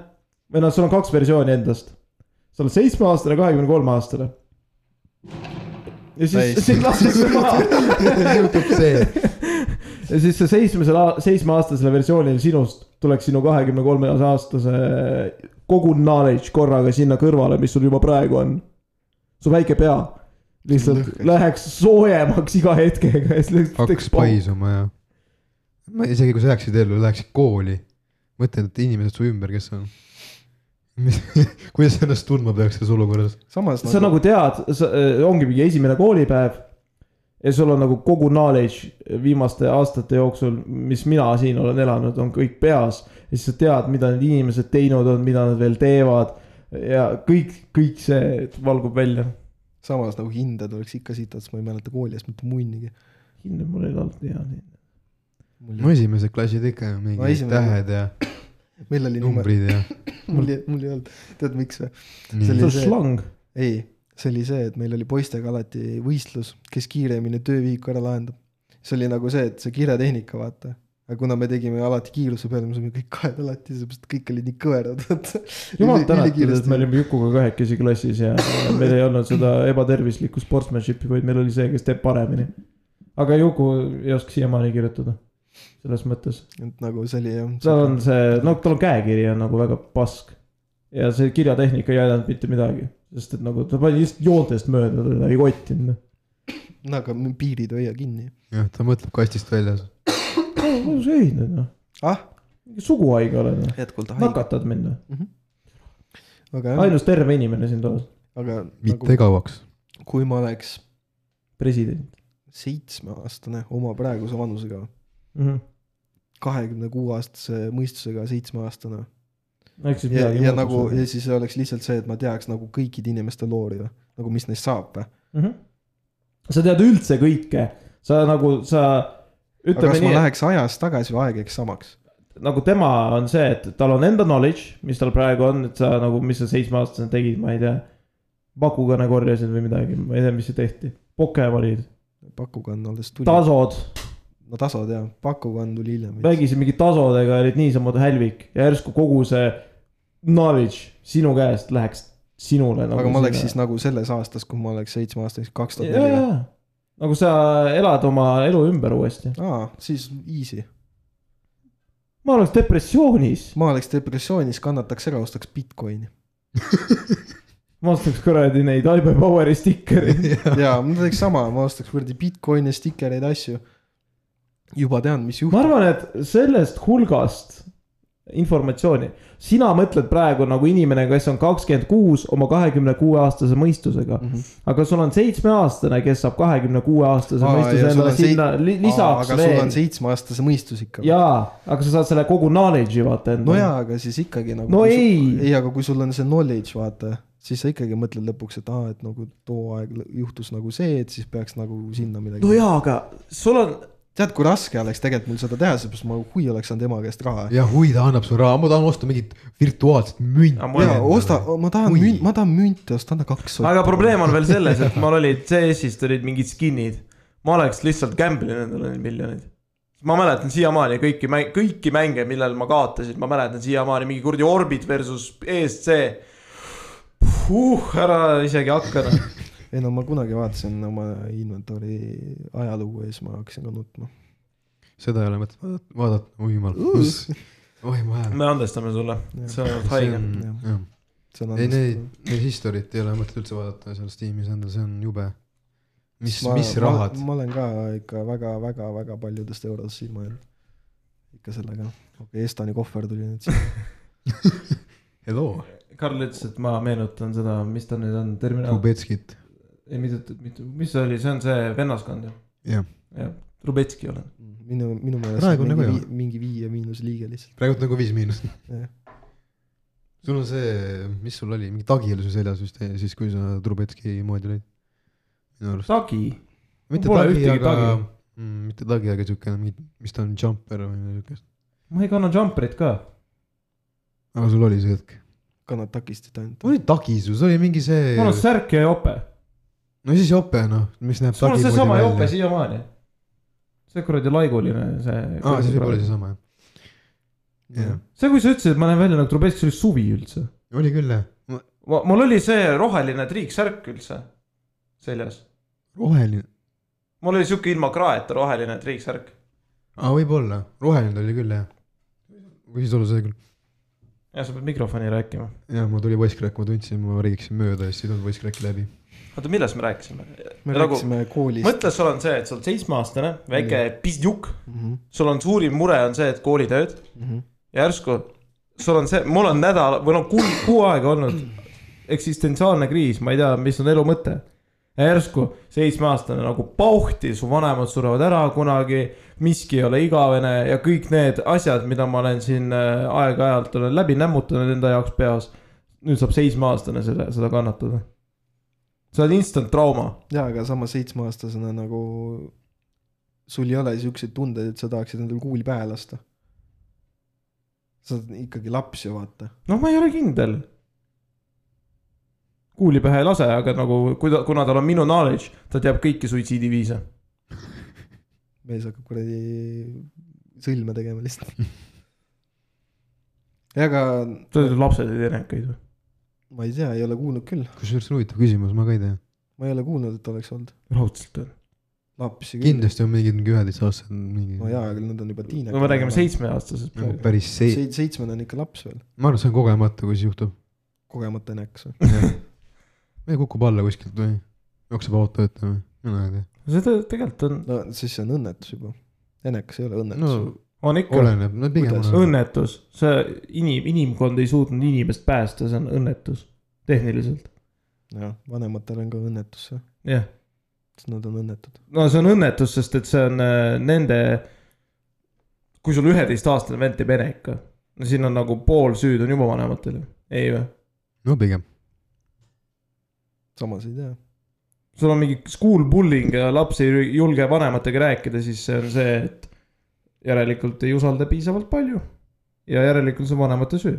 või noh , sul on kaks versiooni endast . sa oled seitsmeaastane , kahekümne kolme aastane . ja siis Täis. sind lastakse (laughs) maha juhtub see , ja siis see seitsmesel , seitsmeaastasele versioonil sinust tuleks sinu kahekümne kolme aastase kogu knowledge korraga sinna kõrvale , mis sul juba praegu on . su väike pea lihtsalt Lõhkeks. läheks soojemaks iga hetkega ja siis lihtsalt hakkas . paisuma ja . ma isegi , kui sa jääksid ellu , läheksid kooli , mõtled , et inimesed su ümber , kes on . (laughs) kuidas sa ennast tundma peaks selles olukorras ? samas sa nagu tead , sa , ongi mingi esimene koolipäev ja sul on nagu kogu knowledge viimaste aastate jooksul , mis mina siin olen elanud , on kõik peas . ja siis sa tead , mida need inimesed teinud on , mida nad veel teevad ja kõik , kõik see valgub välja samas nagu hinded oleks ikka sitad , sest ma ei mäleta kooli eest mitte munnigi . hinne mul oli alati hea nii . no esimesed klassid ikka No mingi esimene- tähed ja meil oli niimoodi , numbrid ja . mul ei , mul ei olnud , tead miks või ? nii , see oli on see- slang . ei , see oli see , et meil oli poistega alati võistlus , kes kiiremini töövihiku ära lahendab . see oli nagu see , et see kiiretehnika , vaata . aga kuna me tegime alati kiiruse peale , me saime kõik kahed alati , sellepärast et kõik olid nii kõverad , (laughs) vaata . jumal tänatud , et me olime Jukuga kahekesi klassis ja ja meil ei olnud seda ebatervislikku sportsmanship'i , vaid meil oli see , kes teeb paremini . aga Juku ei oska siiamaani kirjutada . selles mõttes , et nagu see oli jah . tal on see , no tal on käekiri on nagu väga pask . ja see kirjatehnika ei aidanud mitte midagi , sest et nagu ta pani lihtsalt joontest mööda , teda ei kottinud . no aga me piirid hoia kinni . jah , ta mõtleb kastist väljas . ei , kuidas sa jõid nüüd noh ? ah , mingi suguhaige oled või ? jätkuvalt haige . nakatad mind või ? aga jah , ainus terve inimene siin toas , aga mitte kauaks . nagu kui ma oleks president seitsmeaastane oma praeguse vanusega , mm . Mhm. -hmm. kahekümne kuue aastase mõistusega seitsmeaastane ehk siis ja , midagi ja nagu ja siis oleks lihtsalt see , et ma teaks nagu kõikide inimeste loori või , nagu mis neist saab või . mm . -hmm. sa tead üldse kõike , sa nagu , sa aga ütleme kas nii ma lähen... , läheks ajas tagasi või aeg jääks samaks ? nagu tema on see , et tal on enda knowledge , mis tal praegu on , et sa nagu , mis sa seitsmeaastasena tegid , ma ei tea . pakukõne korjasid või midagi , ma ei tea , mis see tehti , Pokemonid , pakukann alles tuli Ta... , tasod , no tasod jah , pakukann tuli hiljem . mängisid mingi tasodega , olid niisama hälvik ja järsku kogu see knowledge sinu käest läheks sinule nagu . aga ma oleks siis nagu selles aastas , kui ma oleks seitsmeaastaseks , kaks tuhat jaa , neli . jaa , nagu sa elad oma elu ümber uuesti . aa , siis easy . ma oleks depressioonis , ma oleks depressioonis , kannataks ära , ostaks Bitcoini . (laughs) ma ostaks kuradi neid iPad Poweri stikkereid . jaa , ma teeks sama , ma ostaks kuradi Bitcoini , stikereid , asju . juba tean , mis ma juhtub . arvan , et sellest hulgast informatsiooni , sina mõtled praegu nagu inimene , kes on kakskümmend kuus oma kahekümne kuue aastase mõistusega , Mhm. aga sul on seitsmeaastane , kes saab kahekümne kuue aastase Aa, ja mõistuse sul endale on sinna li lisaks aga sul on veel . seitsmeaastase mõistus ikka . jaa , aga sa saad selle kogu knowledge'i vaata no endale . jaa , aga siis ikkagi nagu . No ei. ei , aga kui sul on see knowledge , vaata , siis sa ikkagi mõtled lõpuks , et aa , et nagu too aeg lõ- juhtus nagu see , et siis peaks nagu sinna midagi no . jaa , aga sul on , tead , kui raske oleks tegelikult mul seda teha , sellepärast ma hui oleks saanud ema käest raha . ja huvi ta annab sulle raha , ma tahan osta mingit virtuaalset Aga münti ma- . jaa , osta , ma tahan Hui. münt , ma tahan münte , osta , anna kaks . aga probleem on veel selles , et mul olid CS-ist olid mingid skin'id . ma oleks lihtsalt gamble'inud endale neid miljoneid . ma mäletan siiamaani kõiki mäng , kõiki mänge , millel ma kaotasin , ma mäletan siiamaani mingi kuradi Orbit versus E ESC . Uh, ära isegi hakka noh , ei no ma kunagi vaatasin oma inventory ajalugu ja siis ma hakkasin ka nutma . seda ei ole mõtet vaadata , vaadata , oi jumal , kus , oi ma jään . me andestame sulle , see on olnud haige . see on ei alles . neid , neid history't ei ole mõtet üldse vaadata seal Steamis endal , see on jube . mis , Ma- mis rahad ma, ? ma olen ka ikka väga-väga-väga paljudest eurodest silma jäänud . ikka sellega , okei okay, , Estoni kohver tuli nüüd siin , Hello , Karl ütles , et ma meenutan seda , mis ta nüüd on , terminal , Kubetskit , ei mitte , mitte , mis see oli , see on see vennaskond ju , jah . jah , Rubetski olen . Mhm. minu , minu meelest Praegu on mingi, nagu vii- mingi viie miinuse liige lihtsalt . praegult nagu viis miinust . Jah. sul on see , mis sul oli , mingi tagi oli su seljas vist eh, siis , kui sa Trubetski moodi olid ? minu arust . Tagi , mitte Pole tagi , ühtegi aga mm, tagi. , mitte tagi , aga siukene , mis ta on , jumper või midagi siukest . ma ei kanna jumperit ka aga sul oli see hetk ? kannad takistit ainult . oli tagi sul , see oli mingi see . mul on särk ja jope . no siis jope noh , mis näeb . mul on seesama jope . siiamaani . see kuradi laiguline , see . aa , siis võib-olla . seesama jah . Mhm. jah , see , kui sa ütlesid , et ma näen välja nagu trubest , see oli suvi üldse . oli küll jah . mul oli see roheline triiksärk üldse seljas . roheline , mul oli sihuke ilma kraeta roheline triiksärk . aa võib-olla , roheline ta oli küll jah . või siis oli see küll , ja sa pead mikrofoni rääkima . jah , mul tuli voiskräkk , ma tundsin , ma räägiksin mööda ja siis ei tulnud voiskräkk läbi . oota , millest me rääkisime ? me Nagu- nagu... rääkisime koolist . mõtle , sul on see , et sa oled seitsmeaastane , väike pisjuk , Mm sul on suurim mure on see , et koolitööd -hmm. järsku sul on see , mul on nädal või no kuu , kuu aega olnud eksistentsiaalne kriis , ma ei tea , mis on elu mõte . ja järsku seitsmeaastane nagu pauhti , su vanemad surevad ära kunagi , miski ei ole igavene ja kõik need asjad , mida ma olen siin äh, aeg-ajalt olen läbi nämmutanud enda jaoks peas . nüüd saab seitsmeaastane selle , seda kannatada . sa oled instant trauma , jaa , aga samas seitsmeaastasena nagu sul ei ole siukseid tundeid , et sa tahaksid endale kuuli pähe lasta . sa oled ikkagi laps ju vaata . noh , ma ei ole kindel kuuli pähe ei lase , aga nagu kui ta , kuna tal on minu knowledge , ta teab kõiki suitsiidiviise . mees hakkab kuradi sõlme tegema lihtsalt (laughs) ja aga Te olete lapsed ja teenekaid või ? ma ei tea , ei ole kuulnud küll , kusjuures huvitav küsimus , ma ka ei tea . ma ei ole kuulnud , et oleks olnud raudselt on . lapsi küll . kindlasti on mingid mingi üheteistaastased mingi no jaa , aga nad on juba tiinekad . no me räägime . seitsmeaastasest nagu praegu . päris see , seitsmene on ikka laps veel , ma arvan , see on kogemata , kui see juhtub . kogemata näks . või kukub alla kuskilt või jookseb auto ette või , mina ei tea . see te- tegelikult on , no siis see on õnnetus juba . enekas ei ole õnnetus no no. . on ikka , oleneb , no pigem Kuidas? oleneb . õnnetus , see inim- , inimkond ei suutnud inimest päästa , see on õnnetus , tehniliselt , jah , vanematel on ka õnnetus , jah . sest nad on õnnetud . no see on õnnetus , sest et see on äh, nende , kui sul üheteistaastane vend teeb ene ikka , no siin on nagu pool süüd on juba vanematel ju , ei või ? no pigem . samas ei tea . sul on mingi school bullying ja laps ei julge vanematega rääkida , siis see on see , et järelikult ei usalda piisavalt palju ja järelikult see on vanemate süü .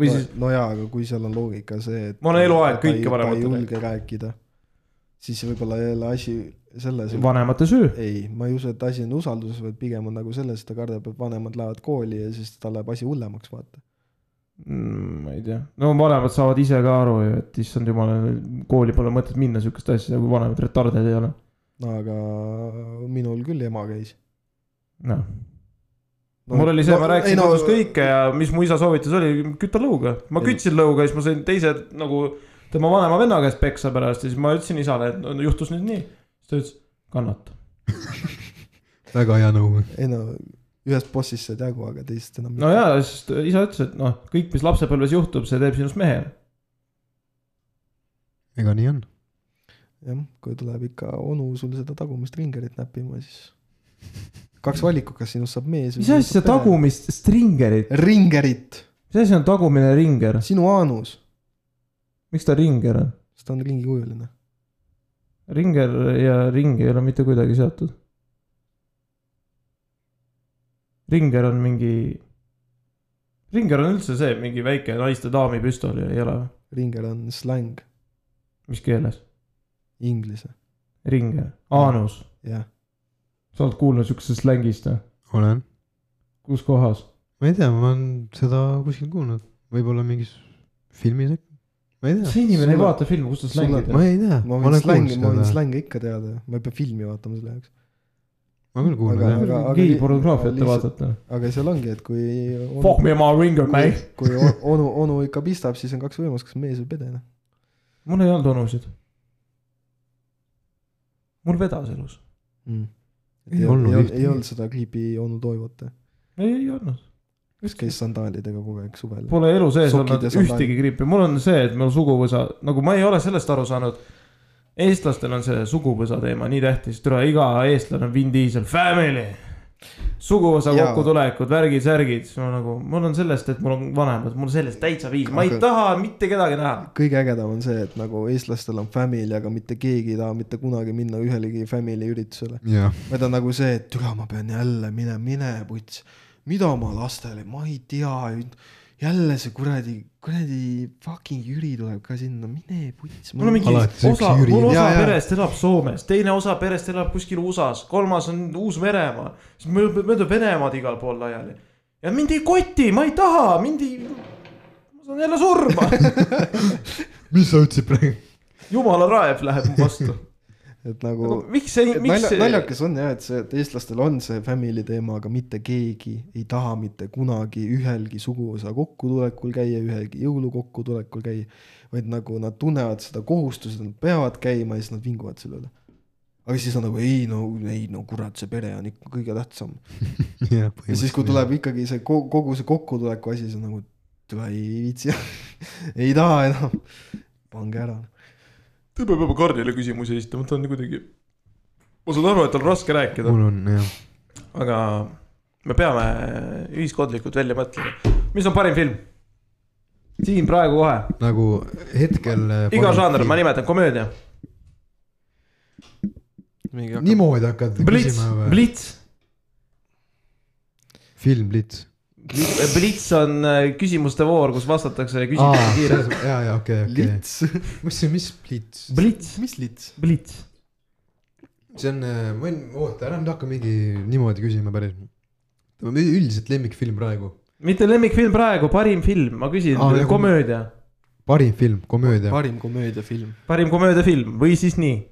või siis , no jaa , aga kui seal on loogika see , et . Ma olen eluaeg kõike vanematele . vanematele ei julge rääkida , siis võib-olla ei ole asi selles . vanemate süü , ei , ma ei usu , et asi on usalduses , vaid pigem on nagu selles , et ta kardab , et vanemad lähevad kooli ja siis tal läheb asi hullemaks , vaata . Mm, ma ei tea , no vanemad saavad ise ka aru ju , et issand jumal , kooli pole mõtet minna sihukest asja , kui vanemad retarded ei ole , no aga minul küll ema käis noh no, . mul oli see , ma rääkisin no, kodus kõike ja mis mu isa soovitus oli , küta lõuga . ma Ei. kütsin lõuga , siis ma sain teise nagu tema vanema venna käest peksa pärast ja siis ma ütlesin isale , et no, juhtus nüüd nii . siis ta ütles , kannata . väga hea nõu . ei no ühest bossist saad jagu , aga teisest enam no ja siis ta- isa ütles , et noh , kõik , mis lapsepõlves juhtub , see teeb sinust mehe . ega nii on . jah , kui tuleb ikka onu sul seda tagumist ringerit näppima , siis kaks valikut , kas sinust saab mees . mis asi see ? tagumist , stringerit , ringerit , mis asi on tagumine ringer , sinu aanus , miks ta ringer on ? sest ta on ringikujuline . ringer ja ring ei ole mitte kuidagi seotud . ringer on mingi , ringer on üldse see mingi väike naiste daami püstol ju , ei ole või ? ringer on släng mis keeles ? inglise , ringer , aanus , jah . sa oled kuulnud siuksest slängist või ? olen . kus kohas ? ma ei tea , ma olen seda kuskil kuulnud , võib-olla mingis filmis äkki , ma ei tea . see inimene ei sulle- vaata filme , kus ta sulle- slängi ma teeb . ei tea , ma võin ma olen kuulnud slängi , ma võin seda , slängi ikka teada , ma ei pea filmi vaatama selle jaoks . ma küll kuulnud aga- jah . aga- aga- gei pornograafiat te lihtsalt- vaatate ? aga seal ongi , et kui onu, Fuck me , ma olen ringer , kui, man . kui o- onu , onu ikka pistab , siis on kaks võimalust , kas mees või pede , noh . mul ei olnud onusid . mul vedas elus . Mm. ei, Ei ei olnud olnud , ühtegi. ei olnud seda kliipi onu toivat , ei , ei olnud . kes käis sandaalidega kogu aeg suvel . Pole elu sees Sokid olnud ja sandaalid. ühtegi grippi , mul on see , et mul suguvõsa , nagu ma ei ole sellest aru saanud . eestlastel on see suguvõsa teema nii tähtis , tule iga eestlane on Vin Diesel , family . suguvõsa Jaa. kokkutulekud , värgid , särgid , siis ma nagu , mul on sellest , et mul on vanemad , mul sellest täitsa viis , ma ei Aga- taha mitte kedagi näha . kõige ägedam on see , et nagu eestlastel on family , aga mitte keegi ei taha mitte kunagi minna ühelegi family üritusele . jah , vaid on nagu see , et türa , ma pean jälle mine , mine puts , mida ma lastele , ma ei tea , jälle see kuradi , kuradi fucking Jüri tuleb ka sinna , mine puts . mul on mingi Alati see üks osa , Jüri. mul osa Jaa, jaa. perest elab Soomes , teine osa perest elab kuskil USA-s , kolmas on Uus-Meremaa , siis mööda mööda Venemaad igal pool laiali . ja mind ei koti , ma ei taha , mind ei , ma saan jälle (laughs) surma , mis sa ütlesid praegu ? jumala raev läheb mu (laughs) vastu . et nagu . miks see , miks Nalja, see , naljakas on jah , et see , et eestlastel on see family teema , aga mitte keegi ei taha mitte kunagi ühelgi suguvõsa kokkutulekul käia , ühelgi jõulukokkutulekul käia . vaid nagu nad tunnevad seda kohustust , et nad peavad käima ja siis nad vinguvad selle üle . aga siis on nagu ei no , ei no kurat , see pere on ikka kõige tähtsam . jah , ja siis , kui . tuleb ikkagi see ko- kogu see kokkutuleku asi , siis on nagu tule ei viitsi , (laughs) ei taha enam , pange ära . ta peab juba Karlile küsimusi esitama , ta on kuidagi , ma saan aru , et tal on raske rääkida , mul on jah , aga me peame ühiskondlikult välja mõtlema , mis on parim film ? siin praegu kohe , nagu hetkel . äh, iga žanr , ma . nimetan komöödia niimoodi hakkad Blitz küsima , või ? Blitz , film Blitz . Blitz on äh, küsimuste voor , kus vastatakse aa küsimusi , kiirelt . ja , ja okei , okei . lits , mis see , mis Blitz ? Blitz , mis lits ? Blitz , see on , ma võin , oota , ära nüüd hakka mingi niimoodi küsima päris . üldiselt lemmikfilm praegu , mitte lemmikfilm praegu , parim film , ma küsin Aa, ja , kom- komöödia , parim film , komöödia . parim komöödiafilm . parim komöödiafilm või siis nii .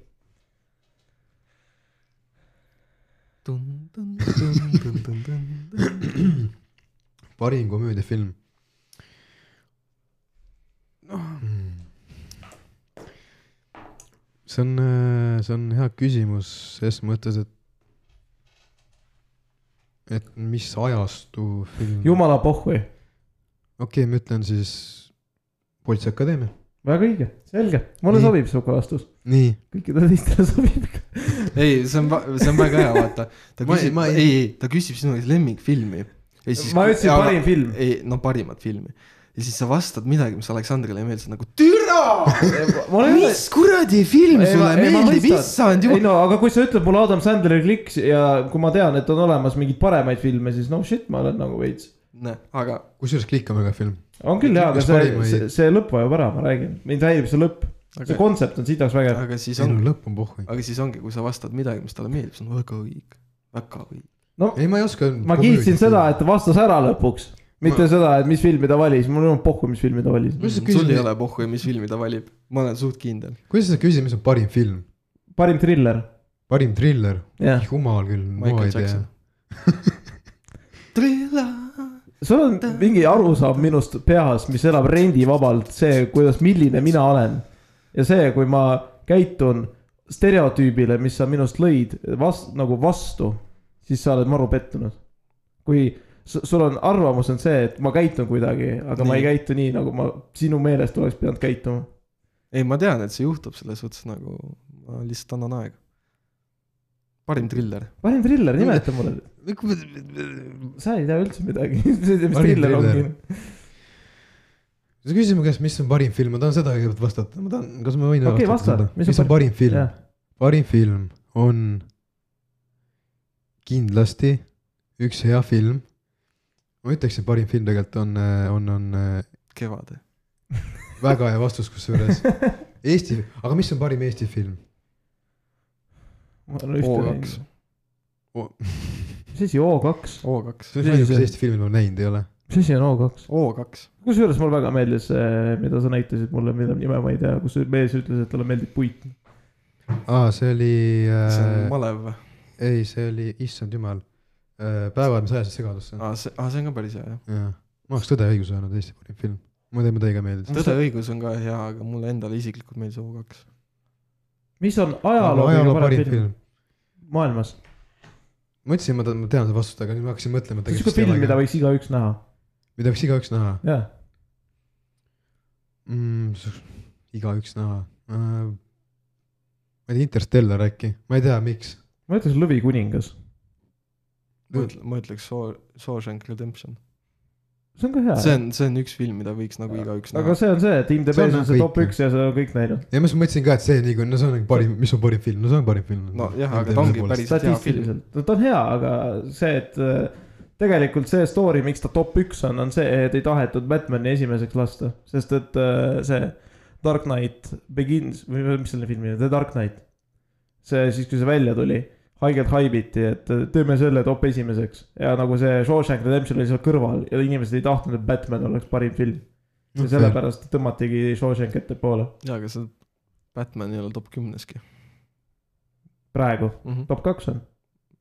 Dun, dun, dun, dun, dun, dun, dun. parim komöödiafilm . noh . äh, see on , see on hea küsimus ses mõttes , et et mis ajastu film . jumala pohhui , okei okay, , ma ütlen siis Politseiakadeemia . väga õige , selge , mulle Nii. sobib sihuke vastus , nii . kõikidele teistele (laughs) sobib ka . (laughs) ei , see on , see on väga hea , vaata . ta Ma ei- küsib , ma ei- ei , ei , ta küsib sinu lemmikfilmi . ma ütlesin parim . film , ei , no parimat filmi . ja siis sa vastad midagi , mis Aleksandrile ei meeldi , sa oled nagu türa . eh, ma olen mis kuradi film Ei, ma- sulle ei, ma meeldib , mõistan. issand ei jumal . no aga kui sa ütled mulle Adam Sandleri kliks ja kui ma tean , et on olemas mingeid paremaid filme , siis no shit , ma olen nagu veits . aga kusjuures Klikk on väga film . on küll hea , aga Kas see parima , ei- see, see lõpp vajab ära , ma räägin , mind häirib see lõpp , see aga , kontsept on sidaks vägev . aga siis on , sinu lõpp on pohhu . aga siis ongi , kui sa vastad midagi , mis talle meeldib , see on väga õige , väga õige . no ei , ma ei oska . ma kiitsin seda , et ta vastas ära lõpuks , mitte seda , et mis filmi ta valis , mul ei olnud pohhu , mis filmi ta valis . Ma lihtsalt sul küsin- ei ole pohhu , mis filmi ta valib , ma olen suht kindel . kuidas sa küsid , mis on parim film ? parim triller , parim triller ? jah . jumal küll , ma Michael ei tea Jackson. . (laughs) Trilla . sul on mingi arusaam minust peas , mis elab rendivabalt , see , kuidas , milline mina olen . ja see , kui ma käitun stereotüübile , mis sa minust lõid , vast- , nagu vastu , siis sa oled maru pettunud . kui s- sul on , arvamus on see , et ma käitun kuidagi , aga nii. ma ei Nii. käitu nii , nagu ma sinu meelest oleks pidanud käituma . ei , ma tean , et see juhtub selles suhtes nagu , ma lihtsalt annan aega . parim triller . parim triller , nimeta mulle , sa ei tea üldse midagi , (laughs) sa ei tea , mis Parim triller ongi triller. . sa küsisid mu käest , mis on parim film , ma tahan seda kõigepealt vastata , ma tahan , kas ma võin Okei, vasta. seda? mis on parim film ? jah , parim film on kindlasti üks hea film . ma ütleksin , parim film tegelikult on , on , on äh, Kevade . väga hea vastus , kusjuures Eesti , aga mis on parim Eesti film ? (laughs) ma olen ühte näinud O2 ., mis asi O2 , O2 , see on ainuke , mis Eesti filmi ma näinud ei ole . mis asi on O2 ? O2 . kusjuures mulle väga meeldis see , mida sa näitasid mulle , mille nime ma ei tea , kus mees ütles , et talle meeldib puit . aa , see oli see äh, on , malev või ? ei , see oli , issand jumal äh, , Päevad , mis ajasid segadusse . aa , see , aa , see on ka päris hea jah . jaa , ma oleks Tõde ja õigus öelnud , Eesti parim film . ma tean , ma teiega meeldis . Tõde ja õigus on ka hea , aga mulle endale isiklikult meeldis O2 . mis on ajaloo kõige ajaloo parem film maailmas ? ma ütlesin , ma tean , ma tean seda vastust , aga nüüd ma hakkasin mõtlema . see on siuke film , mida võiks igaüks näha , mida võiks igaüks näha jah . mm, . igaüks näha äh, . ma ei tea , Interstellar äkki , ma ei tea , miks . ma ütleks Lõvikuningas , ma ütle- , ma ütleks Soo- , Shawshank Redemption . see on ka see hea . on , see on üks film , mida võiks nagu igaüks aga näha . see on see , et See on nagu IMDB-s on see kõik, top üks ja seda on kõik näinud . ja ma just mõtlesin ka , et see niikuinii , no see on nagu parim , mis on parim film , no see on parim film . Nojah, aga ta ongi päris- See on hea film. statistiliselt , no ta on hea , aga see , et äh, tegelikult see story , miks ta top üks on , on see , et ei tahetud Batman'i esimeseks lasta , sest et äh, see Dark Knight Begins või või mis selle filmi , The Dark Knight . see siis , kui see välja tuli , haigelt haibiti , et äh, teeme selle top esimeseks ja nagu see Shawshank Redemption oli seal kõrval ja inimesed ei tahtnud , et Batman oleks parim film . ja sellepärast . sellepärast tõmmatigi Shawshank ettepoole jaa , aga see Batman ei ole top kümneski praegu , mm . -hmm. top kaks on ,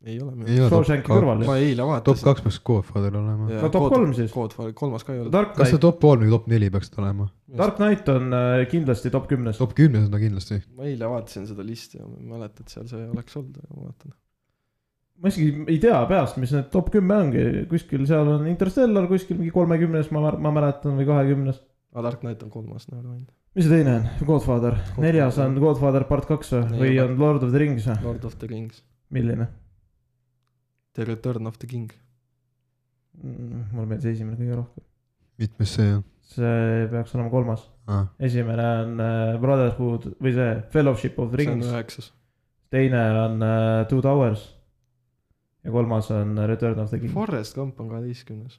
ei ole minu Mhm. ei ole top Shawshanki kaks , kõrval ju , ma eile top vaatasin . kaks peaks Godfather olema . no top kolm siis , Godfather , kolmas ka ei ole . Dark kas Knight see . top kolm või top neli peaks ta olema ? Dark Knight on äh, kindlasti top kümnes . top kümnes on ta kindlasti . ma eile vaatasin seda listi ja ma ei mäleta , et seal see oleks olnud , aga ma vaatan . ma isegi ei tea peast , mis need top kümme ongi , kuskil seal on Interstellar kuskil mingi kolmekümnes , ma , ma mäletan , või kahekümnes . aga Dark Knight on kolmas , never mind . mis see teine on , Godfather, Godfather. , neljas on Godfather part kaks või , või Ei ole. on Lord of the Rings või , Lord of the Kings , milline The Return of the King . mm, ? mulle meeldis esimene kõige rohkem , mitmes see on see peaks olema kolmas . ah. ? esimene on äh, Brotherhood või see Fellowship of the see on Rings , üheksas . teine on äh, Two Towers ja kolmas on äh, Return of the King . Forest Gump on kaheteistkümnes .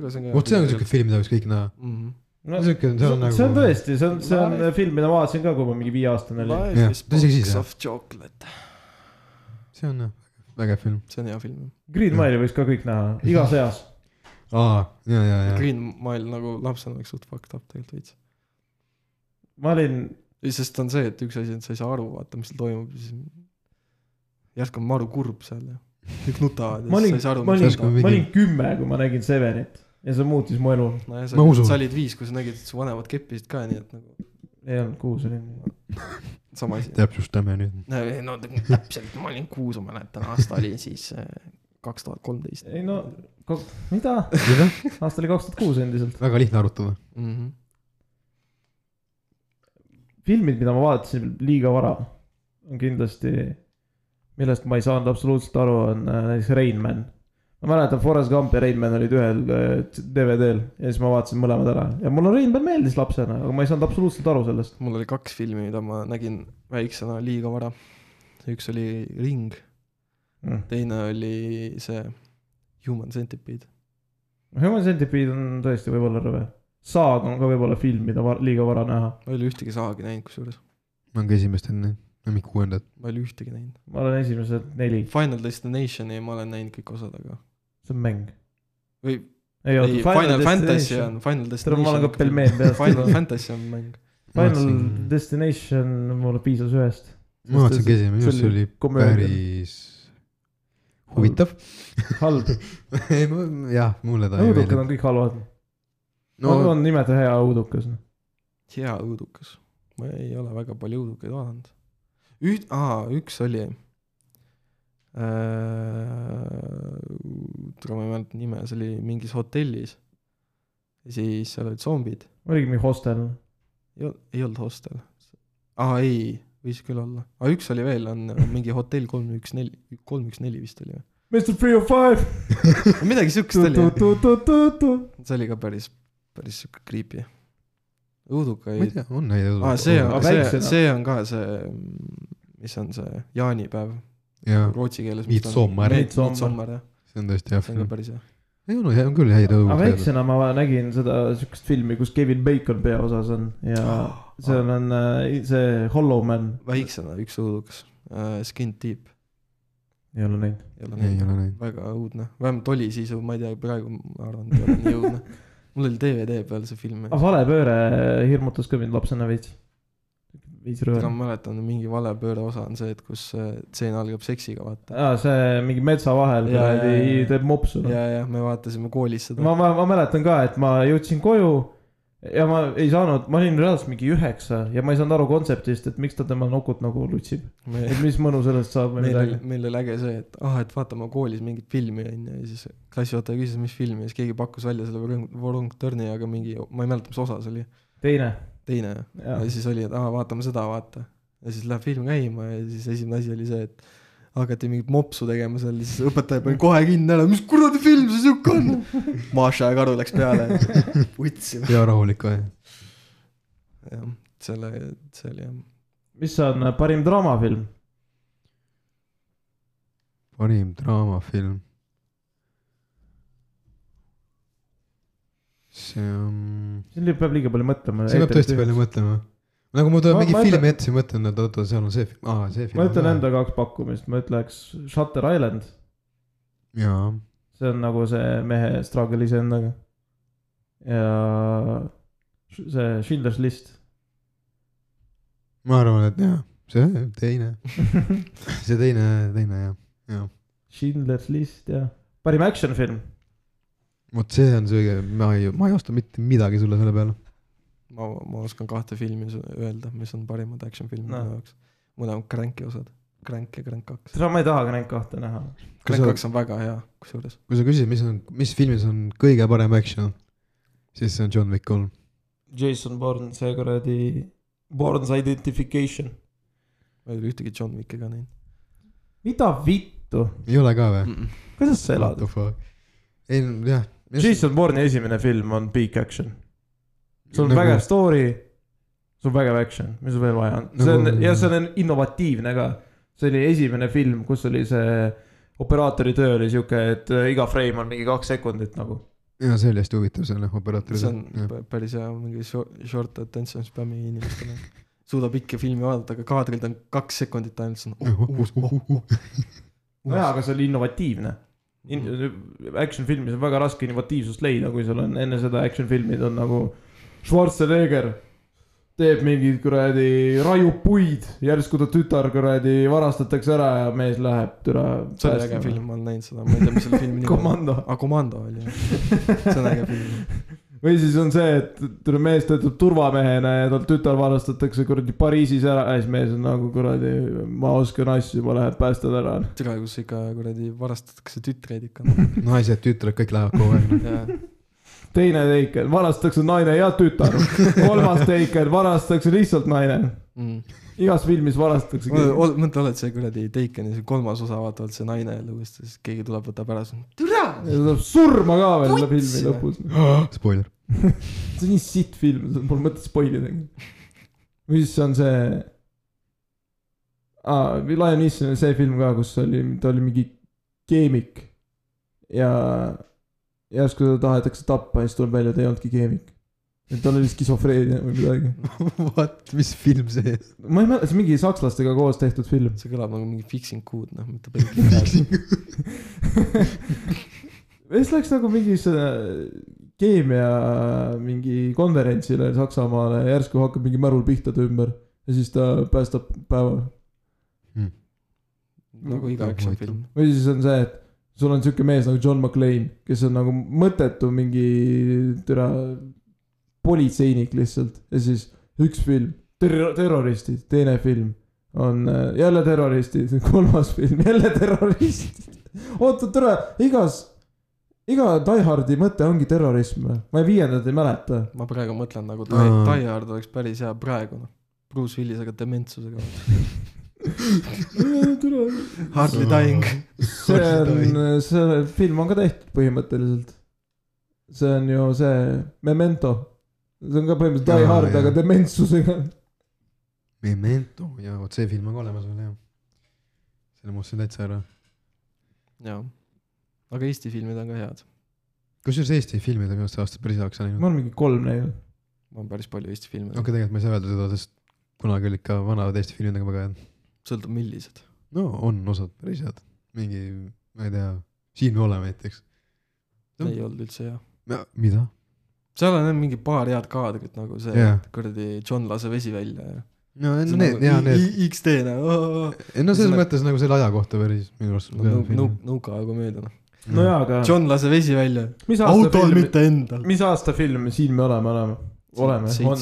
vot see on siuke . film , mida võiks kõik näha . Mhm. No, siuke , see on nagu . see on tõesti , see on , see on Ma- film , mida ma vaatasin ka , kui ma mingi viieaastane olin . Life is Jah, ta box isegi siis, jah. of chocolate , see on jah , vägev film . see on hea film . Green Mile'i võiks ka kõik näha , (laughs) igas eas . aa , ja , ja , ja . Green Mile nagu lapsena oleks suht fucked up tegelikult veits . ma olin , ei , sest on see , et üks asi on , et sa ei saa aru , vaata , mis seal toimub , siis järsku on maru kurb seal ja kõik nutavad ja Ma olin- siis sa ei saa aru , ma mis olin- seal toimub . ma olin kümme , kui ma nägin Severit ja see muutis mu elu . nojah , ma sa, usun. sa olid viis , kui sa nägid , et su vanemad keppisid ka , nii et nagu ei olnud kuus , olin . sama asi . täpsustame nüüd . eh, no täpselt , ma olin kuus , ma mäletan , aasta oli siis äh, kaks tuhat kolmteist . ei no , mida ? mida ? aasta oli kaks tuhat kuus endiselt . väga lihtne arutada . Mhm. filmid , mida ma vaatasin liiga vara , on kindlasti , millest ma ei saanud absoluutselt aru , on äh, näiteks Rain Man . ma mäletan , Forest Gump ja Rain Man olid ühel äh, DVD-l ja siis ma vaatasin mõlemad ära ja mulle Rain Man meeldis lapsena , aga ma ei saanud absoluutselt aru sellest . mul oli kaks filmi , mida ma nägin väiksena liiga vara . üks oli Ring , teine oli see Human Centipede . Human Centipede on tõesti võib-olla rõve . Saag on ka võib-olla film , mida var, liiga vara näha . ma ei ole ühtegi saagi näinud , kusjuures . ma olen ka esimest enne , no mitte kuuendat . ma ei ole ühtegi näinud . ma olen esimesed neli , Final Destinationi ma olen näinud kõik osad , aga see on mäng . või ei , Final Fantasy on , Final Destination . mul on ka pelmeen peas. Final Fantasy on mäng . Final Destination mulle piisas ühest . ma vaatasin ka esimene , minu arust see oli komöödia. päris huvitav . (laughs) halb , ei , jah , mulle Nagu ta ei õudukad on meeldinud . kõik halvad . no no on, on nimelt hea õudukas . hea õudukas . ma ei ole väga palju õudukaid vaadanud . üht , aa , üks oli äh, . tule ma ei mäleta nime , see oli mingis hotellis . ja siis seal olid zombid . oligi mingi hostel . ei olnud , ei olnud hostel . aa , ei , võis küll olla . aga üks oli veel , on mingi hotell kolm üks neli , kolm üks neli vist oli või ? Mr Three of Five . midagi siukest oli jah. see see oli ka päris , päris sihuke creepy . (laughs) ma ei õudukaid . tea , on neid aa , Ah, see on , see , Väiksena. see on ka see , mis on see jaanipäev jaa , rootsi keeles . Midsommar. Midsommar. Midsommar jah , see on tõesti hea see on ka film . päris Ah, hea . ei no , on küll häid aga õudukaid . väiksena ma nägin seda siukest filmi , kus Kevin Bacon peaosas on ja (gasps) seal on äh, see Hollow Man . väiksena üks õudukas äh, , Skin Deep ei ole näinud . ei ole ei näinud , ole neid . väga õudne , vähemalt oli siis , ma ei tea , praegu ma arvan , et ei ole nii õudne . (laughs) mul oli DVD peal see film , aga valepööre hirmutas ka mind lapsena veits . veits aga rõõm . ma mäletan , mingi valepööre osa on see , et kus äh, tseen algab seksiga , vaata . aa , see mingi metsa vahel Jaa, jaa, kuradi jaa. teeb mopsu . ja , ja me vaatasime koolis seda . ma , ma , ma mäletan ka , et ma jõudsin koju ja ma ei saanud , ma olin reaalselt mingi üheksa ja ma ei saanud aru kontseptist , et miks ta tema nokut nagu lutsib . Me... et mis mõnu sellest saab või meil oli midagi ., meil oli äge see , et ah , et vaatame koolis mingit filmi onju ja siis klassijuhataja küsis , mis filmi ja siis keegi pakkus välja selle Vorong- Vorong Törni , aga mingi , ma ei mäleta , mis osa see oli , teine . teine . ja siis oli , et aa , vaatame seda , vaata . ja siis läheb film käima ja siis esimene asi oli see , et hakati mingit mopsu tegema seal , siis õpetaja pani kohe kinni ära , mis kuradi film see siuke on . Maša ja Karu läks peale , võtsime . hea rahulik aeg . jah , selle , see oli jah , mis on parim draamafilm ? parim draamafilm . see on , siin peab liiga palju mõtlema . see peab tõesti . palju mõtlema . nagu mul tuleb Ma- mingi ma filmi ütlen- ette , siis mõtlen , et oota , seal on see film , aa see film . ma ütlen . enda kaks pakkumist , ma ütleks Shutter Island , jaa , see on nagu see mehe struggle iseendaga . ja see Schindler's List . ma arvan , et jaa , see (laughs) teine , see teine , teine jah , jah . Schindler's List jah , parim action film vot see on see , ma ei , ma ei osta mitte midagi sulle selle peale . ma , ma oskan kahte filmi s- öelda , mis on parimad action filmid Noh. minu jaoks . mõlemad Cranki osad , Crank ja Crank kaks . seda ma ei taha ka neid kahte näha . Crank sa- kaks on väga hea , kusjuures . kui sa küsid , mis on , mis filmis on kõige parem action , siis see on John Wick kolm . Jason Bourne , see kuradi Bourne's Identification . ma ei ole ühtegi John Wicki ka näinud mida vittu , ei ole ka või ? mm . -mm. kuidas sa What elad ? the fuck ? ei no jah . Jason Bourne'i esimene film on Big Action , sul on vägev story , sul on vägev action , mis sul veel vaja on , see on Nagu- ja see on innovatiivne ka . see oli esimene film , kus oli see operaatori töö oli sihuke , et äh, iga frame on mingi kaks sekundit nagu . ja see oli hästi huvitav , selle operaatori see on . pä- päris hea mingi short, short attention spämmi inimestele . suudab ikka filmi vaadata , aga kaadrid on kaks sekundit ainult , siis on Uh, oh, uus , oh , nojah , aga see oli innovatiivne In . uus . Action filmis on väga raske innovatiivsust leida , kui sul on enne seda action filmid on nagu Schwarzenegger teeb mingeid kuradi , raiub puid , järsku ta tütar kuradi varastatakse ära ja mees läheb türa . see oli Ah, äge film , ma olen näinud seda , ma ei tea , mis selle filmi nimi on . komando . (laughs) aa , Komando oli jah , see on äge film . või siis on see , et tuleb mees töötab turvamehena ja tal tütar varastatakse kuradi Pariisis ära ja siis mees on nagu kuradi , ma oskan asju , ma lähen päästan ära . türa , kus ikka kuradi varastatakse tütreid (laughs) ikka . naised , tütred , kõik lähevad kogu aeg . teine teikel , varastatakse naine ja tütar . kolmas teikel , varastatakse lihtsalt naine . Mm. igas filmis varastatakse . mõtle , oled see kuradi Teikeni see kolmas osa , vaata , oled see naine jälle uuesti , siis keegi tuleb , võtab ära , siis on türa . ja ta saab surma ka veel selle filmi lõpus . Spoiler . see on nii sitt film , mul mõtet spoil idagi . või siis on see . aa , Lion Neeson on see film ka , kus oli , ta oli mingi keemik . ja järsku ta tahetakse tappa ja siis tuleb välja , ta ei olnudki keemik . et tal oli skisofreenia või midagi . (laughs) What , mis film see on ? ma ei mäleta , see on mingi sakslastega koos tehtud film . see kõlab nagu mingi fixing good , noh , mitte päris . (laughs) ja siis läks nagu mingisse keemia mingi konverentsile Saksamaale ja järsku hakkab mingi märul pihta ta ümber ja siis ta päästab päeva . nagu iga action film . või siis on see , et sul on sihuke mees nagu John McClane , kes on nagu mõttetu mingi türa politseinik lihtsalt ja siis üks film ter- , terroristid , teine film on äh, jälle terroristid , (laughs) kolmas film jälle terroristid . oota , türa , igas , iga Die Hardi mõte ongi terrorism , ma viiendat ei mäleta . ma praegu mõtlen nagu Die Aa. Die Hard oleks päris hea praegu , noh . Bruce Willis , aga dementsusega . Hardly dying . see on , see film on ka tehtud põhimõtteliselt . see on ju see Memento , see on ka põhimõtteliselt Die Jaa, Hard , jaa. aga dementsusega . Memento ja vot see film on ka olemas veel jah . selle ma ostsin täitsa ära . jaa . aga Eesti filmid on ka head . kusjuures Eesti filmid on minu arust see aasta päris heaks läinud ma . olen mingi kolm näinud , ma olen päris palju Eesti filme okei , tegelikult ma ei saa öelda seda , sest kunagi olid ka vanad Eesti filmid nagu väga head . sõltub millised . no on osad päris head . mingi , ma ei tea , Siin me oleme näiteks . ei olnud üldse hea . mida ? seal on jah mingi paar head kaadrit nagu see Jaa. et kuradi John lase vesi välja ja . no nagu- need , jaa (laughs) need , XD nagu . ei no selles Selle- mõttes nagu selle aja kohta päris minu arust . nõukaaja komöödia noh . Mm. nojaa , aga John lase vesi välja . mis aasta film , enda . mis aasta film me Siin me oleme , oleme , oleme , on .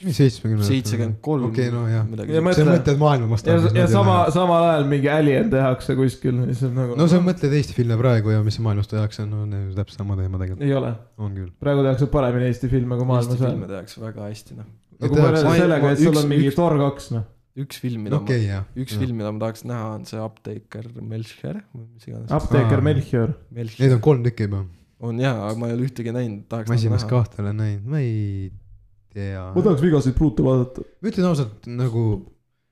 seitsmekümne . seitsekümmend kolm . okei , no jah . Ja midagi ma- ma... . sa mõtled maailma ja , mastaabis . ja sama , samal ajal mingi Alien tehakse kuskil , siis on nagu . no sa mõtled Eesti filme praegu ja mis maailmas tehakse , no need on täpselt sama teema tegelikult , ei ole , on küll . praegu tehakse paremini Eesti filme kui Eesti maailmas filme on . tehakse väga hästi noh . kui võrrelda Ma ei- sellega , ma- et sul üks- on mingi üks- Thor kaks , noh . üks film , mida okay. okei , jah . ma , üks . film , mida ma tahaks näha , on see Apteeker Melchior või mis iganes . apteeker Aa. Melchior , Neid Melchior on kolm tükki juba , on jaa , aga ma ei ole ühtegi näinud , tahaks ma nagu esimest näha . kahte olen näinud , ma ei tea . ma tahaks vigaseid pruute vaadata . ma ütlen ausalt nagu ,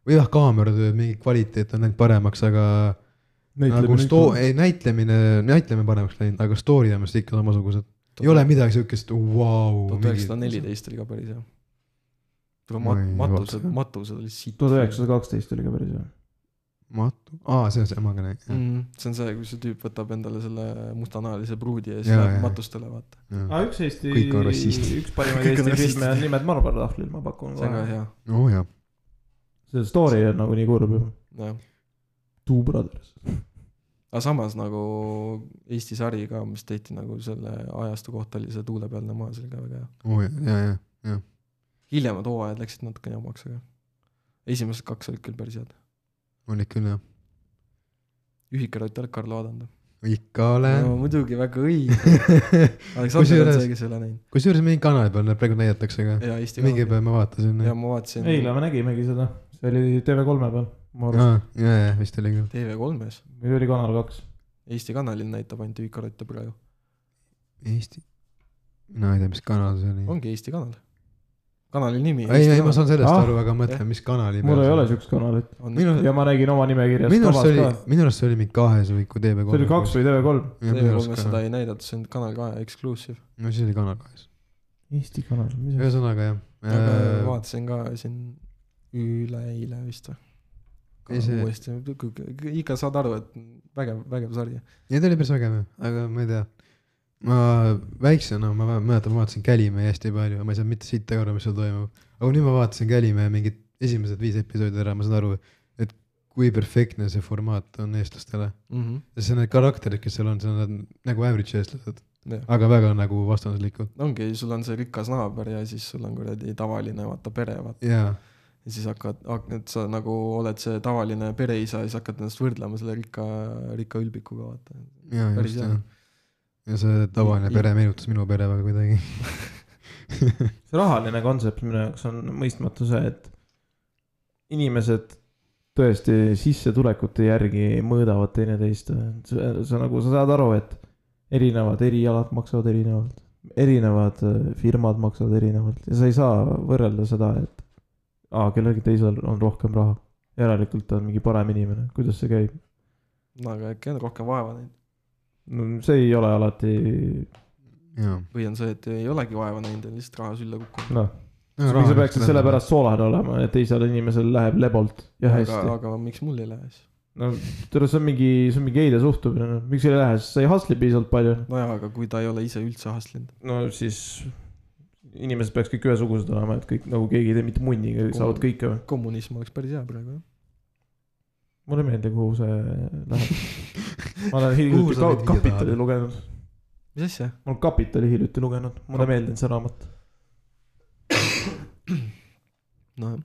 või jah , kaameratöö mingi kvaliteet on läinud paremaks , aga nagu sto- , ei näitlemine , näitleme paremaks läinud , aga story on vist ikka samasugused . ei ole midagi siukest , vau . tuhat üheksasada . neliteist oli ka päris hea . tule mat- Ma ei , matused , vaata. matused olid siit . tuhat üheksasada kaksteist oli ka päris hea . Matu , aa , see on see , ma ka nägin . mm, . see on see , kui see tüüp võtab endale selle mustanahalise pruudi ja siis Jaa, läheb jaa. matustele , vaata . aga Ah, üks Eesti , Kõik on rassistid. üks parimaid Kõik on Eesti rassistid. filme on nimed Marmara tahvlil , ma pakun see on ka . hea , oo jaa , see story on nagu nii kurb juba . jah . Two Brothers . aga samas nagu Eesti sari ka , mis tehti nagu selle ajastu kohta , oli see Tuule pealne maa , see oli ka väga hea . oo jaa , Oh, jaa , jaa . hiljemad hooajad läksid natuke jamaks , aga esimesed kaks olid küll päris head . olid küll jah . ühikarott ühikarott oli Karl Aadanda . ikka olen no muidugi , väga õige . Aleksander on Kusjuures- see , kes ei ole näinud . (laughs) kusjuures mingi kanali peal neid praegu näidatakse ka . ja Eesti mingi . päev ma vaatasin . ja jaa , ma vaatasin eile me nägimegi seda , see oli TV3-e peal , ma arvan , jaa , vist oli küll . TV3-s , või oli Kanal kaks . Eesti kanalil näitab ainult ühikarotte praegu . Eesti , mina ei tea , mis kanal see oli . ongi Eesti kanal . kanali nimi . ei , ei ma saan sellest Ah, aru , aga mõtlen , mis kanali mul ei ole siukest kanalit minu- on ja ma nägin oma nimekirjas . minu arust see oli see , minu arust see oli mingi kahes või kui TV3 . oli kaks . või TV3 . TV3-s seda ei näidata , see on Kanal kahe exclusive . no siis oli Kanal kahes . Eesti kanal , mis asi ? ühesõnaga aga jah . äh, vaatasin ka siin üleeile vist või . Ei, see- uuesti , ikka saad aru , et vägev , vägev sari . ja ta oli päris vägev , aga ma ei tea . ma väiksena , ma vä- mäletan , ma vaatasin Kälimäe hästi palju , ma ei saanud mitte siit aru , mis seal toimub . aga nüüd ma vaatasin Kälimäe mingid esimesed viis episoodi ära , ma saan aru , et kui perfektne see formaat on eestlastele . Mm -hmm. sest need karakterid , kes seal on , seal on nagu average eestlased . jah. aga väga nagu vastandlikud . ongi , sul on see rikas naaber ja siis sul on kuradi tavaline vaata pere vaata jaa , ja siis hakkad , et sa nagu oled see tavaline pereisa ja siis hakkad ennast võrdlema selle rikka , rikka ülbikuga vaata . jaa , Päris just hea. jah . ja see tavaline I- pere meenutas minu pere väga kuidagi . see rahaline kontsept minu jaoks on mõistmatu see , et inimesed tõesti sissetulekute järgi mõõdavad teineteist . sa nagu , sa saad aru , et erinevad erialad maksavad erinevalt , erinevad äh, firmad maksavad erinevalt ja sa ei saa võrrelda seda , et aa , kellelgi teisel on rohkem raha . järelikult ta on mingi parem inimene , kuidas see käib ? no aga äkki on rohkem vaeva näinud no see ei ole alati , jaa . või on see , et ei olegi vaeva näinud ja on lihtsalt raha sülle kukkunud . noh , sa peaksid sellepärast soolane olema , et teisel inimesel läheb lebolt ja aga hästi ,. aga miks mul ei lähe siis ? no tere , see on mingi , see on mingi eile suhtumine , noh , miks ei lähe , sest sa ei hustle'i piisavalt palju . nojaa , aga kui ta ei ole ise üldse hustlenud . no siis inimesed peaks kõik ühesugused olema , et kõik nagu keegi ei tee mitte munniga , saavad kõike . kommunism oleks päris hea praegu jah . mulle ei meeldi , kuhu see läheb . (laughs) ma olen Kuhu hiljuti ka sa nüüd viia Kapitali tahad? lugenud , mis asja ? ma olen Kapitali hiljuti lugenud , mulle ei meeldinud see raamat . nojah ,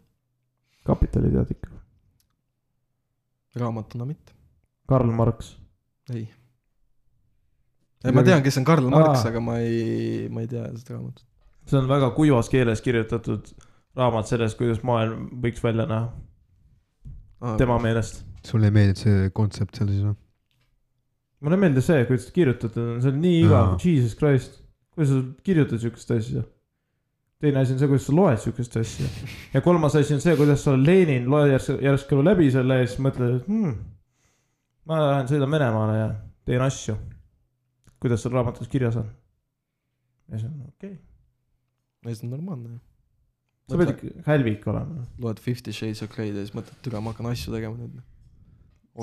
kapitali tead ikka , raamatuna mitte . Karl Marx . ei . ei , ma tean , kes on Karl Aa. Marx , aga ma ei , ma ei tea seda raamatut . see on väga kuivas keeles kirjutatud raamat sellest , kuidas maailm võiks välja näha , tema . meelest . sulle ei meeldinud see kontsept seal siis või ? mulle ei meeldi see , kuidas kirjutatud on , see on nii igav Jaa. , jesus christ . kuidas sa kirjutad siukest asja ? teine asi on see , kuidas sa loed siukest asja . ja kolmas asi on see , kuidas sa Lenin loed järsku , järsku läbi selle ja siis mõtled , et hmm, ma lähen sõidan Venemaale ja teen asju . kuidas seal raamatus kirjas on ? ja siis on okei okay. , ei , see on normaalne ju . sa pead ikka hälvik olema . loed Fifty Shades of Grey'd ja siis mõtled , türa , ma hakkan asju tegema nüüd .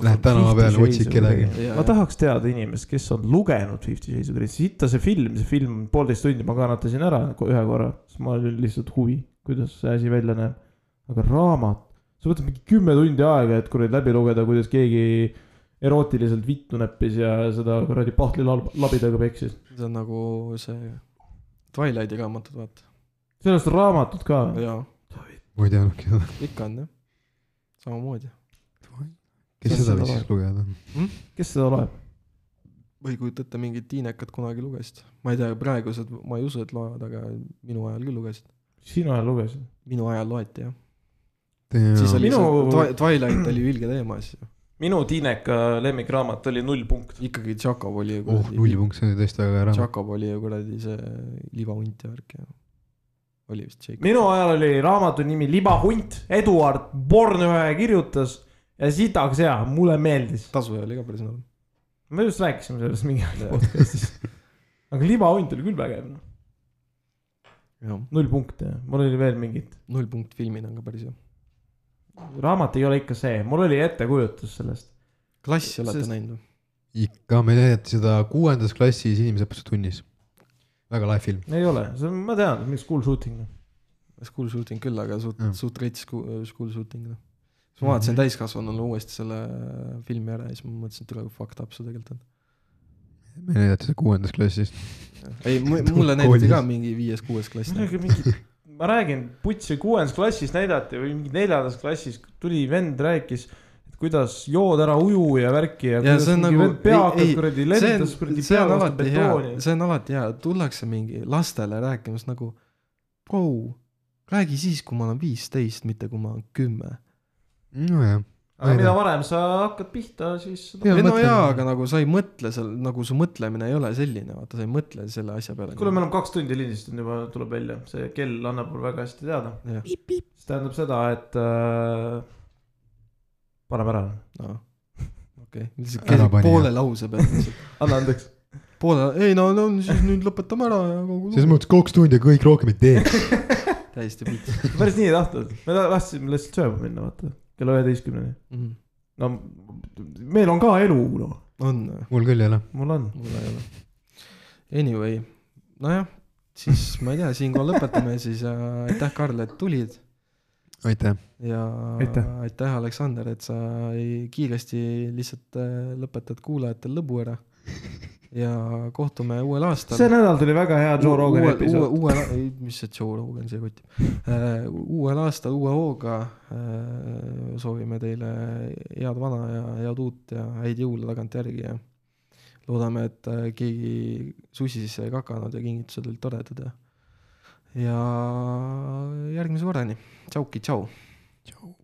Lähed tänava peale , otsid kedagi . Jaa, ma jaa. tahaks teada inimest , kes on lugenud Fifty Shades of Grey , sitta see film , see film on poolteist tundi , ma kannatasin ära ko- ühe korra , sest mul oli lihtsalt huvi , kuidas see asi välja näeb . aga raamat , see võtab mingi kümme tundi aega , et kuradi läbi lugeda , kuidas keegi erootiliselt vittu näppis ja seda kuradi pahtli lab- labidaga peksis . see on nagu see Twilighti raamatud , vaata . sellest on raamatut ka . jaa , ma ei teadnudki seda . ikka on jah . samamoodi . kes See on seda seda võiks siis lugeda ? kes seda loeb ? või kujuta ette , mingid tiinekat kunagi lugesid . ma ei tea , praegused , ma ei usu , et loevad , aga minu ajal küll lugesid . sinu ajal lugesin . minu ajal loeti jah . siis jaa , oli Minu... Minu- see Twi- Twilight oli ju ilge teema siis ju . minu Tiineka lemmikraamat oli null punkt . ikkagi Jakob oli ju oh null punkt , see oli tõesti väga hea raamat . Jakob oli ju kuradi see libahunt ja värk ja . oli vist Jacob . minu ajal oli raamatu nimi Libahunt , Eduard Bornhöhe kirjutas ja sitaks hea , mulle meeldis . tasuja oli ka päris norm . me just rääkisime sellest mingi aeg Jah. podcast'is . aga Libahunt oli küll vägev , noh , jah , null punkte , mul oli veel mingid , null punkt filmina on ka päris hea . raamat ei ole ikka see , mul oli ettekujutus sellest . klassi olete Sest- Sest... näinud või ? ikka , me näidati seda kuuendas klassis inimõpetuse tunnis . väga lahe film . ei ole , see on , ma tean , mingi school shooting . noh. School shooting küll , aga suht Jah. Mhm. mm. , suht rets school, school shooting noh . siis ma vaatasin täiskasvanuna uuesti selle filmi ära ja siis ma mõtlesin , et üle kui fucked up see tegelikult on . me näidati seda kuuendas klassis . ei , mulle näidati ka (laughs) Koolis. mingi viies-kuues (laughs) klass . midagi mingi , ma räägin , putsi kuuendas klassis näidati või mingi neljandas klassis tuli vend , rääkis , et kuidas jood ära uju ja värki ja, Ja see on mingi nagu- vend pea ei- hakkas ei, kuradi see on- lendas kuradi see pea on vastu alati hea betooni ,. see on alati hea , tullakse mingi lastele rääkimas nagu , Bro , räägi siis , kui ma olen viisteist , mitte kui ma olen kümme . nojah . Ma aga ei mida tea. varem sa hakkad pihta , siis Jaa, ei no mõtlen- jaa , aga nagu sa ei mõtle seal , nagu su mõtlemine ei ole selline , vaata sa ei mõtle selle asja peale . nagu. kuule , me oleme kaks tundi lindistanud juba , tuleb välja , see kell annab mul väga hästi teada . Jah. see tähendab seda , et äh, paneme ära . oleme . okei , lihtsalt Ära keegi pani, poole lause peal lihtsalt , anna andeks . poole , ei no , no siis nüüd lõpetame ära ja kogu selles lugu . mõttes kaks tundi ja kõik rohkem ei tee . täiesti pits (laughs) päris nii ei tahtnud , me ta- tahtsime lihtsalt sööma minna , vaata , kella üheteistkümneni . mm. . no meil on ka elu , noh , on , mul küll ei ole . mul on . mul ei ole . Anyway , nojah , siis ma ei tea , siinkohal lõpetame siis ja aitäh , Karl , et tulid . aitäh . ja aitäh, Aitäh. aitäh , Aleksander , et sa ei- kiiresti lihtsalt äh, lõpetad kuulajatel lõbu ära . ja kohtume uuel aastal . see nädal tuli väga hea Joe Rogani uue, episood . uue , ei , mis see Joe Rogan , see kotib . uuel aastal uue hooga äh, soovime teile head vana ja head uut ja häid jõule tagantjärgi ja loodame , et äh, keegi sussi sisse ei kakanud ja kingitused olid toredad ja , ja järgmise korrani , tšauki , tšau . tšau .